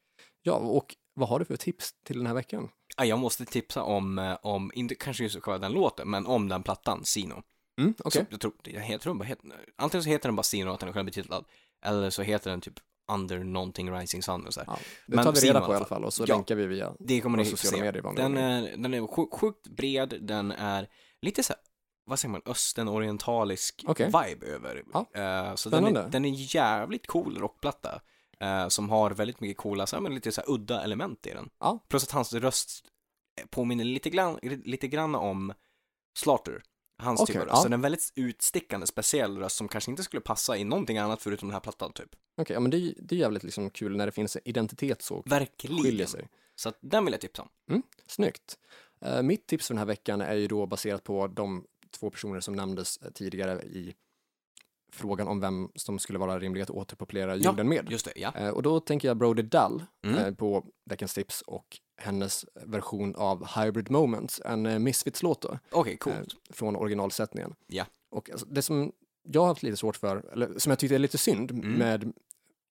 [SPEAKER 3] Ja, och vad har du för tips till den här veckan?
[SPEAKER 2] Ja, jag måste tipsa om, eh, om inte kanske just själva den låten, men om den plattan, Sino.
[SPEAKER 3] Mm,
[SPEAKER 2] Så Jag, tror, jag, jag tror den bara heter, antingen så heter den bara Sino, att den är självbetitlad, eller så heter den typ Under någonting Rising Sun och så här.
[SPEAKER 3] Ja, det
[SPEAKER 2] Men
[SPEAKER 3] tar vi
[SPEAKER 2] Simon
[SPEAKER 3] reda
[SPEAKER 2] i
[SPEAKER 3] på
[SPEAKER 2] alla
[SPEAKER 3] i alla fall och så
[SPEAKER 2] Ja.
[SPEAKER 3] länkar vi via
[SPEAKER 2] Det kommer
[SPEAKER 3] våra
[SPEAKER 2] ni få
[SPEAKER 3] sociala
[SPEAKER 2] se.
[SPEAKER 3] medier i vanlig
[SPEAKER 2] Den
[SPEAKER 3] ordning.
[SPEAKER 2] är, den är sjukt, sjukt bred, den är lite så här, vad säger man, östenorientalisk
[SPEAKER 3] Okej.
[SPEAKER 2] vibe över.
[SPEAKER 3] Ja.
[SPEAKER 2] Eh, så den är,
[SPEAKER 3] Spännande.
[SPEAKER 2] den är jävligt cool rockplatta. eh, som har väldigt mycket coola, så här, men lite så här, udda element i den.
[SPEAKER 3] Ja.
[SPEAKER 2] Plus att hans röst påminner lite grann, lite grann om Slater. Hans typ
[SPEAKER 3] Okej,
[SPEAKER 2] av röst. Så
[SPEAKER 3] ja.
[SPEAKER 2] den är en väldigt utstickande, speciell röst som kanske inte skulle passa i någonting annat förutom den här plattan typ.
[SPEAKER 3] Okej, ja, men det, är ju- det är jävligt liksom kul när det finns en identitet så skiljer
[SPEAKER 2] Verkligen.
[SPEAKER 3] sig.
[SPEAKER 2] Så att den vill jag tipsa om.
[SPEAKER 3] Snyggt. Eh, mitt tips för den här veckan är ju då baserat på de två personer som nämndes eh, tidigare i frågan om vem som skulle vara rimlig att återpopulera
[SPEAKER 2] Ja,
[SPEAKER 3] jorden med.
[SPEAKER 2] Just det, ja.
[SPEAKER 3] Eh, och då tänker jag Brody Dull
[SPEAKER 2] Mm.
[SPEAKER 3] eh, på Veckans tips och hennes version av Hybrid Moments, en eh, Misfits-låt då.
[SPEAKER 2] Okej, coolt.
[SPEAKER 3] eh, från originalsättningen.
[SPEAKER 2] Ja.
[SPEAKER 3] Och alltså, det som jag har haft lite svårt för, eller som jag tyckte är lite synd
[SPEAKER 2] Mm.
[SPEAKER 3] med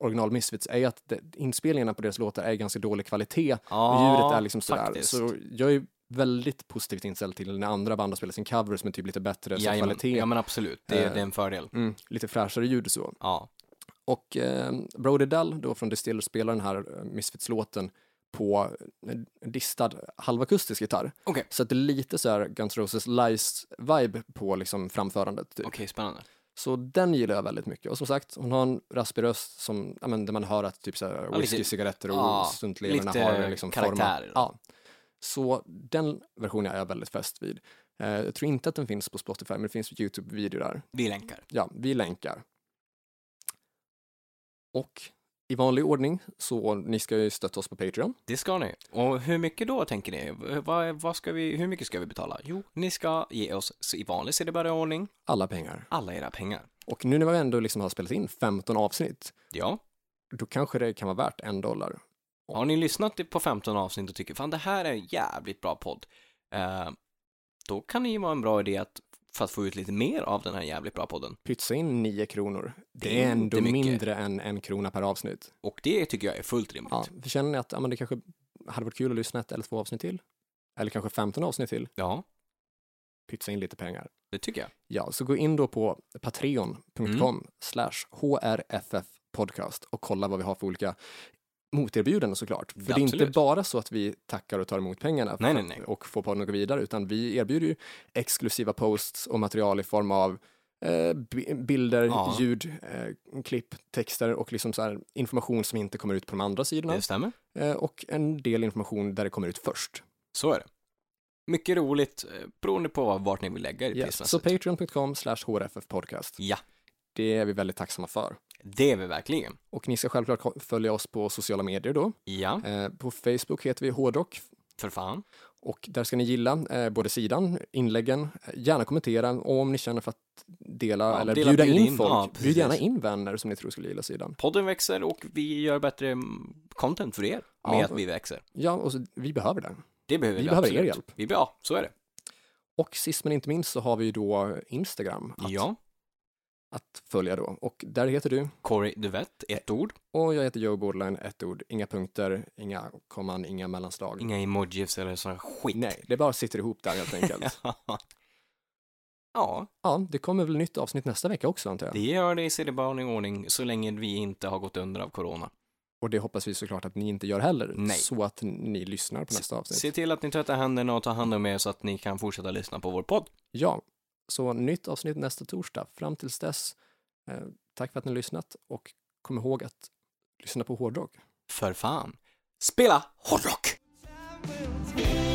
[SPEAKER 3] original Misfits är ju att det, inspelningarna på deras låtar är ganska dålig kvalitet och
[SPEAKER 2] Ja,
[SPEAKER 3] ljudet är liksom sådär.
[SPEAKER 2] faktiskt.
[SPEAKER 3] Så jag är ju väldigt positivt inställd till när andra band har spelat sin cover som är typ lite bättre som
[SPEAKER 2] Jajamän.
[SPEAKER 3] kvalitet.
[SPEAKER 2] Ja men absolut, det,
[SPEAKER 3] Eh,
[SPEAKER 2] det är en fördel.
[SPEAKER 3] Mm, lite fräschare ljud och så.
[SPEAKER 2] Ja.
[SPEAKER 3] Och eh, Brody Dell då från Distiller spelar den här eh, Misfits-låten på en distad halvakustisk gitarr.
[SPEAKER 2] Okej.
[SPEAKER 3] Så att det är lite så här Guns Roses Lies-vibe på liksom framförandet. Typ.
[SPEAKER 2] Okej, spännande.
[SPEAKER 3] Så den gillar jag väldigt mycket. Och som sagt, hon har en raspig röst som, ja, men, där man hör att typ så här,
[SPEAKER 2] Ja,
[SPEAKER 3] whisky,
[SPEAKER 2] lite-
[SPEAKER 3] cigaretter och
[SPEAKER 2] ja,
[SPEAKER 3] stuntleverna
[SPEAKER 2] lite
[SPEAKER 3] har liksom
[SPEAKER 2] karaktär.
[SPEAKER 3] format. Ja. Så den versionen är jag väldigt fäst vid. Eh, jag tror inte att den finns på Spotify, men det finns YouTube-video där.
[SPEAKER 2] Vi länkar.
[SPEAKER 3] Ja, vi länkar. Och i vanlig ordning, så ni ska ju stötta oss på Patreon.
[SPEAKER 2] Det ska ni. Och hur mycket då tänker ni? V- Vad, vad ska vi, hur mycket ska vi betala? Jo, ni ska ge oss så i vanlig CD-ordning
[SPEAKER 3] Alla pengar.
[SPEAKER 2] alla era pengar.
[SPEAKER 3] Och nu när vi ändå liksom har spelat in 15 avsnitt,
[SPEAKER 2] Ja.
[SPEAKER 3] då kanske det kan vara värt en dollar.
[SPEAKER 2] Har ni lyssnat på 15 avsnitt och tycker fan det här är en jävligt bra podd, eh, då kan det ju vara en bra idé att, för att få ut lite mer av den här jävligt bra podden.
[SPEAKER 3] Pytsa in 9 kronor.
[SPEAKER 2] Det
[SPEAKER 3] Det
[SPEAKER 2] är
[SPEAKER 3] är ändå
[SPEAKER 2] inte mycket.
[SPEAKER 3] mindre än en krona per avsnitt.
[SPEAKER 2] Och det tycker jag är fullt rimligt.
[SPEAKER 3] Ja,
[SPEAKER 2] Ja.
[SPEAKER 3] för känner ni att ja, men det kanske hade varit kul att lyssna ett eller två avsnitt till? Eller kanske 15 avsnitt till? Pytsa in lite pengar.
[SPEAKER 2] det tycker jag.
[SPEAKER 3] Ja, så gå in då på patreon.com
[SPEAKER 2] Mm.
[SPEAKER 3] slash hrffpodcast och kolla vad vi har för olika moterbjudanden såklart. För det är
[SPEAKER 2] Absolut.
[SPEAKER 3] inte bara så att vi tackar och tar emot pengarna
[SPEAKER 2] Nej,
[SPEAKER 3] för
[SPEAKER 2] nej, nej.
[SPEAKER 3] att- och får podden att gå vidare, utan vi erbjuder ju exklusiva posts och material i form av eh, bi- bilder,
[SPEAKER 2] Ja.
[SPEAKER 3] ljud, eh, klipp, texter och liksom så här information som inte kommer ut på de andra sidorna.
[SPEAKER 2] Det stämmer.
[SPEAKER 3] Eh, och en del information där det kommer ut först.
[SPEAKER 2] Så är det. Mycket roligt, eh, beroende på vad- vart ni vill lägga er
[SPEAKER 3] Yes.
[SPEAKER 2] prismässigt.
[SPEAKER 3] Så patreon.com slash hrffpodcast.
[SPEAKER 2] Ja,
[SPEAKER 3] Det är vi väldigt tacksamma för.
[SPEAKER 2] det är vi verkligen.
[SPEAKER 3] Och ni ska självklart ko- följa oss på sociala medier då.
[SPEAKER 2] Ja,
[SPEAKER 3] Eh, på Facebook heter vi Hårdrock
[SPEAKER 2] för fan.
[SPEAKER 3] och där ska ni gilla eh, både sidan, inläggen, eh, gärna kommentera och om ni känner för att dela
[SPEAKER 2] Ja,
[SPEAKER 3] eller
[SPEAKER 2] dela,
[SPEAKER 3] bjuda
[SPEAKER 2] bjud
[SPEAKER 3] in,
[SPEAKER 2] in.
[SPEAKER 3] folk.
[SPEAKER 2] Ja, precis.
[SPEAKER 3] Bjud gärna in vänner som ni tror skulle gilla sidan.
[SPEAKER 2] Podden växer och vi gör bättre mm, content för er med
[SPEAKER 3] Ja.
[SPEAKER 2] att vi växer.
[SPEAKER 3] Ja, och så, vi behöver det.
[SPEAKER 2] Det behöver vi,
[SPEAKER 3] Vi behöver er
[SPEAKER 2] absolut.
[SPEAKER 3] hjälp.
[SPEAKER 2] Vi, ja, så är det.
[SPEAKER 3] Och sist men inte minst så har vi ju då Instagram att,
[SPEAKER 2] Ja,
[SPEAKER 3] att följa då. Och där heter du,
[SPEAKER 2] Corey Duvett, ett ord.
[SPEAKER 3] och jag heter Joe Borderline, ett ord, inga punkter, inga komman, inga mellanslag.
[SPEAKER 2] Inga emojis eller sån här skit.
[SPEAKER 3] Nej, det bara sitter ihop där helt enkelt.
[SPEAKER 2] ja,
[SPEAKER 3] ja, det kommer väl nytt avsnitt nästa vecka också antar jag.
[SPEAKER 2] det gör det i sedvanlig ordning så länge vi inte har gått under av corona.
[SPEAKER 3] Och det hoppas vi såklart att ni inte gör heller,
[SPEAKER 2] Nej.
[SPEAKER 3] så att ni lyssnar på nästa avsnitt.
[SPEAKER 2] Se till att ni tvättar händerna och tar hand om er så att ni kan fortsätta lyssna på vår podd.
[SPEAKER 3] Ja, så nytt avsnitt nästa torsdag. Fram tills dess, eh, tack för att ni har lyssnat och kom ihåg att lyssna på hårdrock.
[SPEAKER 2] För fan. Spela hårdrock!
[SPEAKER 1] Time will tell.